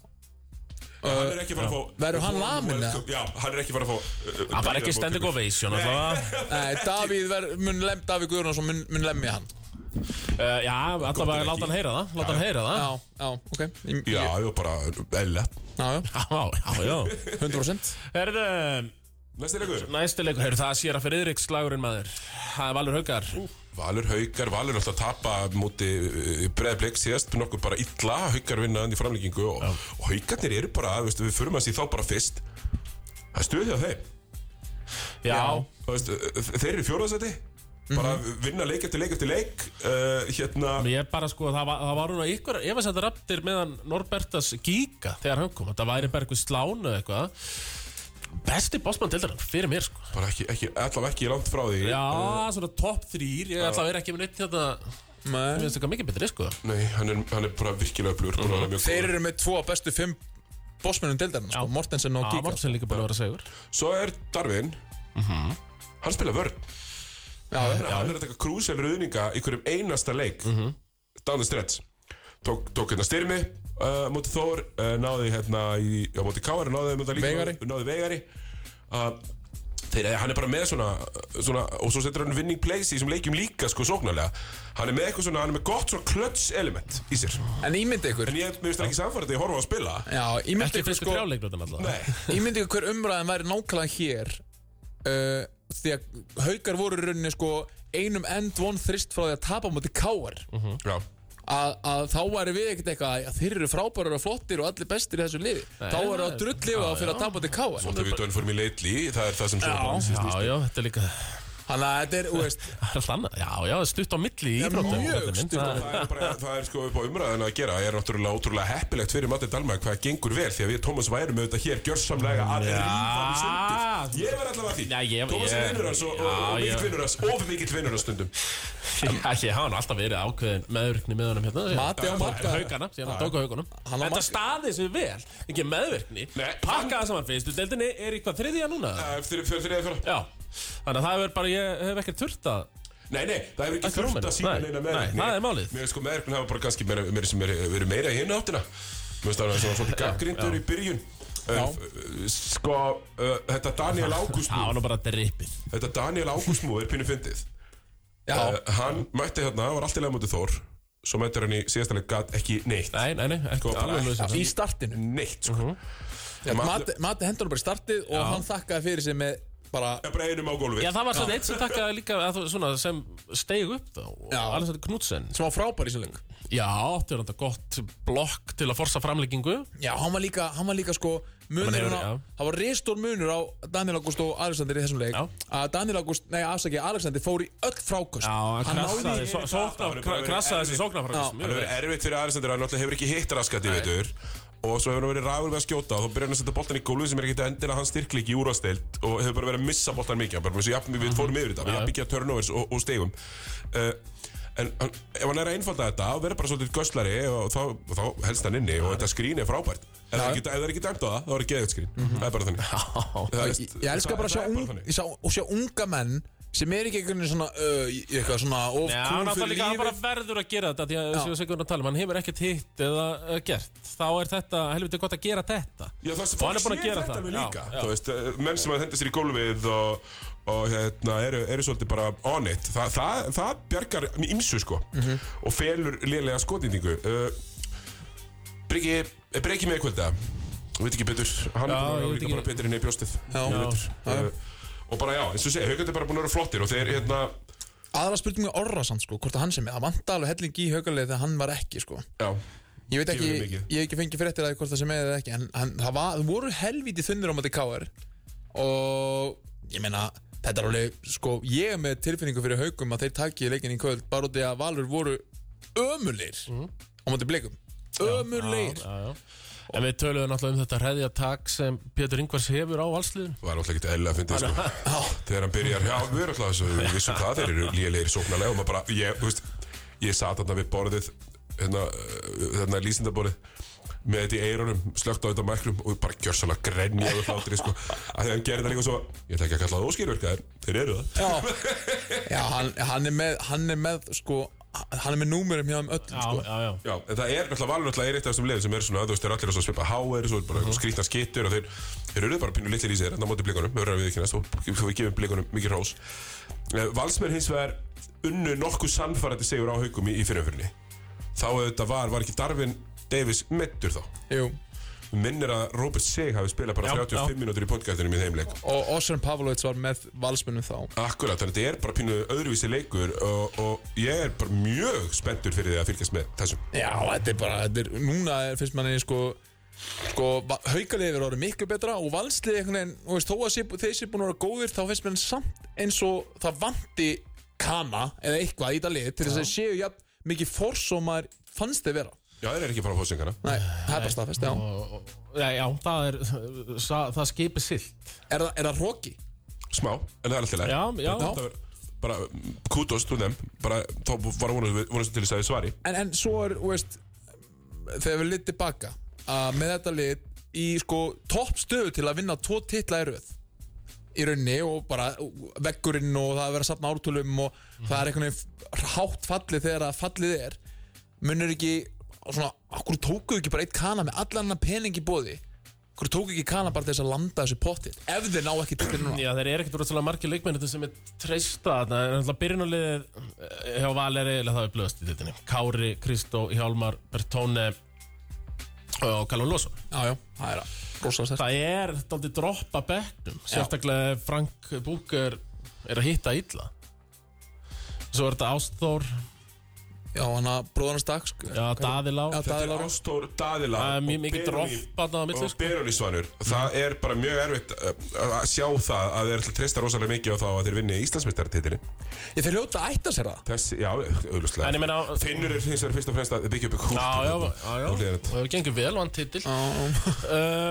S1: Hann er ekki fara að fá
S3: Verður hann laminn, eða?
S1: Já, hann er ekki fara að fá uh,
S2: Það var ekki standing ovation alltaf
S1: [LAUGHS]
S3: Nei, Davíð ver, mun lem, Davíð Guðrúnarsson mun, mun lemja hann
S2: uh, Já, alltaf
S1: en
S2: bara
S1: ekki.
S2: láta hann heyra það, láta hann heyra það
S3: Já, já, ok Ég-
S1: Já,
S3: ég-
S1: já, bara uh, Ella
S3: já, já
S2: Já, já, já
S3: 100%
S2: Herðu,
S1: Næstir leikur
S2: næsti leikur, herðu, það sér að fyrir Eirik slagurinn maður Það er Valur Haukar
S1: Valur Haukar, Valur er alltaf að tapa múti breðblik síðast nokkuð bara illa, Haukar vinna hann í framlíkingu og, og Haukarnir eru bara, veistu, við förum að því þá bara fyrst það er stuðið á þeim
S2: Já,
S1: Og veistu, eh, þeir eru fjóraðsæti bara vinna leik eftir leik eftir leik uh, hérna,
S2: Ég er bara sko, það var, það var hún að ykkur efasættar aftur meðan Norbertas gíka þegar hann kom, þetta væri bara eitthvað slánu eða eitthvað Besti bossmann til þarna, fyrir mér sko
S1: bara ekki, ekki allavega ekki langt frá því
S2: Já,
S3: Eh.
S2: svona topp þrýr, ég ætla að vera ekki með neitt þetta Mér
S3: Nei.
S2: finnst eitthvað mikið betri sko
S1: Nei, hann er, hann er bara virkilega upplur mm -hmm.
S3: Þeir eru með tvo af bestu fimm bossmennum deildarinn sko,
S2: Já.
S3: Mortensen og Kíka
S2: Amor sem líka búin að vera segur
S1: Svo er Darvin Hann spila vörn
S3: Mhm. Já, Mhm.
S1: hann, hann er að taka krús eða ruðninga í hverjum einasta leik Down the stretch Tók, tók hérna styrmi uh, Móti Þór uh, Náði hérna í Já, móti Káar Náði, móti líka,
S3: Veigari.
S1: náði Veigari uh, Þeir, hann er bara með svona, svona Og svo setur hann vinning place í þessum leikjum líka Sko sóknarlega Hann er með eitthvað svona Hann er með gott svona klöts element í sér
S3: En ímyndi ykkur
S1: En ég mér finnst það ekki samfærið Þegar ég horfa á að spila
S3: Já, ímyndi
S2: Ekki
S3: ykkur
S2: fyrstu
S3: sko
S2: sko... þrjáleiklutin alltaf
S1: Nei
S2: [LAUGHS]
S3: Ímyndi ykkur hver umræðan væri nákvæmlega hér uh, Því að haukar voru í rauninni sko Einum end one þrist frá því að tapa á móti KR
S2: Mhm.
S1: Já
S3: að, að þá væri við ekkert eitthvað að þeir eru frábærar og flottir og allir bestir í þessu lifi þá eru það drulllið á fyrir að tapa til káa
S1: Svo tökum við Dönform í leitli Það er það sem svona bransinn
S2: Já,
S1: snýst um.
S2: já, þetta er líka, [LAUGHS]
S3: þannig að þetta er, þú veist
S2: það er alltaf annað Já, já, stutt á milli í íþróttum
S3: mjög
S2: þetta er mynd,
S3: stutt á-
S2: það-
S1: það er, bara, það er sko upp á umræðan að gera er náttúrulega ótrúlega heppilegt fyrir Matti Dalmæk hvað gengur vel því að við Tómas værum auðvitað hér gjörsamlega að rífa hann í sundur ég verð allavega að því
S2: Já, ég-
S1: Tómas er
S2: ég-
S1: vinnur hans og, og,
S2: Já,
S1: og mikill
S2: ég-
S1: vinnur hans of mikill vinnur hans stundum
S2: Já, ég hafa hann alltaf verið ákveðin meðvirkni með honum hérna
S3: Mati á marka
S2: haugana, síðan hann tók á haugunum
S3: Hann á
S2: Þetta
S3: marga-
S2: staði sig vel, ekki meðvirkni
S1: Nei.
S2: Pakkaða saman fyrstu, deildinni er í hvað þriðja núna?
S1: eftir fyrir þriðið fyrir
S2: Já, þannig að það hefur bara, ég hef ekkert þurft að
S1: nei, nei, það hefur ekki
S2: Ekki
S1: þurft
S2: Róminn.
S1: að sína
S2: Nei,
S1: neina
S2: nei,
S1: meðvirkni
S2: það er málið.
S1: mér er sko meðvirkni hafa bara kannski meira- meira sem er- verið meira í hinn áttina mér finnst það að svona svolítið gaggrindur í byrjun Uh, sko, uh, þetta Daniel Ágúst
S2: Það var nú bara drippið
S1: Þetta Daniel Ágústmú er pínu fyndið uh, Hann mætti hérna, var alltaf leið mútið Þór Svo mættir hann í síðastanlega gat ekki neitt
S2: Nei, nei, nei, ekki
S1: Sko, bara
S2: alveg
S1: ekki.
S2: lausir
S3: í startinu
S1: Neitt, sko
S2: Mhm.
S1: uh
S3: Mati, Mati hendur hann bara í startið og hann þakkaði fyrir sig með bara
S1: Bara einum á gólfið
S2: Já, það var svona eitt sem takkaði líka að þú- svona, sem steig upp þá
S3: Já.
S2: Alessandr Knudsen
S3: sem var frábær í sem leik
S2: Já, átti hann þetta gott blokk til að forsa framleggingu
S3: já, hann var líka, hann var líka sko munur
S2: hefur-
S3: á,
S2: já.
S3: það var reystór munur á Daniel August og Alexander í þessum leik
S2: Já.
S3: að Daniel August, nei afsaki, Alexander fór í öll frákust hann náði í-
S1: Það hefur bara verið
S2: Krassaði þessi
S1: erfitt.
S2: sóknarfrækast
S1: Það hefur verið erfitt fyrir Alexander Hann náttúrulega hefur ekki hitt raskat í veitur og svo hefur hann verið ræður við að skjóta og þá byrjar hann að setja boltan í gólfið sem er ekkert endilega hans styrkleik í úrvasteild og hefur bara verið að missa boltan mikið, hann bara eins og jafn, við fórum yfir
S3: Mhm.
S1: þetta, við jafn byggja turnovers og, og stegum. Uh, en hann, ef hann er að einfalda þetta og verður bara svolítið göslari og þá, og þá helst hann inni og þetta skrín er frábært. Ef það er ekki- ef það er ekki dæmt á það, þá er það geðið skrín. Það er bara
S3: [LAUGHS]
S1: þannig. Það er-
S3: Mhm. Ég, ég elska
S1: það-
S3: bara að sjá,
S1: það er
S3: ung,
S1: þannig.
S3: sjá, og sjá unga menn sem er ekki einhvern veginn svona, uh, í- eitthvað svona of
S2: Já, hann
S3: cool
S2: alltaf
S3: fyrir
S2: líka, hann bara
S3: lífið
S2: verður að gera þetta því að sem við segjum að tala um, hann hefur ekkert hitt eða uh, gert, þá er þetta helviti gott að gera þetta
S1: Já, það
S2: Og hann er búinn
S1: sér
S2: að gera
S1: þetta
S2: það.
S1: alveg
S2: Já,
S1: líka,
S2: já.
S1: Þú veist, eh, menn sem að henda sér í gólfið og, og hérna, eru, eru svolítið bara on it Þa, það, það bjargar ímsu sko
S2: Mhm.
S1: og felur lélega skotindingu uh, Breki, eh, breki með eitthvað Ég veit ekki betur, hann
S2: Já,
S1: er búinn að
S2: ég
S1: vera
S2: veit
S1: líka
S2: ekki.
S1: bara betur inn í brjóstið
S3: Já.
S1: Ég veit,
S3: Já, já.
S1: eh, Og bara já, eins og sé, haugandi bara búin að vera flottir og þeir, hérna,
S3: Aðra spurning með Orra samt sko, hvort að hann sem er Það vanta alveg helling í haugalegi þegar hann var ekki sko
S1: já
S3: Ég veit ekki,
S1: Gefur mikið.
S3: ég hef ekki fengið fréttir að því hvort það sem er eða ekki En hann, það var, það voru helvítið þunnir á móti KR Og ég meina, þetta er alveg, sko Ég er með tilfinningu fyrir haugum að þeir taki leikin í kvöld Bara út í að Valur voru ömurleir á móti blikum Ömurleir
S2: já, já. En við töluðum náttúrulega um þetta hreðja tak sem Pétur Ingvars hefur á valsliðum
S1: var alltaf ekkert eðlilega að fyndi sko. þegar hann byrjar, já við erum alltaf þessu við vissum hvað þeir eru lélegir sóknarlega og maður bara, ég, þú veist, ég satt þarna við borðið hérna, uh, hérna lýsindaborðið með þetta í eyrunum, slögt á þetta mækrum og bara gjör svona grenja við hlátri sko. að því hann gerir það líka svo ég ætla ekki að kalla það óskýrverkaðir, þeir eru það
S3: Já, já hann, hann er með, hann er með, sko Hann er með númurum hjá um öll, sko
S2: já, já
S1: Já, en það er náttúrulega valur náttúrulega er eitt af þessum liðum sem er svona, þú veist, þeir eru allir að svipa háer, svo er
S2: Mhm.
S1: bara uh skrýtna skittur og þeir, þeir eru bara pínu litlir í sér, en það móti blikunum, við verðum við ekki næst og við gefum blikunum mikið hrós. Eh, Valsmenn hins vegar unnu nokkuð samfærandi segur á haugum í, í fyrirfyrinni. Þá auðvitað var, var ekki Darvin Davis meittur þá.
S3: Jú
S1: Minnir að Robert Sig hafi spilað bara
S2: Já,
S1: 35 mínútur í podcastinum í þeim leik.
S3: Og Osran Pavlovits var með valsmennum þá
S1: Akkurat, þannig að þetta er bara pínu öðruvísi leikur og, og ég er bara mjög spenntur fyrir því að fylgjast með þessum.
S3: Já, þetta er bara, þetta er, núna er, finnst manni sko sko, haukaliðið er orðið miklu betra og valsliðið einhvern veginn, þú veist, þó að sé, þeir sé búin að vera góðir, þá finnst manni samt eins og það vanti kana eða eitthvað í þetta lið til þess að þeir séu jafn mikið fórs og maður fannst þeir vera
S1: Já, þeir eru ekki að fara á fósingana.
S3: Nei, það er bara staðfest, já
S2: og, og, Já, já, það er sa, það skipi silt
S3: Er það, er það hróki?
S1: Smá, en það er alltaf leið.
S2: Já, já,
S1: þetta var bara kudos til þeim bara þá var vonast vonast til þess að þið svari
S3: En, en svo er, þú veist þegar við litið baka að með þetta lit í sko topp stöðu til að vinna tvo titla í röð í rauninni og bara veggurinn og það að vera að safna ártölum og
S1: Mhm.
S3: það er einhvern veginn hátt fallið þegar að fallið er munur ekki svona, okkur tókuðu ekki bara eitt kana með allan annan pening í bóði okkur tókuðu ekki kana bara til þess að landa þessu pottit ef þeir ná ekki til núna
S2: Já, þeir eru ekkert rosalega margir leikmennir sem er treysta þarna, en alltaf byrjunulegið eh, hjá Valeri, eða það er blöðast í dittinni Kári, Kristó, Hjálmar, Bertone og Kalun Lóso
S3: já, já, það er rosalega stærst
S2: Það er daldi dropp að bekknum Sérstaklega ef Frank Búker er að hitta illa Svo er þetta Ástþór Já,
S3: já, hann að bróðan stakk sko.
S2: Daði Lá
S3: Já,
S1: Þetta
S3: Daði
S1: er
S3: Lár.
S1: Ástór, Daðila
S2: Það er mjög
S1: og
S2: mikið
S1: Benóný-
S2: dropp þarna á milli,
S1: og
S2: sko. Mhm.
S1: Beronisvanur það er bara mjög erfitt uh, að sjá það að þeir ætla að treysta rosalega mikið á þá að þeir vinni Íslandsmeistartitilin
S3: ég þeir hljóta að ætta sér það
S1: þessi, já,
S2: En ég
S1: auðvitað
S2: meina-
S1: Finnur er hins vegar fyrst og fremst að byggja upp í kúl
S2: Já, já, já, já. Og það gengur vel, vann titil uh,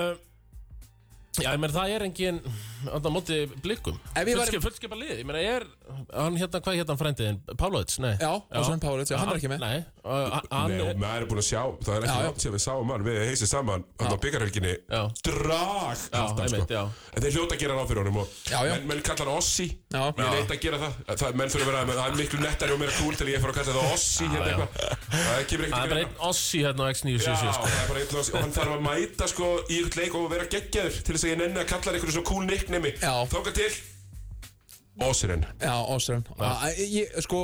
S2: Já, ég meina það er engin Þannig á móti blikum
S3: Ef ég væri-
S2: Fullskip, fullskipa lið, ég meina er Hann hérna, hvað hérna frændiðin? Pavlovits, nei
S3: Já, Ásveinn Pavlovits, já, hann er ekki með.
S2: Nei, uh, hann
S1: Nei, og
S2: er
S1: maður er búin að sjá, það er ekki
S3: Já, já.
S1: langt sem við sáum hann, við heysið saman hann á byggarhelginni,
S2: Já.
S1: drag alltaf,
S2: einmitt, já.
S1: en þeir hljóta að gera ráð fyrir honum og
S3: Já, já.
S1: menn, menn kalla hann Ossi
S3: Já.
S1: ég
S3: Já.
S1: leita að gera það, það menn þurfa að vera menn, það er miklu nettari og meira cool til ég fara að kalla það Ossi hérna
S2: já.
S1: eitthvað, það kemur
S2: Það er
S1: ekkert
S2: bara
S1: greina.
S2: einn ossi hérna á
S1: Já,
S2: X977 sko.
S1: það er bara einn Ossi og hann þarf að mæta sko í ykkur leik og vera geggjaður til þess að ég nenni að kalla hann einhverju svona cool nicknemi
S3: Já.
S1: þóka til Ossirinn
S3: Já, Ásrún ég, Sko,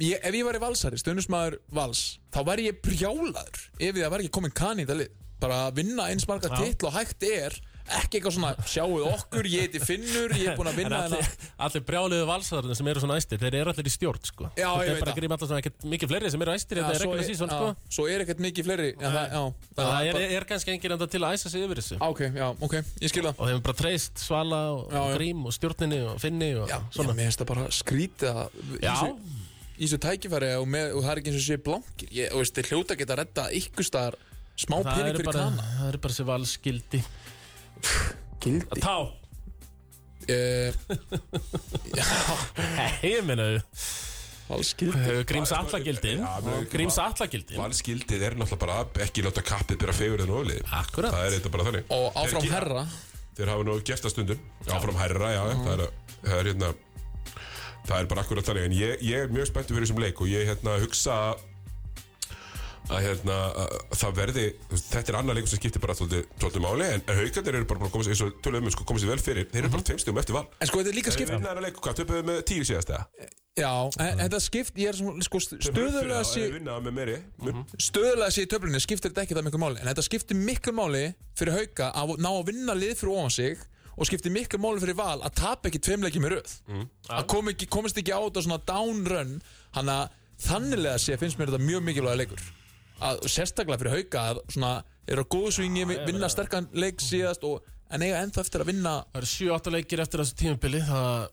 S3: ég, ef ég væri valsari, stundismæður vals Þá væri ég brjálaður Ef það væri ekki komin kann í þetta lið Bara að vinna eins marga titl og hægt er Ekki eitthvað svona, sjáuð okkur, ég heiti Finnur Ég er búinn
S2: En
S3: að vinna
S2: allir,
S3: þennan
S2: allir brjáliðu valsarðarnir sem eru svona æstir, þeir eru allir í stjórn sko.
S3: Já,
S2: Þetta
S3: ég
S2: er
S3: veit
S2: bara
S3: það.
S2: að gríma allar sem ekkert mikið fleiri sem eru æstir þetta er
S3: svo
S2: ekki
S3: er-
S2: að síðan
S3: já,
S2: sko.
S3: Svo er ekkert mikið fleiri já, það, já,
S2: Það, það er,
S3: bara- Ah,
S2: er kannski enginn enda til að æsa sig yfir þessu
S3: Ok, já, ok, ég skil það
S2: og þeim er bara treyst Svala og,
S3: Já,
S2: og
S3: já.
S2: Grím og stjórninni og Finni og
S3: Já, já,
S2: svona
S3: mér finnst það bara skrítið að í
S2: Já.
S3: þessu- Í þessu tækifæri og, með, og það er ekki eins og sé blankir Ég, og veist, þeir hljóta geta að redda ykkur staðar Smá
S2: Það
S3: pening
S2: eru
S3: fyrir
S2: bara,
S3: kana
S2: það eru bara sér valskildi
S3: Gildi
S2: Tá,
S3: uh,
S2: hei, ég meina
S3: Valskildi
S2: Gríms allagildi
S1: Já, men-
S2: Gríms allagildi
S1: Valskildið er náttúrulega bara að ekki láta kappið byrja fegurinn og öflið
S2: Akkurat
S1: Það er þetta bara þannig
S3: Og áfram
S1: Þeir-
S3: herra
S1: Þeir hafa nú gert það stundum Áfram herra, já, það, er, það er hérna Það er bara akkurat þannig En ég, ég er mjög spenntur fyrir þessum leik Og ég hérna hugsa að- að hérna að það verði þú veist, Þetta er annar leikum sem skiptir bara svolítið, svolítið máli En haugarnir eru bara búin að koma sér eins og tölum um sko, Koma sér vel fyrir, þeir eru bara tveim stíum eftir val
S3: En sko, þetta er líka
S1: Þeir
S3: skipt
S1: vinna þennan leik, hvað, töpuðu með tíu síðast eða?
S3: Já, en þetta skipt Ég er svona, sko, stöðulega sé
S1: Þeir vinna með meiri
S3: Stöðulega sé í töflunni skiptir þetta ekki það miklu máli En þetta skiptir miklu máli fyrir hauka Að ná að vinna lið fyrir ofan sig Og skiptir miklu máli fyrir val Að tapa ekki tveimleiki með röð Að kom ekki, komast ekki á þetta svona down run Þannig að þannilega sé finnst mér þetta mjög mikilvæga leikur að, Sérstaklega fyrir hauka að svona Eru á góðu svingi, vinna sterkan leik síðast og, En eiga ennþá eftir að vinna
S2: Það eru 7-8 leikir eftir þessu tímabili Það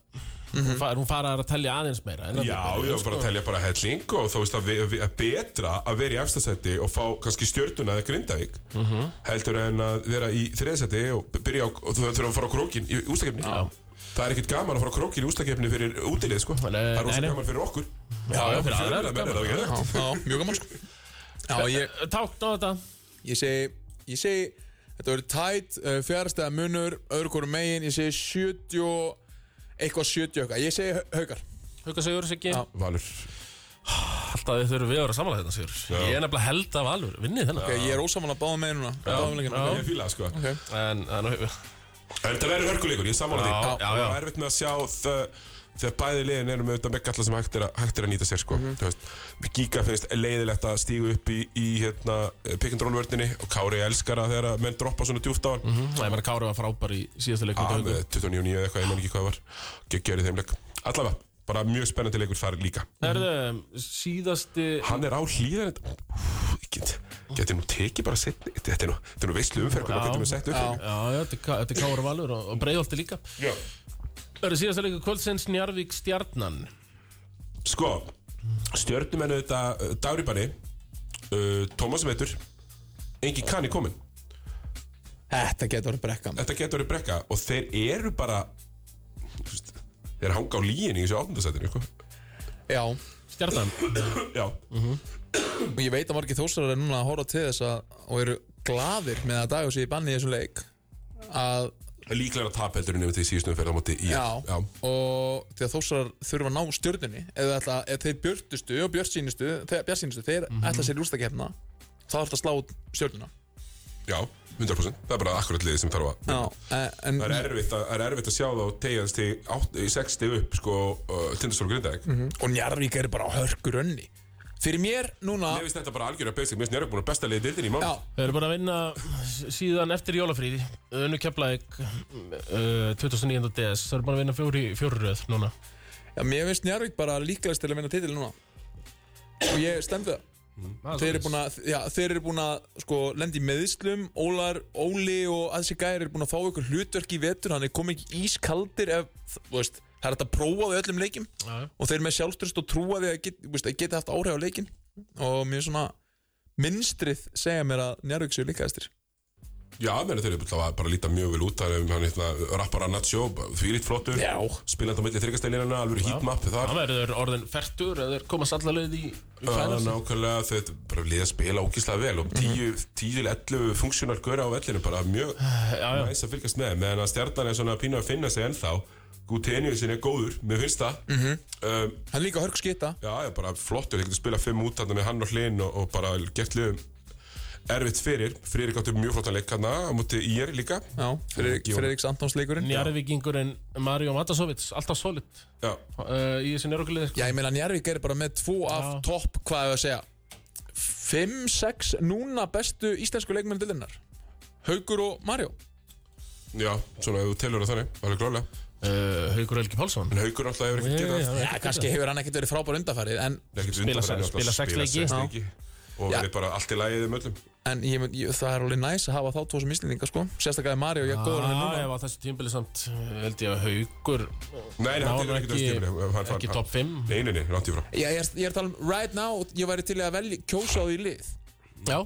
S3: Mhm.
S2: mm -hmm. hún fara að telja aðeins meira en
S1: Já,
S2: að-
S1: ég var bara að telja bara helling og þá veist að, vi- vi- að betra að vera í efstasæti og fá kannski stjörnuna eða grindavík
S2: Mhm.
S1: heldur en að vera í þriðasæti og b- byrja á, og þú þurfum að fara á krókin í ústakefni Það er ekkert gaman að fara á krókin í ústakefni fyrir útilið sko
S2: Nei,
S1: Það er rosa
S2: nei, nei.
S1: gaman fyrir okkur
S2: Já, já, fyrir aðra er
S1: menn er það ekki
S3: Já,
S1: hægt
S3: já mjög gaman sko Já, ég,
S2: Tákn á þetta
S3: Ég segi, ég segi Þetta verður tætt, uh, fjárstæða munur Öðru hverju megin, ég segi 70 og- Eitthvað 70 eitthvað Ég segi hau- haukar
S2: Hauka Sigur Siggi
S3: Já.
S1: Valur
S2: Alltaf þið þurfum við að vera samanlega þetta Sigur
S1: Já.
S2: Ég er nefnilega held af alveg Vinnið þennan
S3: okay, Ég er ósaman að báða megin núna Báðum leikina,
S2: Já.
S3: ok.
S1: Ég fíla það sko
S3: Ok.
S2: En, en
S1: En það verður hörkuleikur, ég samála því
S2: Já, já, já.
S1: Það er erfitt með að sjá þ- þegar bæði liðin erum með auðvitað með galla sem hægt er að, hægt er að nýta sér sko.
S2: Mhm.
S1: mm -hmm. Gíka finnst leiðilegt að stígu upp í, í hérna, pickandrólvörninni og Kári elskar að þegar að menn droppa svona djúft á hann mm
S2: Nei, maður Kári var frábær í síðasta leikum
S1: -hmm.
S2: Hauka.
S1: með 29 eða eitthvað, ég menn ekki hvað það var geggjör í þeim leik Allavega, bara mjög spennandi leikur þar líka
S2: Herðu, síðasti
S1: Hann er á hlýðan Getur nú tekið bara setni Þetta er nú, þetta er nú veistlu umferð hvað
S2: Já.
S1: maður getur nú sett upp
S3: Já.
S1: hérna.
S2: Já, já, þetta er Ká- þetta er Kári Valur og, og Breiðholti líka
S1: Já.
S2: Hörðu, síðasta leikum kvöldsins Njarvík Stjarnan
S1: Sko, stjörnumennu þetta uh, Dagri Banni uh, Tómas Veitur Engi kanni komin
S3: Þetta getur verið brekka maður.
S1: Þetta getur verið brekka og þeir eru bara þú veist, Þeir hanga á líginni í þessu áttundasætinu sko.
S3: Já,
S2: Stjarnan
S1: Já,
S3: og ég veit að margir þósarar er núna að horfa til þess að Og eru gladir með að dagur sér í banni í þessum leik Að,
S1: líklega að tapa heldur en nefnir til síðustum fyrir á móti í
S3: já,
S1: já.
S3: Og því að þósarar þurfa að ná stjörnunni Eða ætla, ef þeir björtustu og björtsýnustu Þeir, björtsýnustu, þeir ætla sér úrstakefna Þá ætla að slá stjörnuna
S1: já, 100% Það er bara akkurat liðið sem þarf að
S3: Já, en
S1: Það er erfitt að, það er erfitt að sjá þá tegjast í, átt- í 60 upp sko, uh, Tindastól Grindæk mm -hmm.
S3: og Njarvík er bara á hörkur önni Mhm. fyrir mér núna
S1: Mér finnst þetta bara algjörða basic Mér finnst Njörg búin að besta liðið dildin í
S3: já,
S1: mánu
S2: Við erum bara að vinna s- síðan eftir jólafríði Önnu Keflæk uh, 2009. DS Það eru bara að vinna fjóri, fjóri röð núna
S3: já, mér finnst Njarvík bara líklegast til að vinna titil núna og ég stend við það þeir eru búin að, já, þeir eru búin að sko, lendi í meðislum, Ólar, Óli og að þessi gæri eru búin að fá ykkur hlutverk í vetur hann er komið í ískaldir ef, þú veist, það er hægt að prófa þau öllum leikjum
S2: Já, já.
S3: og þeir eru með sjálfstyrst og trúa því að get, þú veist, að geta haft áhrif á leikin og mér svona minnstrið segja mér að Njarvík séu líklegastir
S1: Já, meni, þeir eru bara, bara að líta mjög vel út Það er hann hérna, rappara Nacho, því lít flottur
S3: Já.
S1: Spilandi á milli þryggastælinana, alveg heatmap þar
S2: Það verður orðin fertur eða þeir komast allar leið í í
S1: Það er
S2: finals.
S1: nákvæmlega, þeir bara liða að spila ógíslega vel og 10-11 funksjónar göra á vellinu, bara mjög
S2: Já, já.
S1: næs að fylgjast með meðan að stjarnan er svona pínu að finna sig ennþá Gutenius er góður, mér finnst það um,
S3: hann er líka hörg skita
S1: Já, ég er bara flottur, þeir getur spila fimm út þarna með hann og hlinn og, og bara gert liðum erfitt fyrir, Friðrik átti mjög flottan leik hann á móti í er líka
S3: já, Fredrik,
S1: Gíon.
S3: Fredriks Antonsleikurinn
S2: Njarvíkingurinn Mario Matasovits Alltaf solid
S1: Já,
S2: uh, í þessu njörgulegð
S3: Já, ég meina Njarvík er bara með tvo af
S2: Já.
S3: topp, hvað hefur að segja 5-6 núna bestu íslensku leikmenn dillinnar Haugur og Mario
S1: já, svona ef þú telur það þannig, alveg glálega
S2: uh, Haugur Helgi Pálsson
S1: En Haugur alltaf hefur ekkert getað
S2: Já,
S1: það.
S2: já,
S3: Já, kannski hefur hann ekkert verið frábær undanfarið en,
S1: Nei, ekkert
S2: Spila
S1: undanfarið,
S2: sex-
S1: hann
S2: spila
S1: alltaf
S2: sex leiki.
S1: spila sex
S3: Já.
S1: leiki Og
S3: Já.
S1: verið bara allt í lagið um öllum
S3: en ég, mun- ég, það er alveg næs að hafa þá tvo sem íslendinga sko Sérstaklega er Mario, ég er góður hann er
S2: Ah, Já,
S3: núna
S2: ég var þessu tímbili samt eh, held ég að Haugur
S1: Nei, nei, hann er
S2: Ná, hann
S1: ekkert
S2: ekki-
S1: að stífni
S2: ekki topp fimm.
S1: Nei, nei, nei, rátt í frá
S3: Já, ég, er, ég er að tala um right now, ég væri til í að velja kjósa á því lið
S2: Já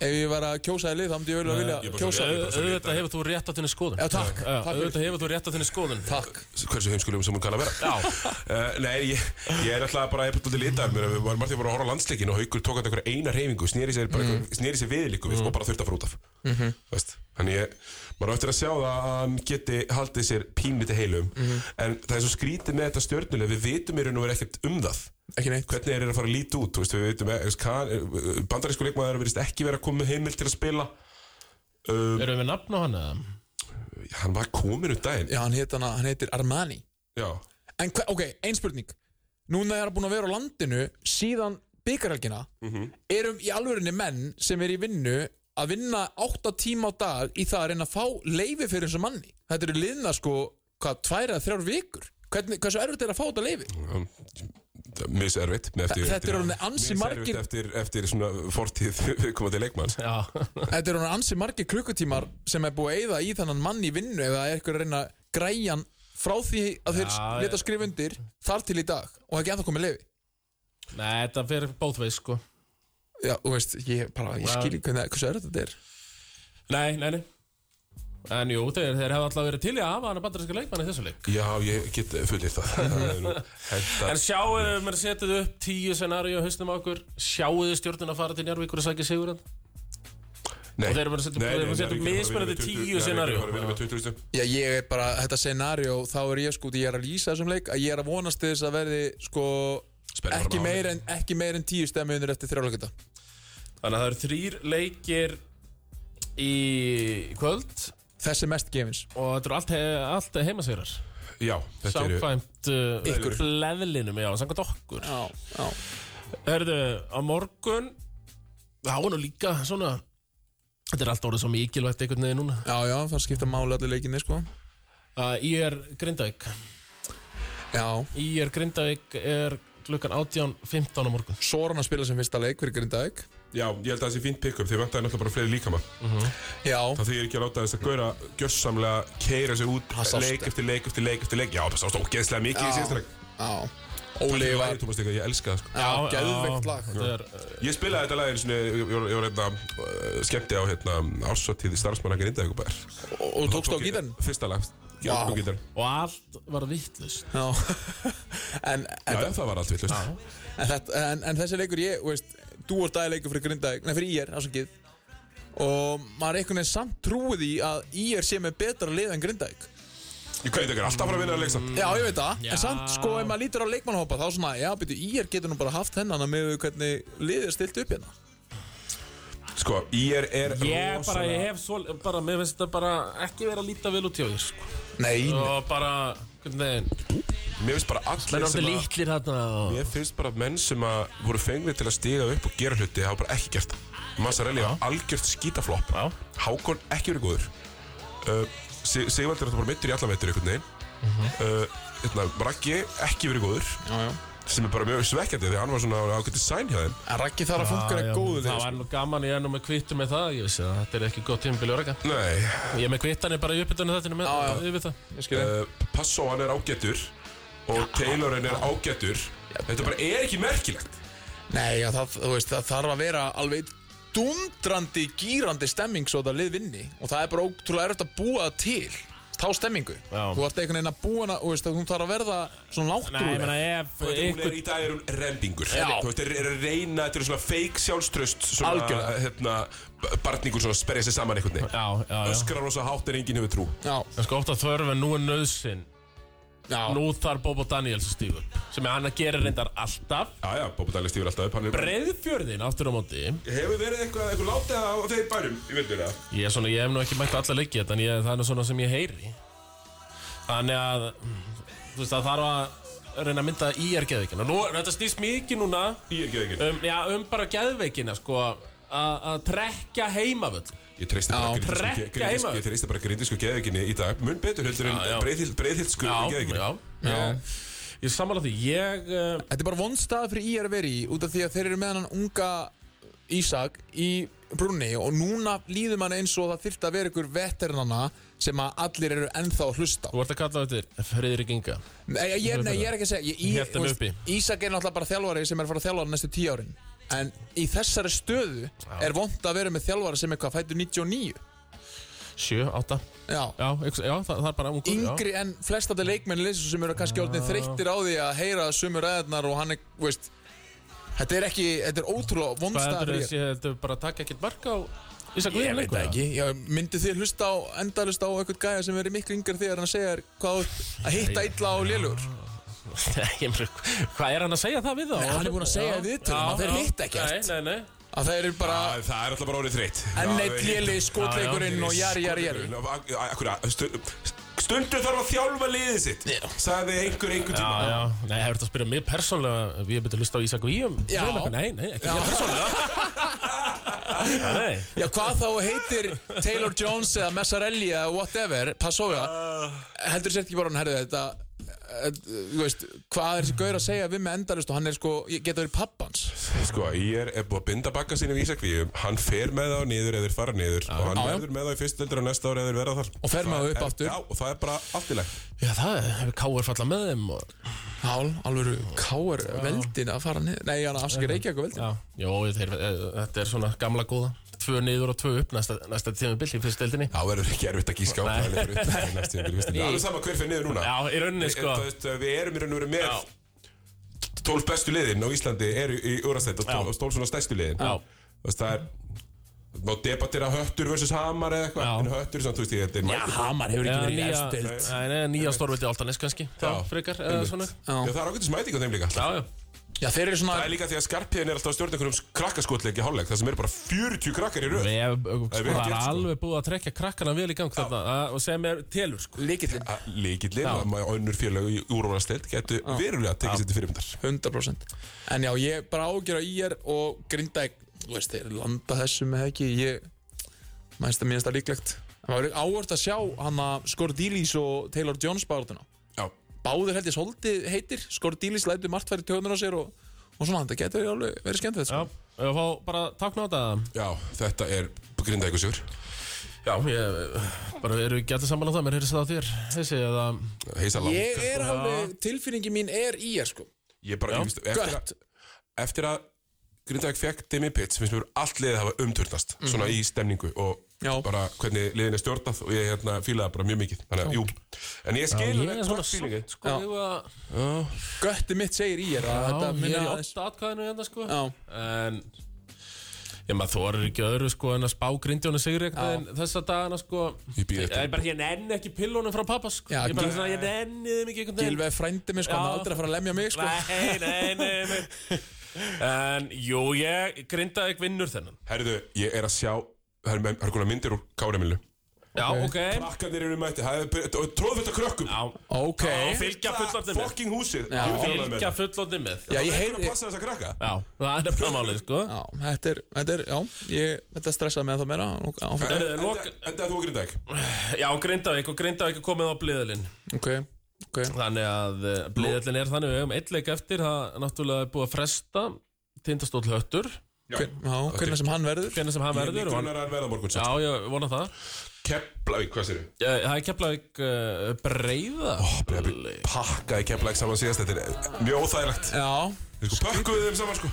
S3: Ef ég var að kjósa þér lið, þá myndi ég vel að
S1: ég
S3: vilja
S1: bara
S3: kjósa
S1: svo-
S3: þér.
S1: bara svo lítið.
S2: Auðvitað hefur þú rétt á þinni skoðun
S3: Já, takk.
S2: Já,
S3: Takk fyrir.
S2: Auðvitað hefur þú rétt á þinni skoðun
S3: Takk.
S1: hversu heimskulum sem hún kann að vera
S2: Já.
S1: Eh, Nei, ég, ég er alltaf bara eitthvað til litar mér, við varum margt að voru að horfa á landsleikin og haukur tók að einhverja eina reyfingu, snýri sér, bara, mm. snýri sér viðlíku við og bara þurfti að fara út af mm Þannig ég, maður á eftir að sjá það að hann geti haldið sér pínlítið heilum en það er svo skrítið með þetta stjörnuleg við vitum í raun og verið ekkert um það
S3: Ekki neitt.
S1: hvernig er það að fara að líti út, þú veist, við veitum bandarísku leikmaður verist ekki vera að koma með heimil til að spila um,
S2: Erum við nafn á hann eða?
S1: hann var komin um daginn
S3: Já, hann, heit hana, hann heitir Armani.
S1: Já,
S3: En hver, ok, ein spurning. Núna er hann búin að vera á landinu síðan byggarhelgina.
S2: Mhm.
S3: Erum í alvörinni menn sem er í vinnu að vinna 8 tíma á dag í það að reyna að fá leifi fyrir þessu manni. Þetta eru liðna sko, hvað, tvær eða þrjár vikur. Hvernig, hversu erfitt er að fá þetta leifi?
S1: mjög erfitt með eftir,
S3: Þetta eru orðnir ansi
S1: miserfitt
S3: margir-
S1: eftir, eftir svona fortíð viðkomandi leikmanns
S2: Já, [LAUGHS]
S3: Þetta eru hann ansi margir klukkutímar sem er búið að eyða í þannan mann í vinnu ef það er eitthvað að reyna að græja hann frá því að þeir
S2: Já,
S3: leta skrifa undir þar til í dag og ekki ennþá komið leiði
S2: nei, þetta fyrir bóðveið sko
S3: Já, þú veist, ég, bara, ég
S2: Já.
S3: skil ekki hvernig hversu er þetta er
S2: Nei, nei, nei En jú, þeir, þeir hefðu alltaf verið til í að hafa hann að bandarinska leikmann í þessu leik
S1: Já, ég get fullir það Það er nú henta-
S2: En sjáu, maður setið upp tíu scenaríu á hausnum á okkur Sjáu þið stjórnuna að fara til Njárvíkur að sækja sigur
S1: Nei.
S2: og þeir eru bara að setja-
S1: Nei, nei,
S2: þeir eru að
S1: nei,
S2: setja
S1: Reykjavík er bara
S2: mismunandi
S1: að vinna með 20 Reykjavík er bara að vinna með
S2: tíu scenaríu.
S1: 20 stig.
S3: Já, ég er bara, þetta scenario, þá er ég sko, ég er að lýsa þessum leik að ég er að vonast til þess að verði sko
S1: Spennan
S3: ekki
S1: var
S3: meir, en, ekki meir en tíu stemmi undir eftir þrjáleikita
S2: Þannig að það eru þrýr leikir í kvöld
S3: Þessi mest gefins
S2: og þetta eru allt, he allt heimasýrar
S1: Já, þetta eru
S2: Samkvæmt uh,
S3: Ykkur.
S2: leðlinum, já, samkvæmt okkur
S3: Já, já
S2: Herðu, á morgun Já, nú líka svona Þetta er allt orðið svo mikilvægt einhvern veginn núna
S3: Já, já, það skipta máli allir leikinni sko
S2: uh, Ég er Grindavík
S3: Já,
S2: Í er Grindavík er klukkan 18.15 á morgun
S3: svo er hann að spila sem fyrsta leik fyrir Grindavík
S1: Já, ég held að það sé fínt pick-up Þeir vantaði náttúrulega bara fleiri líkama
S3: Já,
S1: Það þýðir ekki að láta þess að gauðra Gjörsamlega keira sig út
S3: Það sást.
S1: Leik eftir leik eftir leik eftir leik Já, það sást ógeðslega mikið í
S3: Já.
S1: síðasta leik
S3: já Óli
S1: Ég
S3: var
S1: var Tómas Dikka, ég elska það sko
S3: Já, geðveikt
S2: já,
S3: lag
S2: þetta er,
S1: Ég spilaði þetta lagin sinni, ég var, ég var hérna, uh, skemmti á hérna, ársatíði starfsmanna Grindavíkubæðar.
S3: Og og tókst á gítarn
S1: Fyrsta lag, ég
S3: Vá.
S1: tók á gítarn.
S2: Og allt var vittlust
S3: Já [LAUGHS]
S1: Já,
S3: En, en,
S1: já, það var allt vittlust.
S3: en, þetta- en, en þessi leikur ég, þú veist Þú og dagi leikur fyrir Grindavík, nei fyrir IR, ásakið Og maður einhvern veginn samt trúið í að IR sé með betra lið en Grindavík
S1: Ég kveit ekki, alltaf bara að vinna að leiksa.
S3: Já, ég veit það,
S2: Já.
S3: en samt sko ef maður lítur á leikmannhópa þá svona, já, byrju, IR getur nú bara haft hennan með hvernig liðið er stilt upp hérna
S1: Sko, IR er
S2: Ég bara, ég hef svo bara, Mér finnst þetta bara ekki verið að líta vel út hjá þér sko.
S3: Nei,
S2: Og bara, hvernig þeim
S1: Mér finnst bara allir
S2: Menn orðið
S1: sem að...
S2: lítlir þarna og...
S1: Mér finnst bara að menn sem að voru fengnir til að stíga upp og gera hluti hafa bara ekki gert það. Massarelli var algjört skítaflopp.
S2: Já.
S1: Hákon ekki verið góður. Uh, Sig- Sigvaldur er þetta bara mittur í alla mittur einhvern veginn. Uh, hérna, Raggi ekki verið góður.
S3: já, já
S1: sem er bara mjög svekkjandi því að hann var svona ákveðið sæn hjá þeim
S3: En Raggi þarf að funka
S2: Já,
S3: er
S2: já,
S3: góður
S2: Það var nú gaman, ég er nú með kvittu með það Ég vissi að þetta er ekki góð tímabili orga
S1: Nei,
S2: Ég er með kvittanir bara í uppbytunni þetta með,
S3: Já, já.
S2: yfir það
S3: Ég skil þig.
S1: uh, Passó hann er ágættur og Taylorin er ágættur Þetta bara er ekki merkilegt
S3: Nei, já, það, þú veist, það þarf að vera alveg dundrandi, gýrandi stemming svo það lið vinni og það er bara ótrúlega erfitt að búa það til þá stemmingu
S2: Já.
S3: Þú ert einhvern veginn að búa hana, þú veist, hún þarf að verða svona
S2: Nei, ég meina
S3: náttúrulega
S2: ef
S1: Þú veit, Hún
S2: ykkur
S1: er í dag er hún rembingur
S3: Já.
S1: Þú veist, er, er að reyna, þetta er svona fake sjálfströst Svona,
S3: Algjörlega.
S1: hérna, b- barningur svona sperja sig saman einhvern veginn
S2: Já, já, já
S1: Öskrar rosa hátt en enginn hefur trú
S3: Já,
S2: En sko ofta þörfin, nú er nöðsinn
S3: já,
S2: Nú þarf Bobo Daniels að stíga upp Sem er hann að gera reyndar alltaf
S1: Já, já, Bópa Dæli stífur alltaf upp hann er-
S2: Breiðfjörðin aftur á móti
S1: Hefur verið eitthvað, eitthvað látið á á þeim bærum í vilduna?
S2: Ég, er svona, ég hef nú ekki mætt á alla leikið En ég, það er nú svona sem ég heyri Þannig að mm, Þú veist það þarf að reyna að mynda í er geðveikina Nú, Þetta snýst mikið núna
S1: Í er ekki ekki
S2: um, já, um bara geðveikina sko, a- Að trekja heimavöll
S1: Ég treysti bara
S3: Já.
S1: grindvísku-
S2: Frekka
S1: grindvísku-
S2: heima.
S1: ég treysti bara grindisku geðeginni í dag Mun betur heldur en
S2: Já, já.
S1: breiðhild- breiðhildsku geðeginni
S2: já, já. Ég er sammála því Ég uh,
S3: þetta er bara vond stað fyrir IR að vera í út af því að þeir eru með hann unga Ísak í brunni og núna líður mann eins og það þyrfti að vera ykkur vetternana sem að allir eru ennþá að hlusta á.
S2: Þú ert að kalla þetta Friðrik Inga
S3: Nei, ég, nei, ég er ekki að segja ég, í,
S2: Hélt þeim
S3: þú veist,
S2: uppi.
S3: Ísak er náttúrulega bara þjálfari sem er að fara að þjálfa hann næstu tíu árin En í þessari stöðu er vond að vera með þjálfara sem eitthvað fættur 99
S2: Sjö, átta
S3: Já,
S2: Já, einhvers- já það, það er bara ungur,
S3: yngri en flestandi leikmenn leysins sem eru kannski orðin þreyttir á því að heyra sömu ræðarnar og hann er, þú veist Þetta er ekki, þetta er ótrúlega
S2: já. Hvað heldur
S3: vondstæðar
S2: þessi, heldur bara að taka ekkert mark á Ísa
S3: Ég
S2: Guðjón
S3: veit það ekki, já, myndi þið hlusta á, enda hlusta á eitthvað gæja sem verið miklu yngar þegar hann segir hvað þú ert að hitta illa á lélur
S2: Ég meina, Hvað er hann að segja það við þá?
S3: Nei, hann er búinn að segja
S2: Já.
S3: í viðtölum að
S2: Já,
S3: þeir
S2: já.
S3: hitta ekkert.
S2: Nei, nei, nei
S3: að það eru bara
S1: Æ, Það er alltaf bara orðið þreytt
S3: enn
S1: Já,
S3: eitt
S1: við-
S3: léli skotleikurinn og jari, jari, jari
S1: Ná, ak- akkur að- stu- Stundu þarf að þjálfa liðið sitt
S3: Já.
S1: Sagði einhver einhver
S2: Já,
S1: tíma
S2: já, nei, hefur þetta að spyrja mig persónulega ef ég hef betið að hlusta á Ísak og Íum
S3: Já.
S2: Nei, nei, ekki ég persónulega Nei,
S3: Já, hvað þá heitir Taylor Jones eða Messarelli eða whatever, Passoja heldur sér ekki bara hann, herðu þetta eh, þú veist, hvað er þessi gaur að segja við með endalust og hann er sko, ég geta verið pappans
S1: Sko, ég er búið að binda bakka sín í Ísakvíum Hann fer með þá niður eða þeir fara niður Og hann
S3: Já, já.
S1: verður með þá í fyrst eldur og næsta ári eða þeir verða þar
S3: og fer maður
S1: Er-
S3: upp aftur,
S1: Já, og það er bara allt í lagi
S2: já, það er, hefur Káur falla með þeim og,
S3: hál, alvöru káar veldin að fara niður, nei, hann afsakir reykja eitthvað veldin
S2: Já, jó, þeir, eh, þetta er svona gamla góða Tvö niður og tvö upp næsta, næsta tíma í fyrstu eldinni
S1: Þá verður ekki erfitt að gíska á hvað hann er fyrir upp í næstu tímabil, veist þið. [LAUGHS] Það er alveg sama hver fyrir niður núna
S2: Já, í rauninni,
S1: Við-
S2: sko.
S1: þú veist, Við erum í raun og veru með
S2: Já.
S1: 12 bestu liðin á Íslandi eru í úrastætt og
S2: Já.
S1: 12 og 12 svona stærstu liðin
S2: Já.
S1: Þú veist, það er Má debattera höttur versus hamar eða
S2: Já.
S1: eitthvað En höttur, svona, þú veist, ég- þetta er mægur
S3: Hamar hefur
S2: Eða
S3: í
S2: nýja,
S3: efstu deild.
S2: nei, nei, nýja stórveldi Altanes kannski Þá
S1: Já.
S2: frekar, eða svona
S1: Já, það er ágættis mæting á þeim líka
S2: Já, já,
S3: Já, þeir eru svona
S1: Það er líka því að skarpiðin er alltaf að stjórna einhverjum krakkaskotleik í hálfleik Það sem eru bara 40 krakkar í röð
S2: við,
S1: er
S2: það
S1: vel
S2: er
S1: gert, sko.
S2: alveg búið að trekja krakkana vel í gang þarna að- og sem er telur, sko
S3: líkillin,
S1: Líkillin Ah, og ma- önnur félag í úrvalastelt getur verulega tekið sér til fyrirmyndar
S3: 100% en já, ég bara ágjör að ég er og grinda þú veist, þeir landa þessu með ekki ég, mæst að minnst það líklegt en maður er áhört að sjá hann að Skordílis og Taylor Jones bárðuna
S1: Já,
S3: báður held ég svolítið heitir Skordílis lætur margt færi tjóðnur á sér og, og svona, þetta getur alveg verið skemmtilegt
S2: Já,
S3: sko.
S2: og fá bara tákna á þetta
S1: já, þetta er grinda ykkur sigur
S2: Já, ég, bara eru ekki allir saman á það, mér heyrðist það á þér, þessi, eða,
S1: Heisa lang
S3: ég er alveg, tilfinningi mín er í er sko
S1: Ég bara, ég veist, eftir
S3: gött.
S1: að, eftir að Grindavík fekk Demi Pitts finnst mér allt liðið hafa umturnast svona í stemningu og
S3: Já.
S1: bara hvernig liðin er stjórnað og ég hérna fílaði bara mjög mikið þannig að, jú, en ég skil
S2: ég
S1: alveg
S2: er svona
S1: hvort feelingi.
S2: sátt, sko,
S3: Já.
S2: ég var,
S3: götti mitt segir í er að
S2: já,
S3: þetta
S2: ég
S3: muni
S2: er í
S3: aðeins-
S2: åtta atkvæðinu hérna, sko,
S3: Já.
S2: en, ég maður þorir ekki öðru, sko, en að spá grindjónu sigur eitthvað en þessa dagana, sko,
S1: Ég býð eftir.
S2: ég bara, ég nenni ekki pillunum frá pappa, sko,
S3: Já,
S2: ég bara,
S3: Gil-
S2: svona, ég nenni þeim ekki einhvern
S3: Gilveð frændi mig sko, hann
S2: Já.
S3: er aldrei að fara að lemja mig sko
S2: nei, nei, nei, nei, en, jú, ég grindaði ekki vinnur þennan,
S1: Herðu, ég er að sjá það er- það er konar myndir úr Káramilu
S2: já, ok,
S1: Krakkanir eru mætti, það er tróðfullt af krökkum
S2: já,
S3: ok,
S2: Já, fylgja fullorðnum.
S1: Fokking húsið
S3: Já.
S2: fylgja fullóti með,
S3: já,
S1: Ég
S3: ég
S1: heyr
S3: heyr
S1: að passa þessa krakka
S2: já, það er bara málið, sko,
S3: Já, þetta er, þetta er, já, ég, þetta stressaði mig að það meira og áfram.
S1: En-
S2: Herðu,
S1: Enda
S2: lok-
S1: enda þú að Grindavík
S2: eh,
S3: eh,
S2: Já, Grindavík og Grindavík er komið á bliðalinn
S3: Ok, ok,
S2: Þannig að bliðalinn er þannig við hefum eitt leik eftir það er náttúrulega búið að fresta tindastóll höttur
S3: Hver, já, hvernig sem hann verður.
S2: hvernig sem hann verður og hann,
S1: Grunar að verða morgun
S2: Já, ég vona það
S1: Keflavík, hvað sér
S2: Eh, Það er Keflavík uh, breyða
S1: þau? Pakkaði Keflavík saman síðast Þetta er mjög óþægilegt
S3: Já,
S1: Þeir sko pökkuðu þeim saman sko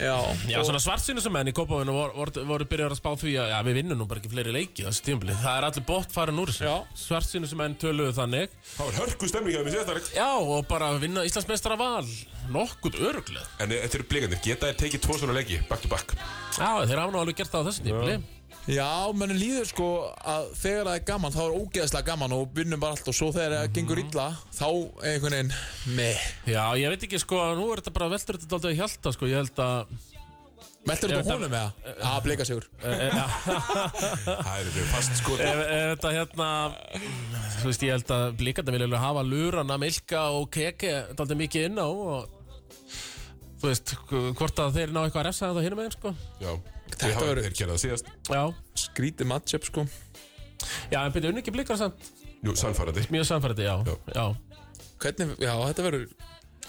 S3: já,
S2: Já,
S3: og-
S2: svona svartsinu sem menn í Kópavinu voru, voru, voru byrjar að spá því að já, við vinnum nú bara ekki fleiri leiki á þessu tímabili Það er allir bótt farin úr
S3: Já.
S2: þessu Svartsinu sem menn töluðu þannig
S1: Það var hörku stemning að mér séð það
S2: Já, og bara vinna Íslandsmeistara val Nokkuð öruglega
S1: En eh, þetta eru blikandir, geta þér tekið tvo svona leiki Back to back
S2: Já, þeir hafa nú alveg gert það á þessu tímabili
S3: já, mann líður sko að þegar það er gaman, þá er ógeðslega gaman og vinnum bara allt og svo þegar það
S2: Mhm.
S3: gengur illa, þá er einhvern veginn, meh.
S2: Já, ég veit ekki sko, nú er þetta bara veldur þetta dálítið að hjálta sko, ég held að
S3: Veltur
S2: Ég
S3: þetta
S2: veit
S3: á honum eða? Já, bleika sigur.
S1: Það er verið fast sko
S2: ef, ef þetta hérna, þú veist, ég held að blíkandi vilja alveg hafa lurana, milka og keke dálítið mikið inn á og þú veist, hvort að þeir ná eitthvað að refsa það hinum með þeim sko.
S1: Já, þeir hafa
S3: verður-
S1: þeir gerað það síðast
S2: Já,
S3: Skrítið matchup sko.
S2: já, en byrja unni ekki blíkar samt,
S1: Jú, sannfærandi
S2: mjög samfærdi, já,
S1: Já.
S2: já.
S3: Hvernig, já, þetta verður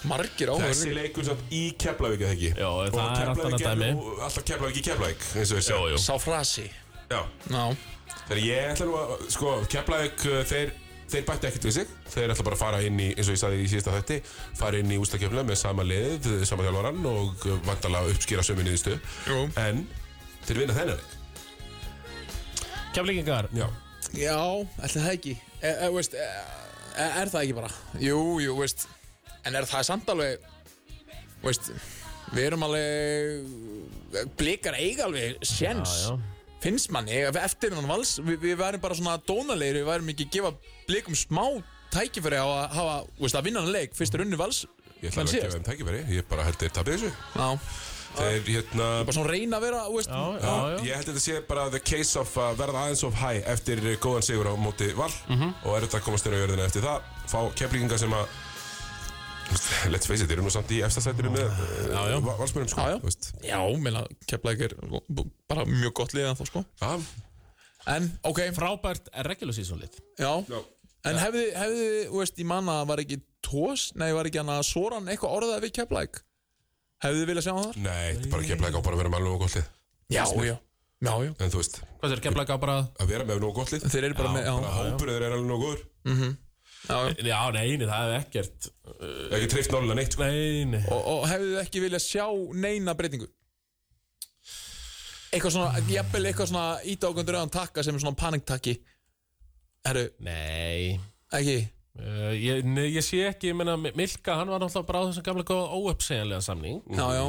S3: margir
S1: Þessi
S3: áhugur.
S1: leikur samt í Keflavík eða ekki
S2: Já, það
S1: Og
S2: er allt
S1: Keflavík
S2: annað dæmi.
S1: nú Alltaf Keflavík í Keflavík eins og þeir segja
S3: Sá frasi.
S1: Já,
S3: Já,
S1: þannig ég ætla nú að Sko, Keflavík, uh, þeir þeir bættu ekkert við sig þeir ætla bara að fara inn í, eins og ég sagði í síðasta þætti fara inn í ústakefna með sama lið eh, sama þjálfarann og vantala uppskýra sömu niðurstöðu.
S3: Jú.
S1: en þeir vinna þennan leik.
S2: Keflingingar,
S1: já,
S3: Já, ætli það ekki e, e, veist, e, e, Er það ekki bara? Jú, jú, veist En er það samt alveg veist, Við erum alveg Blikar eiga alveg Sjens
S2: Já, já.
S3: Finnst manni, eftir hann vals Við, við værum bara svona dónalegri Við værum ekki að gefa blikum smá tækifæri á að hafa, veist, að vinna hann leik fyrst er unni vals
S1: ég ætla alveg að gefa
S3: síðast.
S1: þeim tækifæri ég bara held þeir tapir þessu
S3: Já,
S1: þeir, hérna,
S3: bara svona reyna að vera, veist
S2: já, já,
S1: Já,
S2: já.
S1: ég held að þetta sé bara the case of að verða aðeins of high eftir uh, góðan sigur á móti val
S3: Mhm.
S1: og er þetta að komast þér á jörðina eftir það fá keflinga sem að let's face it, þeir eru nú samt í efstasættinu með
S2: Já, já.
S1: valsmörum sko
S3: Já, já.
S1: þú veist.
S3: Já, meina, keflaði ekki bara mjög gott liðan þá, sko
S1: Já,
S3: En, ok,
S2: frábært regular season lit
S3: já
S1: já.
S3: En hefði, hefði, þú veist, ég manna var ekki Tós, nei, var ekki hann að Soran eitthvað orðað við Keflæk Hefði þið viljað sjá hann þar?
S1: Nei, þetta er bara keflaði á bara að vera með alveg nógu gott lið
S3: Já, já, já, já
S1: en þú veist,
S2: Hvað er keflinga bara
S1: að vera með nógu gott lið
S3: Þeir eru bara
S1: bara
S3: með, já,
S1: hópur þeir eru alveg nógu góður
S3: já, já.
S2: Já, neini, það er ekkert uh,
S1: ekki treyft nálega neitt sko
S2: Neini
S3: Og, og hefði þið ekki viljað sjá neina breytingu? Eitthvað svona, jafnvel eitthvað svona ídágundur öðan takka sem er svona paniktakki Herru,
S2: Nei
S3: ekki
S2: Uh, ég, nei, ég sé ekki, ég meina Milka, hann var náttúrulega bara á þessum gamla góða óuppsegjanlega samning
S3: Já, já,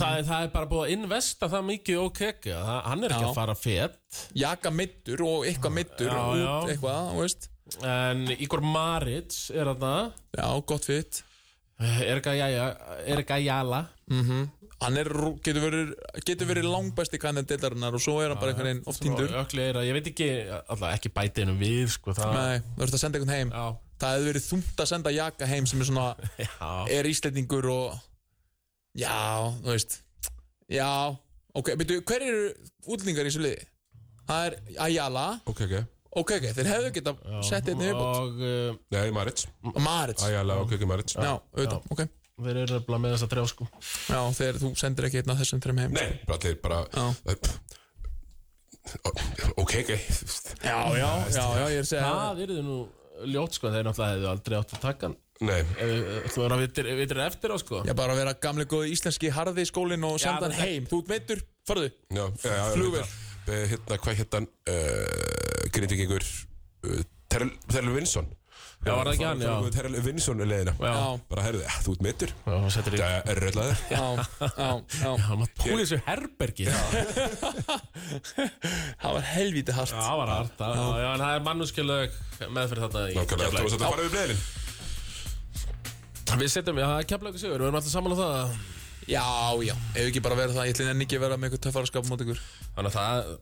S2: það, er- það er bara búið að investa það mikið og kekja, hann er ekki
S3: Já.
S2: að fara fett
S3: jaka middur og eitthvað middur
S2: Já,
S3: út,
S2: já.
S3: eitthvað, þú veist
S2: en Igor Maric er þarna Eh,
S3: Já, gott fit
S2: Erika Jæja, Erika Jala
S3: Hann er, rú- getur verið, getur verið langbæsti kannan deildarinnar og svo er hann bara einhvern veginn oft týndur
S2: ökli er að, ég veit ekki, alltaf ekki bæti innum við, sko, það
S3: Nei, þú ert að senda einhvern heim
S2: já,
S3: Það hefði verið þungt að senda Jaka heim sem er svona,
S2: já,
S3: er íslendingur og Já, þú veist Já, ok, betur, hver eru útlendingar í þessu liði? Það er Ayala,
S1: ok, ok,
S3: ok, ok, þeir hefðu geta sett einnig viðbútt
S2: og uh,
S1: nei, Marits
S3: Og Marits,
S1: ægjala, ok, ok, Marits
S3: já, auðvitað, ok
S2: þeir eru nefnilega með þessa trjá, sko
S3: Já, þegar þú sendir ekki einn af þessum trem heim
S1: nei, bara allir bara
S3: Já.
S1: ok, ok
S3: Já, já, já, já, ég er að segja
S2: það eru nú ljótt, sko, þeir náttúrulega hefðu aldrei átt að taka hann
S1: nei,
S2: Ef- ef þú verður að vitir, vitir eftir á, sko
S3: Já, bara að vera gamli góði íslenski harði í skólinn og
S2: Já,
S3: senda hann
S2: þetta-
S3: heim Þú ert meittur, farðu
S1: já, já, já,
S3: Flugvél.
S1: hérna, eh, hérna, hvað hérna uh, grindvíkingur uh, Terrell Vinson
S2: Já, var það ekki hann, já.
S1: Terrell Vinson leðina
S2: Já.
S1: bara herðu, ja, þú ert mittur
S2: Já, hann setur í
S1: það er röðlaður
S3: Já, já, já
S2: Hann var púið þessu herbergi [LAUGHS] Já,
S3: Það var helvítið hart
S2: það var hart Já, já, en það er mannúskjölaug með fyrir þetta í
S1: nákvæmlega, þú
S2: Keflavík.
S1: veist að það fara við bleðin
S2: Við setjum, já, það er keflaug sigur, við erum alltaf saman á það
S3: Já, já, ef ekki bara verið það, ég ætlum enn ekki að vera með eitthvað töffaraskap mót ykkur
S2: Þannig að það,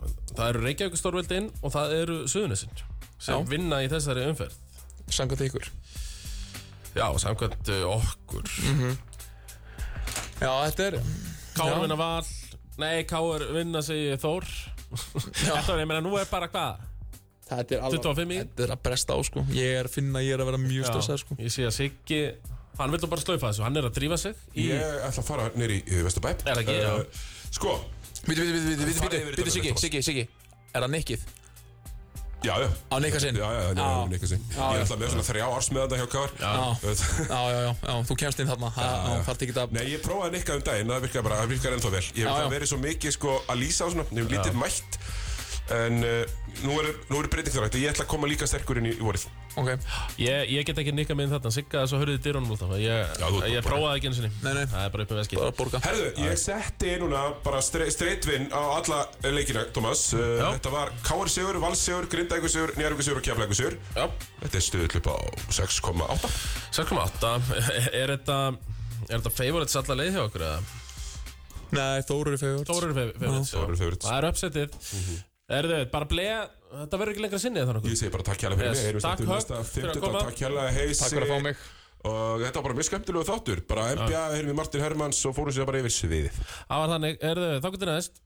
S2: það eru Reykjavík stórveldin og það eru Suðunisinn sem
S3: Já.
S2: vinna í þessari umferð
S3: Samkvæmt ykkur
S2: Já, samkvæmt uh, okkur
S3: Já, þetta er
S2: Káur
S3: Já.
S2: vinna val Nei, Káur vinna sig [LAUGHS] Þór Þetta var, ég meina, nú er bara hvað
S3: Þetta er alveg
S2: 25 í?
S3: Þetta er að bresta á, sko Ég er að finna, að ég er að vera mjög stressað, sko
S2: Ég sé að Siggi, hann vil nú bara slaufa þessu Hann er að drífa sig í
S1: ég ætla að fara nýri í Vesturbæ
S2: Er það ekki, já.
S1: sko,
S3: Býtu, býtu, býtu, býtu,
S1: Farið
S3: býtu,
S1: yfir
S3: býtu,
S1: þetta
S3: Siggi,
S1: með
S3: Siggi, Siggi Er það nikkið?
S1: já, já
S3: Á nikka sinn?
S1: Já, já, já,
S3: Já.
S1: já, já,
S3: Já,
S1: ég
S3: já.
S1: ætla með svona þrjá árs með hjá káar
S3: Já, já, já, já, þú kemst inn þarna Það
S1: já.
S3: það þarf ekki að
S1: Nei, ég prófaði að nikka um daginn, það virkar bara, það virkar ennþá vel Ég hef
S3: Já,
S1: það
S3: já.
S1: verið svo mikið sko að lýsa á svona, ég hef lítið mætt En uh, nú eru nú er breyting þar hægt, ég ætla að koma líka sterkur inn í, í vorið
S3: Ok,
S2: Ég, ég get ekki nikka minn þarna, Sigga, svo hörðu þið dyrunum út af það. Ég,
S1: Já, þú ert
S2: ég
S1: bara-
S2: prófaði ekki einu sinni.
S3: Nei, nei.
S2: Það er bara upp með veskið.
S3: bara að borga
S1: Herðu, ég setti núna bara streitvinn á alla leikina, Thomas uh,
S2: Já.
S1: Þetta var Káar Sigur, Vals Sigur, Grindægur Sigur, Njárvíkur Sigur og Keflægur Sigur
S2: Já,
S1: Þetta er stuðull upp á 6,8
S2: 6,8. [LAUGHS] Er þetta, er þetta favorites allar leið hjá okkur eða?
S3: Nei, Þóru er fegur
S2: Þóru eru fa- favorites. já.
S1: Þór eru favorites.
S2: Það eru uppsettið. Er þau, bara bleið, þetta verður ekki lengra sinnið þannig
S1: Ég
S2: okkur.
S1: segi bara takk hérlega fyrir
S2: Yes,
S1: mig, erum
S2: takk,
S1: stættum
S2: Högg,
S1: næsta
S2: fyrir að
S1: 15,
S2: koma.
S1: takk hérlega heisi
S3: Takk fyrir að fá mig
S1: Og þetta var bara mjög skemmtilegu þáttur, bara NBA, heyrðum við Martin Hermans og fórum sér bara yfir sviðið
S2: Það var þannig, er þau, þá getur næst.